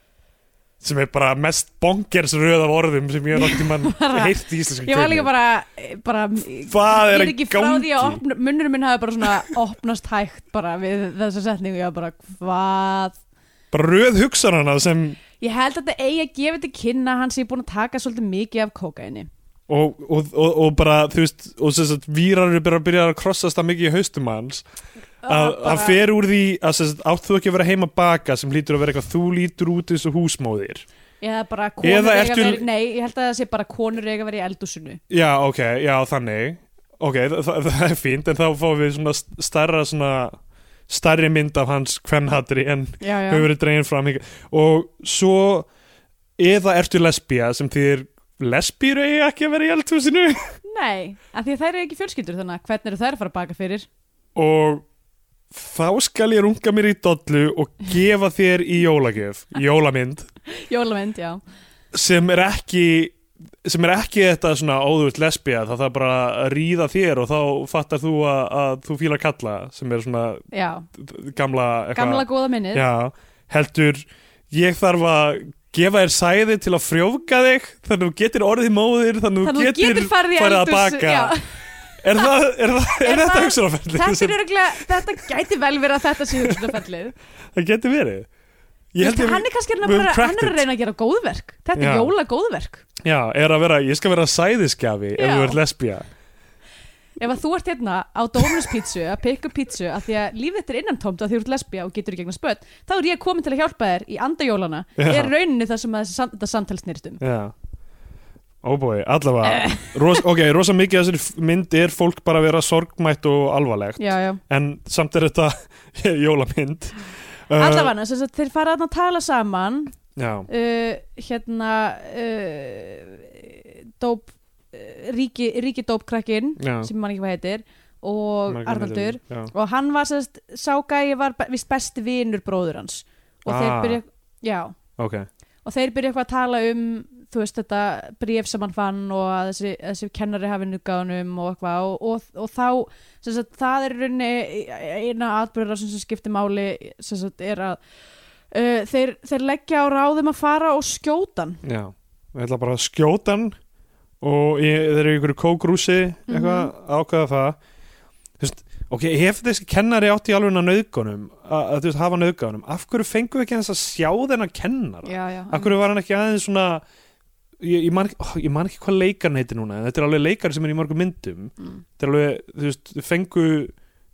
Speaker 3: sem er bara mest bongers röð af orðum sem ég er okkur mann
Speaker 2: Bara-
Speaker 3: heilt í íslensku
Speaker 2: ég var líka
Speaker 3: kvikmynd.
Speaker 2: bara, bara
Speaker 3: Hvað er
Speaker 2: ég
Speaker 3: í
Speaker 2: ekki frá því að
Speaker 3: gangi?
Speaker 2: opna, munnurinn minn hafi bara svona opnast hægt bara við þessa setningu ég var bara hvað
Speaker 3: bara röð hugsanana sem
Speaker 2: Ég held að þetta eigi að gefa þetta kynna að hann sé búin að taka svolítið mikið af kókaini.
Speaker 3: og, og, og, og bara þú veist og sem sagt vírarir bara byrjar að krossast það mikið í haustum hans að hann fer úr því að sem sagt, átt þú ekki að vera heima að baka sem lítur að vera eitthvað þú lítur út eins og húsmóðir
Speaker 2: Eða bara konur
Speaker 3: Eða
Speaker 2: eiga
Speaker 3: ertu-
Speaker 2: að vera, nei, ég held að það sé bara konur eiga að vera í eldúsinu.
Speaker 3: Já, ok, já, þannig Ok, það, það, það er fínt, en þá fáum við svona st- stærra svona stærri mynd af hans kvennhatri en
Speaker 2: Já, já.
Speaker 3: hefur verið dregin fram hingað. og svo eða ertu lesbía sem þýðir lesbýr eigi ekki að vera í eldhúsinu
Speaker 2: Nei, af því að þær eru ekki fjölskyldur þannig að hvernig eru þær að fara að baka fyrir?
Speaker 3: og þá skal ég runga mér í dollu og gefa þér í jólagjöf jólamynd
Speaker 2: Jólamynd, já.
Speaker 3: sem er ekki sem er ekki þetta svona óðvöld lesbía þá það bara að ríða þér og þá fattar þú að, að þú fílar kalla sem er svona
Speaker 2: Já,
Speaker 3: gamla
Speaker 2: gamla góða minnið.
Speaker 3: já, heldur ég þarf að gefa þér sæði til að frjófga þig þannig að þú getur orðið móðir þannig að
Speaker 2: Þannig að þú getur farið í
Speaker 3: farið að
Speaker 2: eldhús-
Speaker 3: baka
Speaker 2: já.
Speaker 3: er, það, er, það, er,
Speaker 2: Er
Speaker 3: þetta
Speaker 2: það-
Speaker 3: hugsunarferðið
Speaker 2: Þetta, er örugglega- þetta gæti vel verið að þetta sé hugsunafellið.
Speaker 3: það getur verið Ég held ég-
Speaker 2: Hann er kannski að reyna
Speaker 3: við höfum
Speaker 2: bara- hann
Speaker 3: cracked
Speaker 2: er að
Speaker 3: it.
Speaker 2: reyna að gera góðverk. Þetta
Speaker 3: Já.
Speaker 2: er jóla góðverk.
Speaker 3: já, er að vera, ég skal vera sæðiskjafi ef
Speaker 2: Já.
Speaker 3: þú ert lesbía
Speaker 2: Ef að þú ert hérna á Dominus pítsu að pikka upp pítsu að því að lífið þetta er innantómt að því þú ert lesbía og getur í gegnum spött þá er ég komin til að hjálpa þér í andajólana
Speaker 3: Já.
Speaker 2: er rauninni það sem að þessi sam- þetta samtal snýrst um
Speaker 3: Já Óbúi, Oh allavega Ros, Ok, rosa mikið af þessari mynd er fólk bara að vera sorgmætt og alvarlegt
Speaker 2: Já, já,
Speaker 3: En samt er þetta jólamynd uh,
Speaker 2: allavega sem sagt, þeir fara þarna að tala saman
Speaker 3: Já,
Speaker 2: uh, hérna uh, dóp uh, ríki, ríki dópkrakkin
Speaker 3: já
Speaker 2: sem mann ekki hvað heitir og
Speaker 3: margar myndir.
Speaker 2: Arnaldur
Speaker 3: Já,
Speaker 2: og hann var sérst, ságæi var be- vist besti vinur bróður hans og þeir
Speaker 3: Ah.
Speaker 2: byrja, já
Speaker 3: ok
Speaker 2: og þeir byrja eitthvað að tala um þú veist þetta bréf sem hann fann og að þessi, þessi kennari hafi nukaðunum og eitthvað og, og, og þá sem sagt, það er í rauninni eina atbyrðar sem skiptir máli sem sagt, er að uh, um þeir, þeir leggja á ráðum að fara og skjótan
Speaker 3: Já, ég ætla bara að skjóta hann og ég, þeir eru í einhverju kókrúsi
Speaker 2: Mhm.
Speaker 3: eitthvað, ákveða það þú veist, ok, ef þessi kennari átti í alveg að nöðgunum, að, að þú veist, hafa nöðgunum af hverju fengum við ekki eins að sjá þennan kennara,
Speaker 2: já, já,
Speaker 3: af hverju var hann ekki aðeins svona ég, ég, man, ekki- ó, ég man ekki hvað leikarn heiti núna, en þetta er alveg leikar sem er í mörgum myndum,
Speaker 2: Mm.
Speaker 3: þetta er alveg þú veist, fengu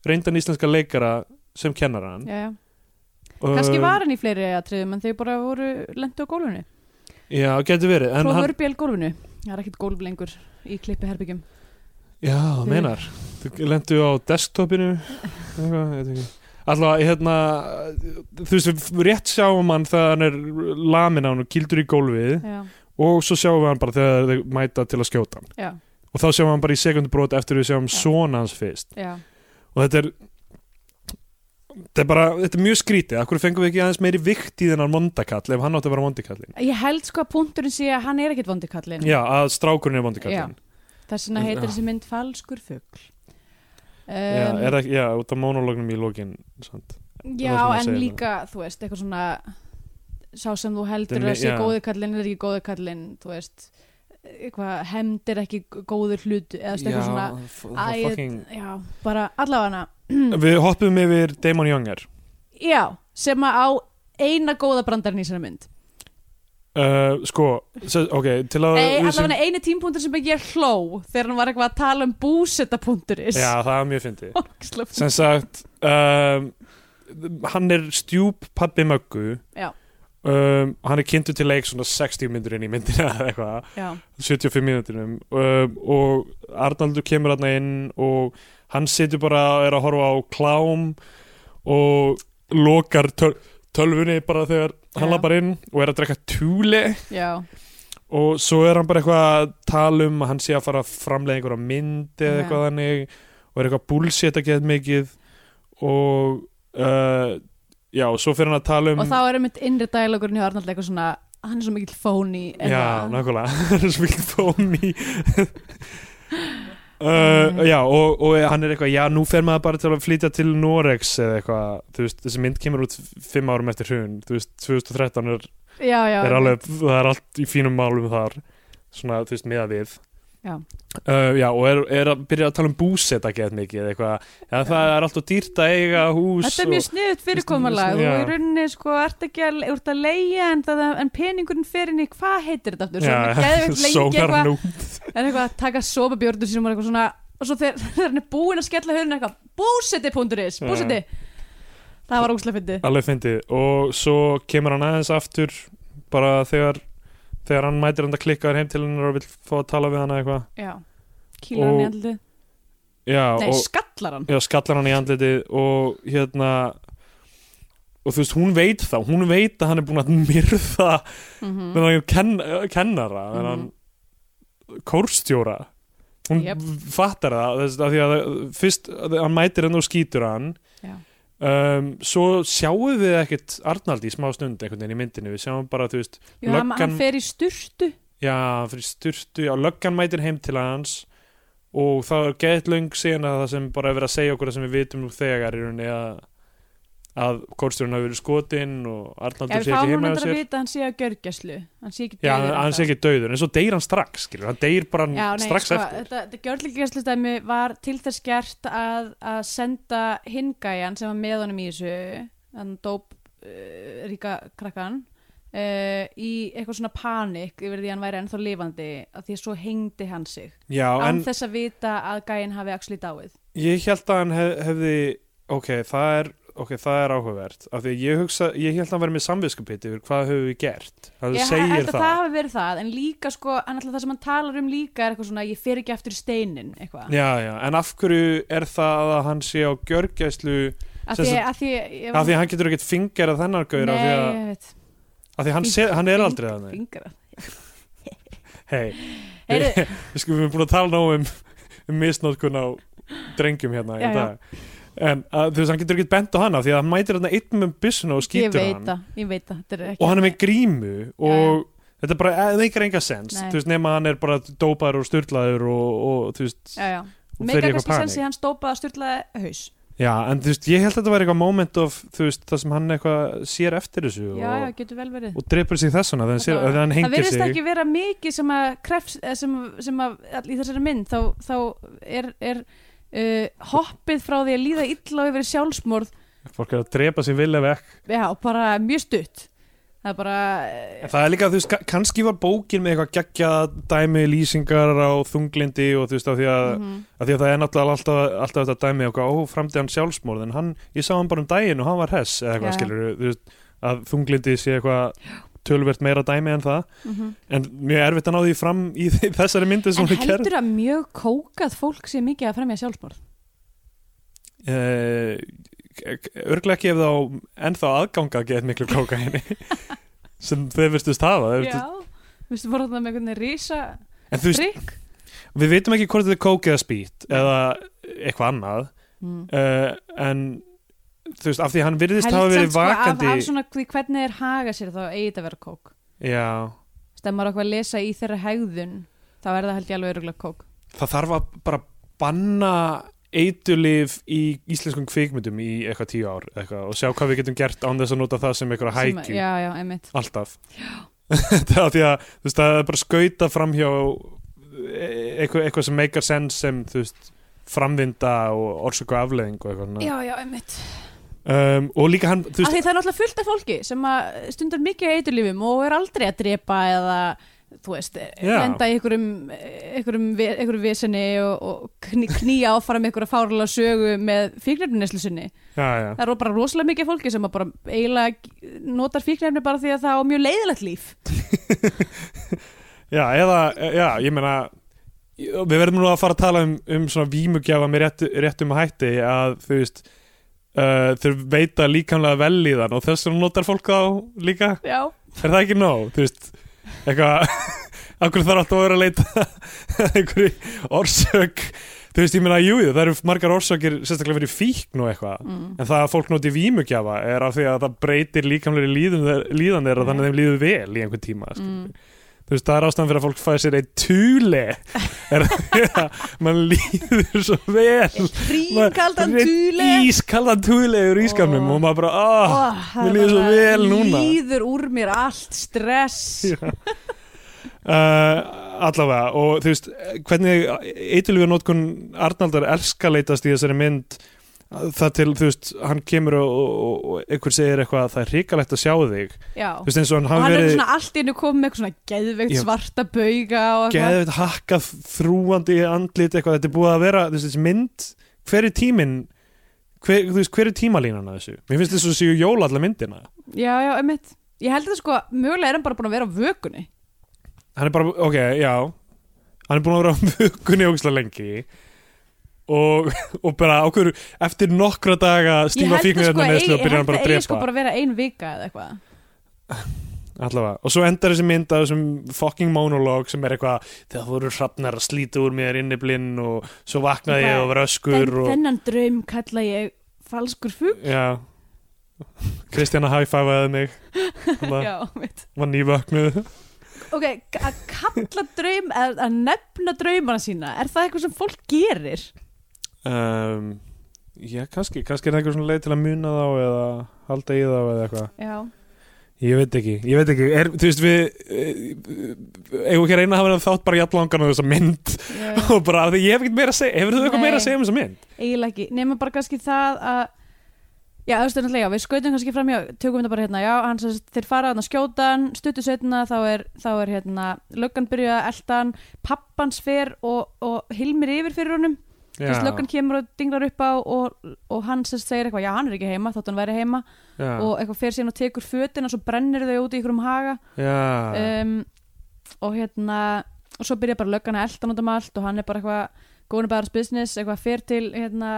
Speaker 3: reyndan íslenska leikara sem kennaran
Speaker 2: já, já.
Speaker 3: Og-
Speaker 2: kannski var hann í fleiri atriðum en þau bara voru lendu á gólfinu
Speaker 3: já, getur verið, en hann
Speaker 2: próförbjál gólfinu, það er ekkert gólf lengur í klippi herbyggjum
Speaker 3: Já, það
Speaker 2: Þau-
Speaker 3: meinar Þú lendu á desktopinu eitthvað, ég veit ekki. Allavega, hérna þú veist, við rétt sjáum hann þegar hann er lamin á hann og kildur í gólfið
Speaker 2: já,
Speaker 3: og svo sjáum við hann bara þegar þau mæta til að skjóta hann
Speaker 2: já,
Speaker 3: og þá sjáum við hann bara í sekundbrot eftir við sjáum
Speaker 2: Já.
Speaker 3: svona hans fyrst
Speaker 2: já,
Speaker 3: og þetta er þetta er bara, þetta er mjög skrítið Akkur fengum við ekki aðeins meiri vikt í þennan mondakall ef hann átti að vera mondakallin
Speaker 2: ég held sko að punkturinn sé að hann er ekkert vondikallin
Speaker 3: Já, að strákurinn er mondakallin
Speaker 2: þess vegna heitir
Speaker 3: Já.
Speaker 2: þessi mynd falskur fugl
Speaker 3: Já,
Speaker 2: um,
Speaker 3: er það, ekki- já, út af monológnum í lokin sant.
Speaker 2: Já,
Speaker 3: Það sem ég
Speaker 2: en
Speaker 3: segi,
Speaker 2: líka, þú veist, eitthvað svona sá sem þú heldur
Speaker 3: Þetta er
Speaker 2: að
Speaker 3: mi-
Speaker 2: sé
Speaker 3: já.
Speaker 2: góði kallinn er ekki góði kallinn, þú veist eitthvað, hemd er ekki góður hlut eða þú veist, eitthvað svona
Speaker 3: svona
Speaker 2: æ, Já, bara allavega
Speaker 3: Mm. Við hoppum yfir Damon Younger
Speaker 2: Já, sem að á eina góða brandarinn í sér mynd
Speaker 3: uh, Sko, se- ok til að,
Speaker 2: Ei,
Speaker 3: við sem-
Speaker 2: Allavega eini tímpunktur sem ég hló þegar hann var eitthvað að tala um búsetapunkturis
Speaker 3: Já, það er mjög fyndið
Speaker 2: Ógeðslega-
Speaker 3: Sem sagt um, Hann er stjúp pabbi möggu
Speaker 2: Já.
Speaker 3: Um, hann er kynntur til leik svona 60 myndur inn í myndina eða eitthvað,
Speaker 2: Já,
Speaker 3: 75 myndunum um, og Arnaldur kemur hann inn og hann situr bara og er að horfa á klám og lokar töl tölvunni bara þegar
Speaker 2: Já.
Speaker 3: hann lappar inn og er að drekka túli
Speaker 2: já,
Speaker 3: og svo er hann bara eitthvað að tala um að hann sé að fara að framlega einhverja mynd eða
Speaker 2: Já.
Speaker 3: eitthvað þannig og er eitthvað bullshit að geta mikið og uh, já, svo fyrir hann að tala um
Speaker 2: og þá er einmitt innri dælugurinn hjá Arnald eitthvað svona hann er svo mikill fóni
Speaker 3: Já, nákvæmlega, hann er svo mikið fóni uh,
Speaker 2: Mm.
Speaker 3: Já, og, og hann er eitthvað Já, nú fer maður bara til að flytja til Norex eða eitthvað, þú veist, þessi mynd kemur út fimm árum eftir hrun, þú veist, 2013 er,
Speaker 2: já, já,
Speaker 3: er alveg, það er allt í fínum málum þar, svona, þú veist, meða við
Speaker 2: Já.
Speaker 3: Uh, já, og er, er að byrja að tala um búseta gett mikið eða eitthvað, já, það er alltaf dýrt að eiga hús
Speaker 2: Þetta er mjög sniðut fyrirkomulag
Speaker 3: Já.
Speaker 2: og í rauninni sko ert ekki að, ert að leia en, það, en peningurinn fer inn í hvað heitir þetta aftur, svo hann er
Speaker 3: já,
Speaker 2: geðveikt lengi eitthvað
Speaker 3: sónarnú
Speaker 2: en eitthvað að taka sopabjörnum sínum og eitthvað svona og svo þegar þegar hann er búinn að skella höfðinu eitthvað búseti.is,
Speaker 3: Já.
Speaker 2: búseti það var ógslag fyndið
Speaker 3: alveg fyndið og svo kemur hann aðeins aftur bara þegar þegar hann mætir hann að klikka þér heim til hennar og vill fá að tala við hann eitthvað
Speaker 2: Já, kýlar hann í
Speaker 3: Og-
Speaker 2: andlu
Speaker 3: já,
Speaker 2: Nei, sko.
Speaker 3: og
Speaker 2: skallar hann
Speaker 3: já, skallar hann í andlitið og hérna og þú veist, hún veit það, hún veit að hann er búin að myrða
Speaker 2: Mhm.
Speaker 3: þennan ken, kennara
Speaker 2: Mhm.
Speaker 3: þennan kórstjóra hún
Speaker 2: Jep.
Speaker 3: fattar það þess, að því að fyrst að hann mætir henn og skýtur hann
Speaker 2: Já.
Speaker 3: um, svo sjáum við ekkert Arnaldi í smá stund einhvern veginn í myndinu við sjáum bara, þú veist,
Speaker 2: Jú, hann, hann
Speaker 3: löggan-
Speaker 2: fer í sturtu
Speaker 3: já, hann fyrir styrtu já, löggan mætir heim til hans og það er gett löng síðan að það sem bara er verið að segja okkur það sem við vitum nú þegar í rauninni að að kórstjórun hafi verið skotinn og
Speaker 2: Já,
Speaker 3: Arnaldur
Speaker 2: við
Speaker 3: sé ekki
Speaker 2: fáum
Speaker 3: heima
Speaker 2: hann að
Speaker 3: hjá sér
Speaker 2: vita að hann sé að görgjæslu hann sé ekki
Speaker 3: Já, hann,
Speaker 2: dauður
Speaker 3: hann sé
Speaker 2: ennþá.
Speaker 3: ekki dauður, en svo deyr hann strax, skilur, hann deyr bara
Speaker 2: Já, nei,
Speaker 3: strax
Speaker 2: sko,
Speaker 3: eftir.
Speaker 2: Þetta, þetta gjörleikastistæmi var til þess gert að, að senda hingæjan sem var með honum í þessu þann dóp uh, ríka krakkan uh, í eitthvað svona panik yfir því að hann væri ennþá lifandi að því að svo hengdi hann sig
Speaker 3: Já,
Speaker 2: án
Speaker 3: en
Speaker 2: þess að vita að gæjan hafi axli dáið
Speaker 3: ég held að hann hef, hefði, ok, það er, ok, það er áhugavert, af því að ég hugsa, ég held að hann verið með samviskupiti yfir hvað höfum við gert, það
Speaker 2: Ég
Speaker 3: segir
Speaker 2: held að
Speaker 3: það.
Speaker 2: það hafi verið það en líka sko, en alltaf það sem hann talar um líka er eitthvað svona, ég fer ekki aftur í steinin eitthvað,
Speaker 3: Já, já, en af hverju er það að hann sé á gjörgæslu,
Speaker 2: af
Speaker 3: sem
Speaker 2: því
Speaker 3: sagt-
Speaker 2: að því, ég,
Speaker 3: af því að hann getur ekkert fingerað þennan gaur, af því að,
Speaker 2: Nei, ég veit,
Speaker 3: af því að hann,
Speaker 2: Fing-
Speaker 3: sé, hann er aldrei þannig.
Speaker 2: fingra
Speaker 3: Hei,
Speaker 2: Heyrðu,
Speaker 3: við sko, við erum búin að tala nóg um, um misnótkun á drengjum hérna
Speaker 2: Já,
Speaker 3: í dag en að, þú veist, hann getur ekki bent á hana því að hann mætir hann einn með byssuna og
Speaker 2: ég
Speaker 3: skýtur
Speaker 2: veit
Speaker 3: hann
Speaker 2: það, ég veit það þetta er ekki
Speaker 3: og hann er með grímu og þetta er bara, eh, það er enga sens
Speaker 2: Nei.
Speaker 3: þú veist, nema hann er bara dópaður og styrlaður og, og þú veist,
Speaker 2: já, já.
Speaker 3: og
Speaker 2: Megar
Speaker 3: fer í
Speaker 2: kannski
Speaker 3: eitthvað
Speaker 2: sensi
Speaker 3: panik
Speaker 2: hann stópaði að styrlaði haus
Speaker 3: Já, en þú veist, ég held að þetta var eitthvað moment of, þú veist, það sem hann eitthvað sér eftir þessu
Speaker 2: já, já,
Speaker 3: og,
Speaker 2: getur vel verið
Speaker 3: og drepur sig þess vegna þegar hann, sér-
Speaker 2: Þetta var-
Speaker 3: þegar hann
Speaker 2: það
Speaker 3: hengir
Speaker 2: verðist
Speaker 3: sig
Speaker 2: ekki vera mikið sem að krefs, eða sem, sem að all- í þessari mynd þá, þá er, er uh, hoppið frá því að líða illa og yfir í sjálfsmorð
Speaker 3: fólk er að drepa sig vilja vekk
Speaker 2: já, bara mjög stutt það er bara eh,
Speaker 3: En það er líka, þú veist, ka- kannski var bókin með eitthvað geggja dæmi lýsingar á þunglindi og þú veist, af því að,
Speaker 2: mm
Speaker 3: mm af því að það er náttúrulega alltaf, alltaf þetta dæmi og hvað, ó, framdi hann sjálfsmorð en hann, ég sá hann bara um daginn og hann var hess eða eitthvað,
Speaker 2: Já.
Speaker 3: skilur, þú veist, að þunglindi sé eitthvað tölvert meira dæmi en það en mjög erfitt að ná því fram í þe- þessari myndi sem
Speaker 2: mhm. en
Speaker 3: hún gerð
Speaker 2: heldur að mjög kókað fólk sé mikið að fremja sjálfsmorð
Speaker 3: uh, örglega ekki ef þá ennþá aðganga að geta miklu kókaini sem þau virtust hafa þau virtust,
Speaker 2: þú veist, voru þarna með einhvern veginn rísa
Speaker 3: en þú veist,
Speaker 2: drikk
Speaker 3: við veitum ekki hvort þetta er kók eða spýt eða eitthvað annað
Speaker 2: mm.
Speaker 3: uh, en þú veist, af því að hann virðist hafa verið vakandi
Speaker 2: sko af, af svona því hvernig er haga sér þá eigi þetta að vera kók
Speaker 3: já,
Speaker 2: stemmar okkur að lesa í þeirra hegðun þá er það held ég alveg öruglega kók
Speaker 3: það þarf að bara banna eitulif í íslenskum kvikmyndum í eitthvað tíu ár eitthvað, og sjá hvað við getum gert án þess að nota það sem eitthvað
Speaker 2: Sem-
Speaker 3: hækju
Speaker 2: já, já, einmitt
Speaker 3: alltaf það er af því að þú veist það er bara skauta framhjá e- eitthvað, eitthvað sem meikar sens sem þú veist framvinda og orsöku afleðing og eitthvað svona.
Speaker 2: já, já, einmitt
Speaker 3: um, og líka hann þú
Speaker 2: af
Speaker 3: veist,
Speaker 2: því það er náttúrulega fullt af fólki sem að stundar mikið eiturlífum og er aldrei að drepa eða þú veist,
Speaker 3: Já.
Speaker 2: lenda í einhverjum einhverjum, ve- einhverjum vesinni og, og kný, knýja áfram einhverja fárlega sögu með fíknefnineslu sinni
Speaker 3: já, já.
Speaker 2: það eru bara rosalega mikið af fólki sem að bara eiginlega notar fíknefni bara því að það á mjög leiðilegt líf
Speaker 3: já, eða já, ég meina við verðum nú að fara að tala um, um svona vímugjafa með rétt, réttum hætti að þú veist Uh, þau veita líkamlega vel í þann og þess vegna notar fólk þá líka
Speaker 2: já,
Speaker 3: er það ekki nóg, þú veist eitthvað, akkur þarf alltaf að vera að leita að einhverju orsök þú veist, ég meina, jú, jú, það eru margar orsökir sérstaklega verið fíkn og eitthvað
Speaker 2: mm.
Speaker 3: en það að fólk noti vímugjafa er af því að það breytir líkamlega líðan, líðan þeirra þannig að þeim líður vel í einhvern tíma mm.
Speaker 2: Mm.
Speaker 3: þú veist, það er ástæðan fyrir að fólk fæði sér eitt tule er af því að mann líður svo vel
Speaker 2: Ríkaldan túli
Speaker 3: ískaldan tule úr ískamnum
Speaker 2: Ó.
Speaker 3: og maður bara, ah,
Speaker 2: oh,
Speaker 3: mér líður svo vel núna.
Speaker 2: Líður úr mér allt stress
Speaker 3: Já. uh, allavega og þú veist, hvernig eitilvíu notkun Arnaldar elskaleitast í þessari mynd það til, þú veist, hann kemur og, og, og einhver segir eitthvað að það er hrikalegt að sjá þig þú
Speaker 2: Já
Speaker 3: veist, eins og hann
Speaker 2: Og
Speaker 3: hafi
Speaker 2: hann er
Speaker 3: verið
Speaker 2: svona allt innu komið með eitthvað svona geðveikt
Speaker 3: Já.
Speaker 2: svarta bauga og eitthvað
Speaker 3: geðvitt hakkað þrúandi andlit eitthvað, þetta er búið að vera, þú veist, þessi mynd hver er tíminn hver, þú veist, hver er tímalínan að þessu mér finnst þess að séu jól allar myndina
Speaker 2: Já, já, einmitt Ég held að sko, mögulega er hann bara búin að vera á vökunni
Speaker 3: hann er bara, ok, já hann er búin að vera á vökunni ógislega lengi og, og bara ákveður eftir nokkra daga
Speaker 2: Ég
Speaker 3: stíma
Speaker 2: held að
Speaker 3: fíknir
Speaker 2: sko,
Speaker 3: þarna neðslu og
Speaker 2: eigi- ég
Speaker 3: byrjar hann
Speaker 2: held
Speaker 3: bara
Speaker 2: að eigi
Speaker 3: að drepa
Speaker 2: sko bara að vera ein vika eða eitthvað
Speaker 3: allavega, og svo endar þessi mynd af þessum fucking monolog sem er eitthvað það voru hrafnar að slíta úr mér inniblinn og svo vaknaði ég
Speaker 2: Bara,
Speaker 3: og var öskur og,
Speaker 2: Þennan draum kalla ég falskur fugg
Speaker 3: já Kristjana high-fivaði mig hann
Speaker 2: Já, einmitt
Speaker 3: var nývöknuð
Speaker 2: Ok, að kalla draum, að, að nefna draumana sína Er það eitthvað sem fólk gerir?
Speaker 3: um, já, kannski, kannski er það einhver svona leið til að muna þá eða halda í þá eða eitthvað
Speaker 2: Já
Speaker 3: Ég veit ekki, ég veit ekki, er, þú veist við eh, eigum ekki að reyna að hafa þennan þátt bara jafnlangan á þessa mynd
Speaker 2: yeah.
Speaker 3: og bara af því ég hef ekkert meira að segja, hefur þú eitthvað
Speaker 2: Nei.
Speaker 3: meira að segja um þessa mynd?
Speaker 2: eiginlega ekki, nema bara kannski það að já, þú veist náttúrulega, já, við skautum kannski fram hjá, tökum þetta bara hérna, já, hann sem sagt, þeir fara þarna að skjóta hann, stuttu setna þá er, þá er hérna, löggan byrja að elta hann, pappans fer og, og hilmir yfir fyrir honum þú veist, löggan kemur og dinglar upp á og, og hann sem sagt segir eitthvað, já, hann er ekki heima þátt hann væri heima
Speaker 3: já,
Speaker 2: og eitthvað fer síðan og tekur fötin og svo brennir þau út í ykkur um haga
Speaker 3: já,
Speaker 2: um, og hérna og svo byrja bara löggan að elta hann út um allt og hann er bara eitthvað góðan bara business eitthvað fer til hérna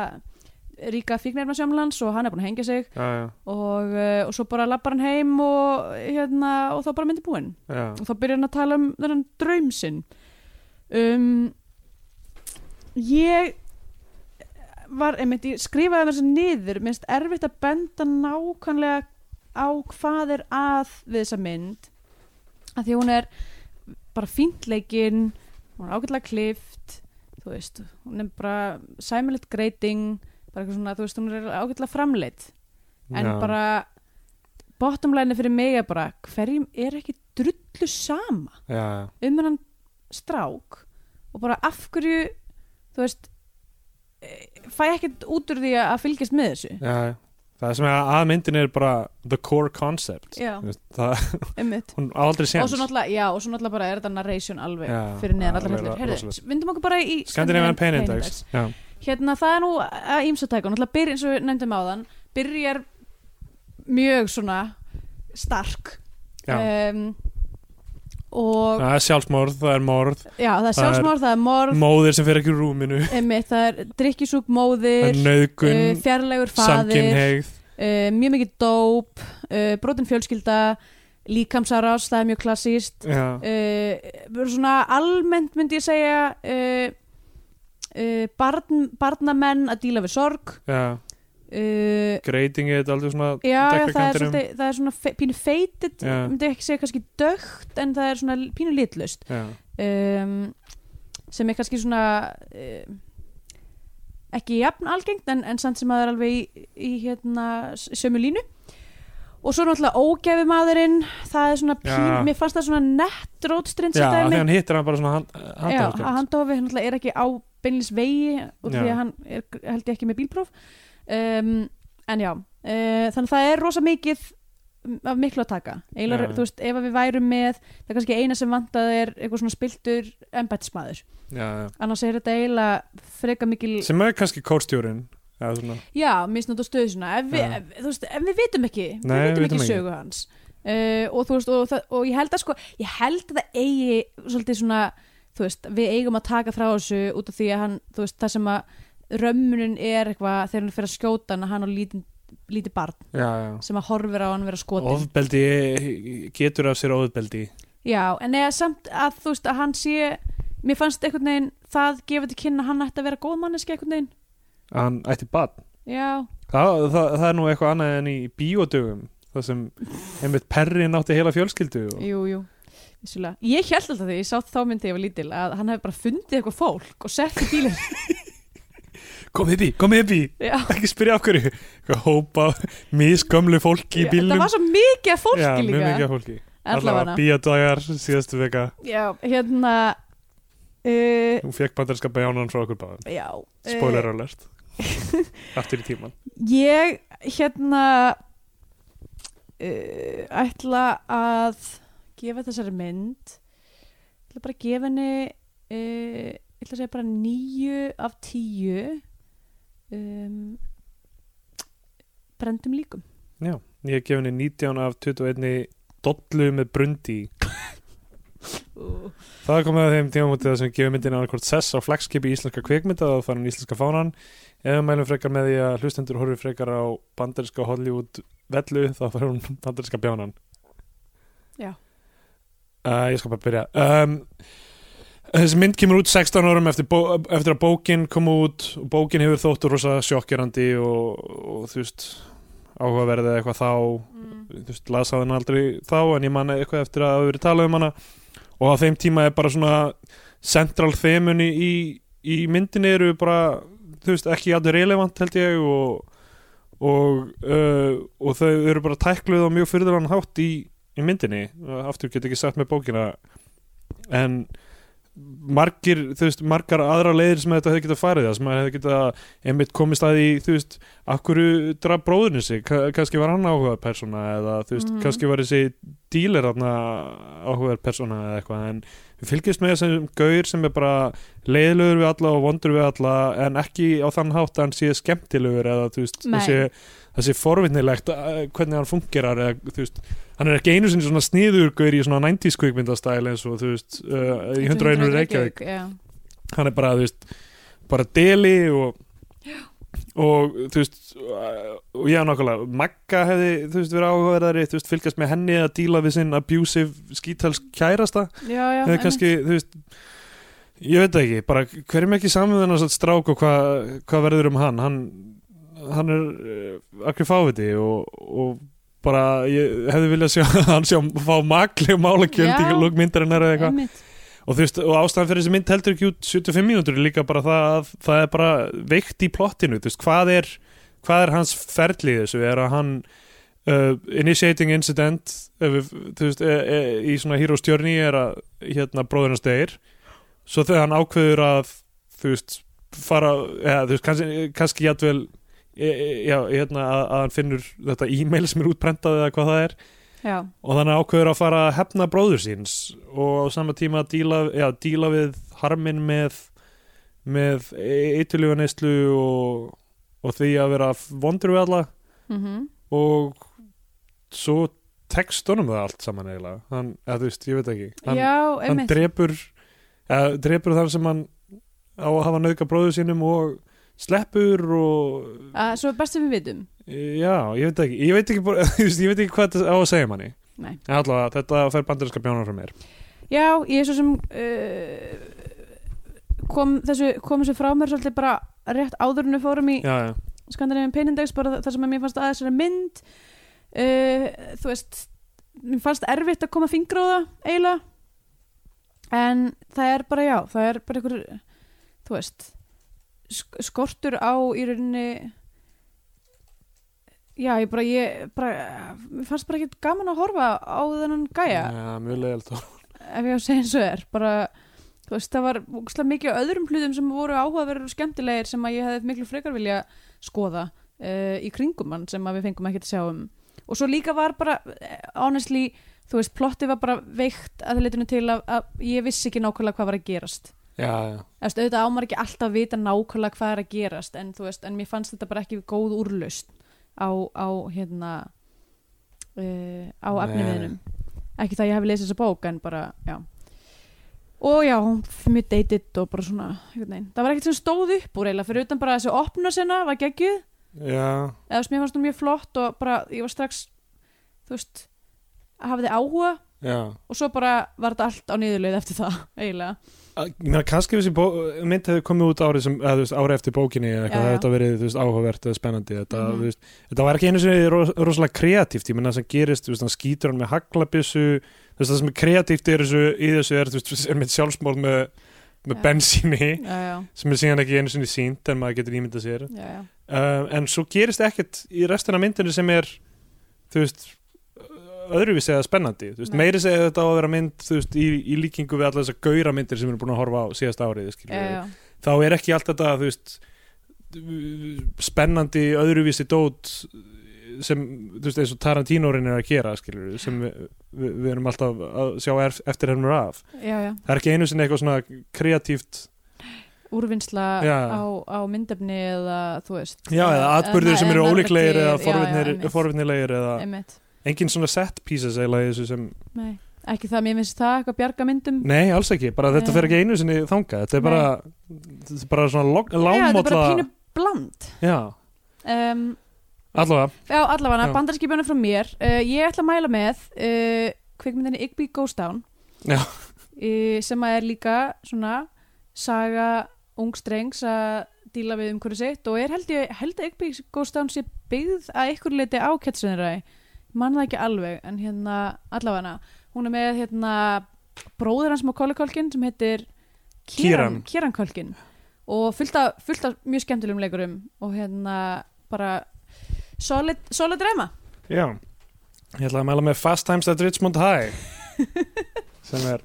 Speaker 2: ríka fíknefnarsjómlands og hann er búin að hengja sig
Speaker 3: já, já,
Speaker 2: og, uh, og svo bara lappar hann heim og hérna og þá er bara myndi búinn
Speaker 3: já.
Speaker 2: og þá byrja hann að tala um þennan draum sinn um, ég var, einmitt, ég skrifaði mér svo niður minnst erfitt að benda nákvæmlega á hvað er að við þessa mynd að því að hún er bara fíntleikin hún er ágætlega klift þú veist, hún er bara sæmilegt greiting bara eitthvað svona, þú veist, hún er ágætlega framleitt en
Speaker 3: Já.
Speaker 2: bara bottom line fyrir mig er bara hverjum er ekki drullu sama
Speaker 3: já, já.
Speaker 2: um hennan strák og bara af hverju þú veist eh, fæ ekkert út úr því að fylgjast með þessu
Speaker 3: Já, já. það sem er að myndin er bara the core concept
Speaker 2: Já.
Speaker 3: Þú veist, það,
Speaker 2: einmitt
Speaker 3: hún á aldrei
Speaker 2: og
Speaker 3: séns
Speaker 2: svo náttúrulega, já, og svo náttúrulega bara er þetta narration alveg
Speaker 3: Já,
Speaker 2: fyrir neðan allar
Speaker 3: alveg
Speaker 2: hellur
Speaker 3: ro-
Speaker 2: Heyrðu,
Speaker 3: rosalegt.
Speaker 2: vindum okkur bara í
Speaker 3: Skandinavian Pain
Speaker 2: Pain
Speaker 3: Index já,
Speaker 2: hérna það er nú að ímsatækun náttúrulega byrja eins og við nefndum áðan byrjar mjög svona stark
Speaker 3: já.
Speaker 2: um, og
Speaker 3: það er sjálfsmorð, það er morð
Speaker 2: já, það er
Speaker 3: það er-
Speaker 2: sjálfsmorð, það er morð
Speaker 3: móðir sem fer ekki úr rúminu
Speaker 2: einmitt, það er drikkisúk
Speaker 3: það er
Speaker 2: móðir
Speaker 3: nauðgun,
Speaker 2: uh, fjarlægur Eh, faðir uh,
Speaker 3: samkynhneigð
Speaker 2: mjög mikið dóp uh, brotin fjölskylda líkamsarás, það er mjög klassíst
Speaker 3: já,
Speaker 2: uh, bara svona almennt myndi ég segja uh, uh, barn, barnamenn að díla við sorg
Speaker 3: já,
Speaker 2: uh,
Speaker 3: greiting er þetta aldrei svona
Speaker 2: já, já, það er,
Speaker 3: dekkakantinum.
Speaker 2: svolítið, það er svona fe, pínu feitit
Speaker 3: Já.
Speaker 2: myndi ég ekki segja kannski dögt en það er svona pínu litlust
Speaker 3: já,
Speaker 2: um, sem er kannski svona uh, ekki jafn algengt en, en samt sem að það er alveg í, í hérna s- sömu línu og svo náttúrulega ógefi maðurinn það er svona pín,
Speaker 3: Já.
Speaker 2: mér fannst það svona nett rótstrins
Speaker 3: já þegar hann hittir hann bara svona hand,
Speaker 2: Já,
Speaker 3: handafskjöld.
Speaker 2: að handófi hann náttúrulega er ekki á beinlis vegi og því
Speaker 3: Já.
Speaker 2: að hann er held ég ekki með bílpróf um, en já, uh, þannig að það er rosa mikið af miklu að taka Eilar,
Speaker 3: Já.
Speaker 2: þú veist, ef að við værum með það er kannski eina sem vantað er eitthvað svona spiltur embættismæður,
Speaker 3: já, já.
Speaker 2: annars er þetta eiginlega freka mikil,
Speaker 3: sem er kannski kórstjórin eða svona,
Speaker 2: já, misnátt og stöð svona, ef,
Speaker 3: Já.
Speaker 2: við, ef, þú veist, ef við vitum ekki
Speaker 3: Nei,
Speaker 2: við
Speaker 3: við
Speaker 2: vitum ekki
Speaker 3: vitum ekki.
Speaker 2: sögu hans uh, og þú veist, og, það, og ég held að sko ég held að það eigi svolítið svona, þú veist, við eigum að taka frá þessu út af því að hann, þú veist, það sem að römmunin er eitthvað þegar hann fyrir að skjóta hann að hann á lítið lítið barn
Speaker 3: já, já
Speaker 2: sem að horfir á hann vera skotin
Speaker 3: ofbeldi getur af sér ofbeldi
Speaker 2: Já, en eða samt að þú veist að hann sé mér fannst einhvern veginn það gefið til kynna að hann ætti að vera góð manneski einhvern veginn
Speaker 3: að hann ætti badn
Speaker 2: Já,
Speaker 3: það, það, það er nú eitthvað annað en í bíódögum það sem einmitt perrin átti heila fjölskyldu og,
Speaker 2: jú, jú Vissulega. Ég held alltaf því, ég sá þá myndi ég var lítil að hann hefði bara fundið eitthvað fólk og sett í bílinn
Speaker 3: kom upp í, kom upp í,
Speaker 2: Já,
Speaker 3: ekki spyrja af hverju eitthvað hópa misgömlu fólki í
Speaker 2: það
Speaker 3: bílnum
Speaker 2: var svo mikið af fólki
Speaker 3: já, mjög
Speaker 2: líka
Speaker 3: mikið af fólki
Speaker 2: Allavega
Speaker 3: bíódagar síðastu veka
Speaker 2: Já, hérna uh,
Speaker 3: hún fekk bandarinska bjánan frá okkur báðum
Speaker 2: Já uh,
Speaker 3: spoiler alert aftur í tíman
Speaker 2: Ég hérna uh, ætla að gefa þessari mynd ætla bara að gefa henni uh, ætla að segja bara nýju af tíu um, brendum líkum
Speaker 3: já, ég hef gefið henni 19 af 21 dollu með brundi í.
Speaker 2: uh,
Speaker 3: Það er komið að þeim tímamótið þar sem gefur myndin annarkvort sess á flagskipi íslenska kvikmynda og farin íslenska fánan. Ef við mælum frekar með því að hlustendur horfir frekar á bandarinska Hollywood vellu þá farir hún bandarinska bjánan.
Speaker 2: Já.
Speaker 3: Uh, ég skal bara byrja. Um, þessi mynd kemur út 16 árum eftir, bó, eftir að bókin kom út og bókin hefur þóttur rosa sjokkjörandi og, og þú veist áhugaverðið eitthvað þá þú veist, las á henni aldrei þá en ég manna eitthvað eftir að hafa verið talað um hana og á þeim tíma er bara svona central themunni í, í myndinni eru bara, þú veist, ekki allir relevant held ég og og, uh, og þau eru bara tækluð á mjög fyrirðalann hátt í, í myndinni, aftur get ekki sagt með bókina en margir, þú veist, margar aðra leiðir sem þetta hefði getað farið það sem maður hefði getað einmitt komist að í, þú veist af hverju draf bróðinu sig Ka- kannski var hann áhugað persóna eða þú veist,
Speaker 2: Mhm.
Speaker 3: kannski var þessi dílar áhugað persóna eða eitthvað en við fylgjumst með þessum gaur sem er bara leiðlugur við alla og vondur við alla en ekki á þann hátt að hann sé skemmtilegur eða þú veist,
Speaker 2: Nei.
Speaker 3: þessi, þessi forvinnilegt eh, hvernig hann fungerar eða þú veist hann er ekki einu sinni svona sniður gaur í svona 90s kvikmyndastæl eins og þú veist uh, í 101 Reykjavík
Speaker 2: Já,
Speaker 3: hann er bara, þú veist, bara deli og og þú veist uh, og já nákvæmlega, Magga hefði þú veist verið áhugaverðari, þú veist fylgjast með henni að díla við sinn abusive skítals kærasta,
Speaker 2: já, já
Speaker 3: eða kannski þú veist, ég veit það ekki bara hverjum ekki samið hann að strák og hvað hva verður um hann hann, hann er uh, akkur fáviti og, og bara ég hefði viljað sjá hann sjá fá makli og málakjöld
Speaker 2: Já.
Speaker 3: í lókmyndarinnar eða eitthvað
Speaker 2: einmitt, einmitt.
Speaker 3: og, þú veist, og ástæðan fyrir þessi mynd heldur ekki út 75 mínútur er líka bara það að það er bara veikt í plottinu þú veist, hvað, er, hvað er hans ferli í þessu er að hann uh, initiating incident uh, þú veist, uh, uh, í svona Heroes Journey er að hérna bróðurinn stegir svo þegar hann ákveður að þú veist fara ja, þú veist, kannski, kannski játvel já, hérna, að, að hann finnur þetta e-mail sem er útprentað eða hvað það er
Speaker 2: já,
Speaker 3: og þannig ákveður að fara að hefna bróður síns og á sama tíma að díla, já, díla við harminn með með eitulífaneyslu og, og því að vera vondur við alla
Speaker 2: mhm
Speaker 3: og svo tekst honum það allt saman eiginlega hann, eða þú veist, ég veit ekki hann,
Speaker 2: já,
Speaker 3: hann
Speaker 2: einmitt
Speaker 3: drepur eða, drepur þar sem hann á að hafa nauðga bróður sínum og sleppur og
Speaker 2: að, Uh, svo er best sem við vitum
Speaker 3: já, ég veit ekki ég veit ekki, bara- þú veist, ég veit ekki hvað þetta á að segja manni
Speaker 2: Nei.
Speaker 3: En allavega, þetta fær bandarinska bjánar frá mér
Speaker 2: já, ég er svo sem uh, kom, þessu, kom þessu frá mér svolítið bara rétt áður en við fórum í
Speaker 3: já, já.
Speaker 2: skandinavinn penindegs bara þar sem að mér fannst aðeins er mynd uh, þú veist mér fannst erfitt að koma fingra á það eiginlega en það er bara já, það er bara einhver þú veist sk skortur á í rauninni já, ég bara ég bara, mér fannst bara ekkert gaman að horfa á þennan gæja
Speaker 3: Já, mjög leiðilegt og-
Speaker 2: ef ég á að segja eins og er bara, þú veist, það var ógeðslega mikið á öðrum hlutum sem voru áhugaverður og skemmtilegir sem að ég hefði miklu frekar vilja skoða uh, í kringum hann sem að við fengum ekki að sjá um og svo líka var bara, eh, honestly þú veist, plotti var bara veikt að það leitinu til að, að ég vissi ekki nákvæmlega hvað var að gerast
Speaker 3: Já, já,
Speaker 2: Eftir, auðvitað ámar ekki alltaf að vita nákvæmlega hvað er að gerast en, þú veist, en mér fannst þetta bara ekki góð úrlaust á, á hérna uh, á
Speaker 3: Nei.
Speaker 2: efniviðinum ekki það að ég hafi lesið þessa bók en bara, já og já, hún f- mjög deytitt og bara svona einhvern veginn. það var ekkert sem stóð upp úr eiginlega fyrir utan bara þessi opna sinna var geggjuð
Speaker 3: já,
Speaker 2: eða þú veist, mér fannst hún mjög flott og bara ég var strax, þú veist hafði áhuga
Speaker 3: já.
Speaker 2: og svo bara var þetta allt á niðurleið eftir það eiginlega
Speaker 3: Að- Ég meina, kannski ef þessi bó- mynd hefði komið út árið sem, eða, þú veist, árið eftir bókinni eða
Speaker 2: Já,
Speaker 3: eitthvað, það
Speaker 2: já.
Speaker 3: hefði þetta verið, þú veist, áhugavert eða spennandi, þetta,
Speaker 2: Mhm.
Speaker 3: þú veist, þetta var ekki einu sinni ros, rosalega kreatíft, ég menna það sem gerist, þú veist, hann skýtur hann með haglabissu, þú veist, það sem er kreatíft í þessu, í þessu er, þú veist, er mynd sjálfsmál með, með
Speaker 2: Já.
Speaker 3: bensíni,
Speaker 2: já, já,
Speaker 3: sem er síðan ekki einu sinni sínt en maður getur ímyndað sér,
Speaker 2: já, já.
Speaker 3: uh, en svo gerist ekkert í restina af myndinu sem er þú veist öðruvísi eða spennandi, þú veist,
Speaker 2: Nei.
Speaker 3: meiri segja þetta á að vera mynd, þú veist, í, í líkingu við alla þessar gauðra myndir sem við erum búin að horfa á síðast árið, skilur
Speaker 2: já,
Speaker 3: við,
Speaker 2: já.
Speaker 3: þá er ekki allt þetta, þú veist spennandi öðruvísi dót sem, þú veist, eins og Tarantino-rin er að gera, skilur við, sem við, við, við erum alltaf að sjá erf- eftir hennur af.
Speaker 2: já, já.
Speaker 3: Það er ekki einu sinni eitthvað svona kreatíft,
Speaker 2: úrvinnsla
Speaker 3: Já.
Speaker 2: á, á myndefni eða þú veist
Speaker 3: já, eða atbyrðir sem eru ólíklegir eða forvitnir-
Speaker 2: forvitnir
Speaker 3: forvitnilegir eða engin svona set pieces eiginlega í þessu sem
Speaker 2: ekki það, mér finnst það eitthvað bjarga myndum
Speaker 3: nei, alls ekki, bara þetta
Speaker 2: Nei.
Speaker 3: fer ekki einu sinni þangað, þetta er
Speaker 2: Nei.
Speaker 3: bara þetta er bara svona log-
Speaker 2: já, þetta er
Speaker 3: lágmólla
Speaker 2: bara pínu bland
Speaker 3: já,
Speaker 2: um,
Speaker 3: allavega,
Speaker 2: já, allavega,
Speaker 3: Já.
Speaker 2: bandarskipjónu frá mér uh, ég ætla að mæla með uh, kvikmyndinni Igby Goes Down
Speaker 3: Já.
Speaker 2: Eh, sem að er líka svona saga ungstrengs að díla við umhverju sitt og er held ég held að Igby Goes Down sé byggð að ykkur leiti á Ketsunerai mann það ekki alveg en hérna allavega hún er með hérna bróður hans með kólikólkin sem heitir Kieran,
Speaker 3: Kieran.
Speaker 2: Kieran Kólkin og fullt af, fullt af mjög skemmtilegum leikurum og hérna bara solid, solid reyma
Speaker 3: já ég ætla að mæla með Fast Times at Richmond High sem er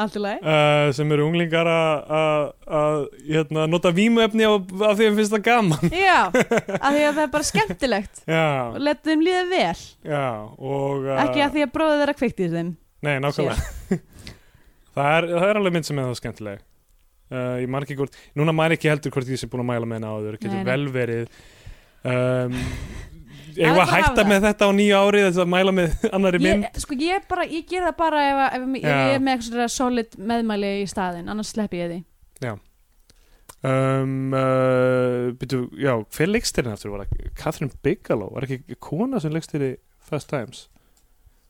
Speaker 2: allt í lagi
Speaker 3: uh, sem eru unglingar að- að að, hérna, nota vímuefni á, af því að finnst það gaman
Speaker 2: já, af því að það er bara skemmtilegt og
Speaker 3: já,
Speaker 2: leta þeim líða vel
Speaker 3: já, og uh,
Speaker 2: ekki að því að bróðið þeirra kveikt í þeim
Speaker 3: Nei, nákvæmlega það, er, það er alveg mynd sem er það skemmtileg uh, Ég marg ekki hvort Núna mæri ekki heldur hvort ég sé búin að mæla með henni áður Getur
Speaker 2: Nei, nei.
Speaker 3: vel verið um,
Speaker 2: Það er
Speaker 3: Ég
Speaker 2: bara
Speaker 3: var
Speaker 2: að hafa
Speaker 3: hætta
Speaker 2: það.
Speaker 3: með þetta á nýju árið Þess að mæla með annari
Speaker 2: ég,
Speaker 3: mynd
Speaker 2: sko, ég, bara, ég ger það bara ef, að- ef að- ef
Speaker 3: Já.
Speaker 2: ég er með eitthvað svona solid meðmæli í staðin annars slepp ég því
Speaker 3: um, uh, byrju, Já, hver leikstirinn aftur var það? Catherine Bigelow, var ekki kona sem leikstýri Fast Times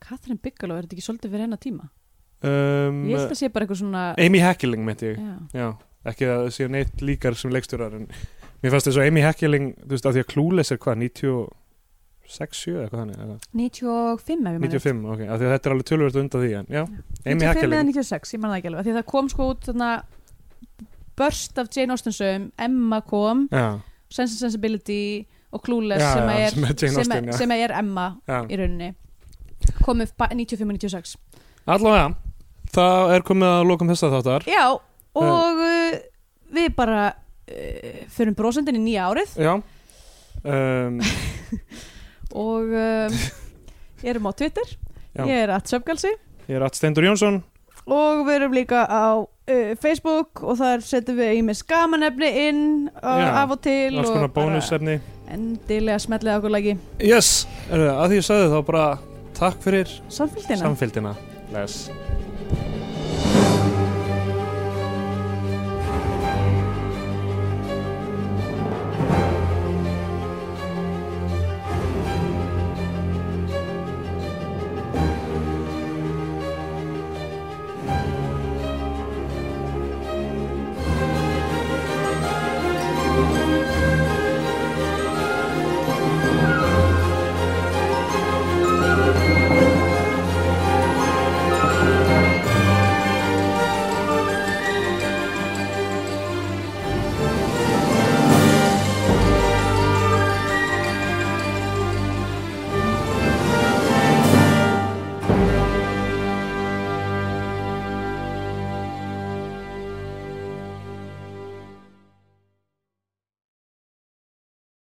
Speaker 2: Katrin Byggaló, er þetta ekki svolítið fyrir hennar tíma?
Speaker 3: um,
Speaker 2: ég held að sé bara eitthvað svona
Speaker 3: Amy Heckeling myndi ég
Speaker 2: já,
Speaker 3: Já, ekki að það séu neitt líkar sem leikstjórar en mér fannst þess að Amy Heckeling, þú veist, af því að Clueless er hvað, 96 6-7 eitthvað þannig eða
Speaker 2: 95 ef ég man rétt.
Speaker 3: 95, ok, af því að þetta er alveg tölvöld undan því en já, Amy
Speaker 2: 95 eða
Speaker 3: Hackelin
Speaker 2: 96, ég man það ekki alveg af því að það kom sko út þarna börst af Jane Austen sögum, Emma kom
Speaker 3: Já,
Speaker 2: Sense and Sensibility og Clueless
Speaker 3: Já,
Speaker 2: sem,
Speaker 3: já,
Speaker 2: að er,
Speaker 3: sem er Jane Austen, já.
Speaker 2: sem að er Emma
Speaker 3: já
Speaker 2: í rauninni komið 95 og 96
Speaker 3: Allavega, það er komið að lokum þessa þáttar
Speaker 2: já og uh, við bara uh, förum brosendin í nýja árið
Speaker 3: Já um,
Speaker 2: og um, erum á Twitter
Speaker 3: Já.
Speaker 2: ég er aðsöfgalsi
Speaker 3: Ég er Att Steindur Jónsson
Speaker 2: og við erum líka á uh, Facebook og þar setjum við í með skamanefni inn
Speaker 3: Já,
Speaker 2: uh, af og til
Speaker 3: alls
Speaker 2: og
Speaker 3: konar bónusefni
Speaker 2: bara endilega smellið okkur lagi
Speaker 3: Yes, er, að því ég sagði þá bara takk fyrir
Speaker 2: samfélgdina
Speaker 3: samfélgina Bless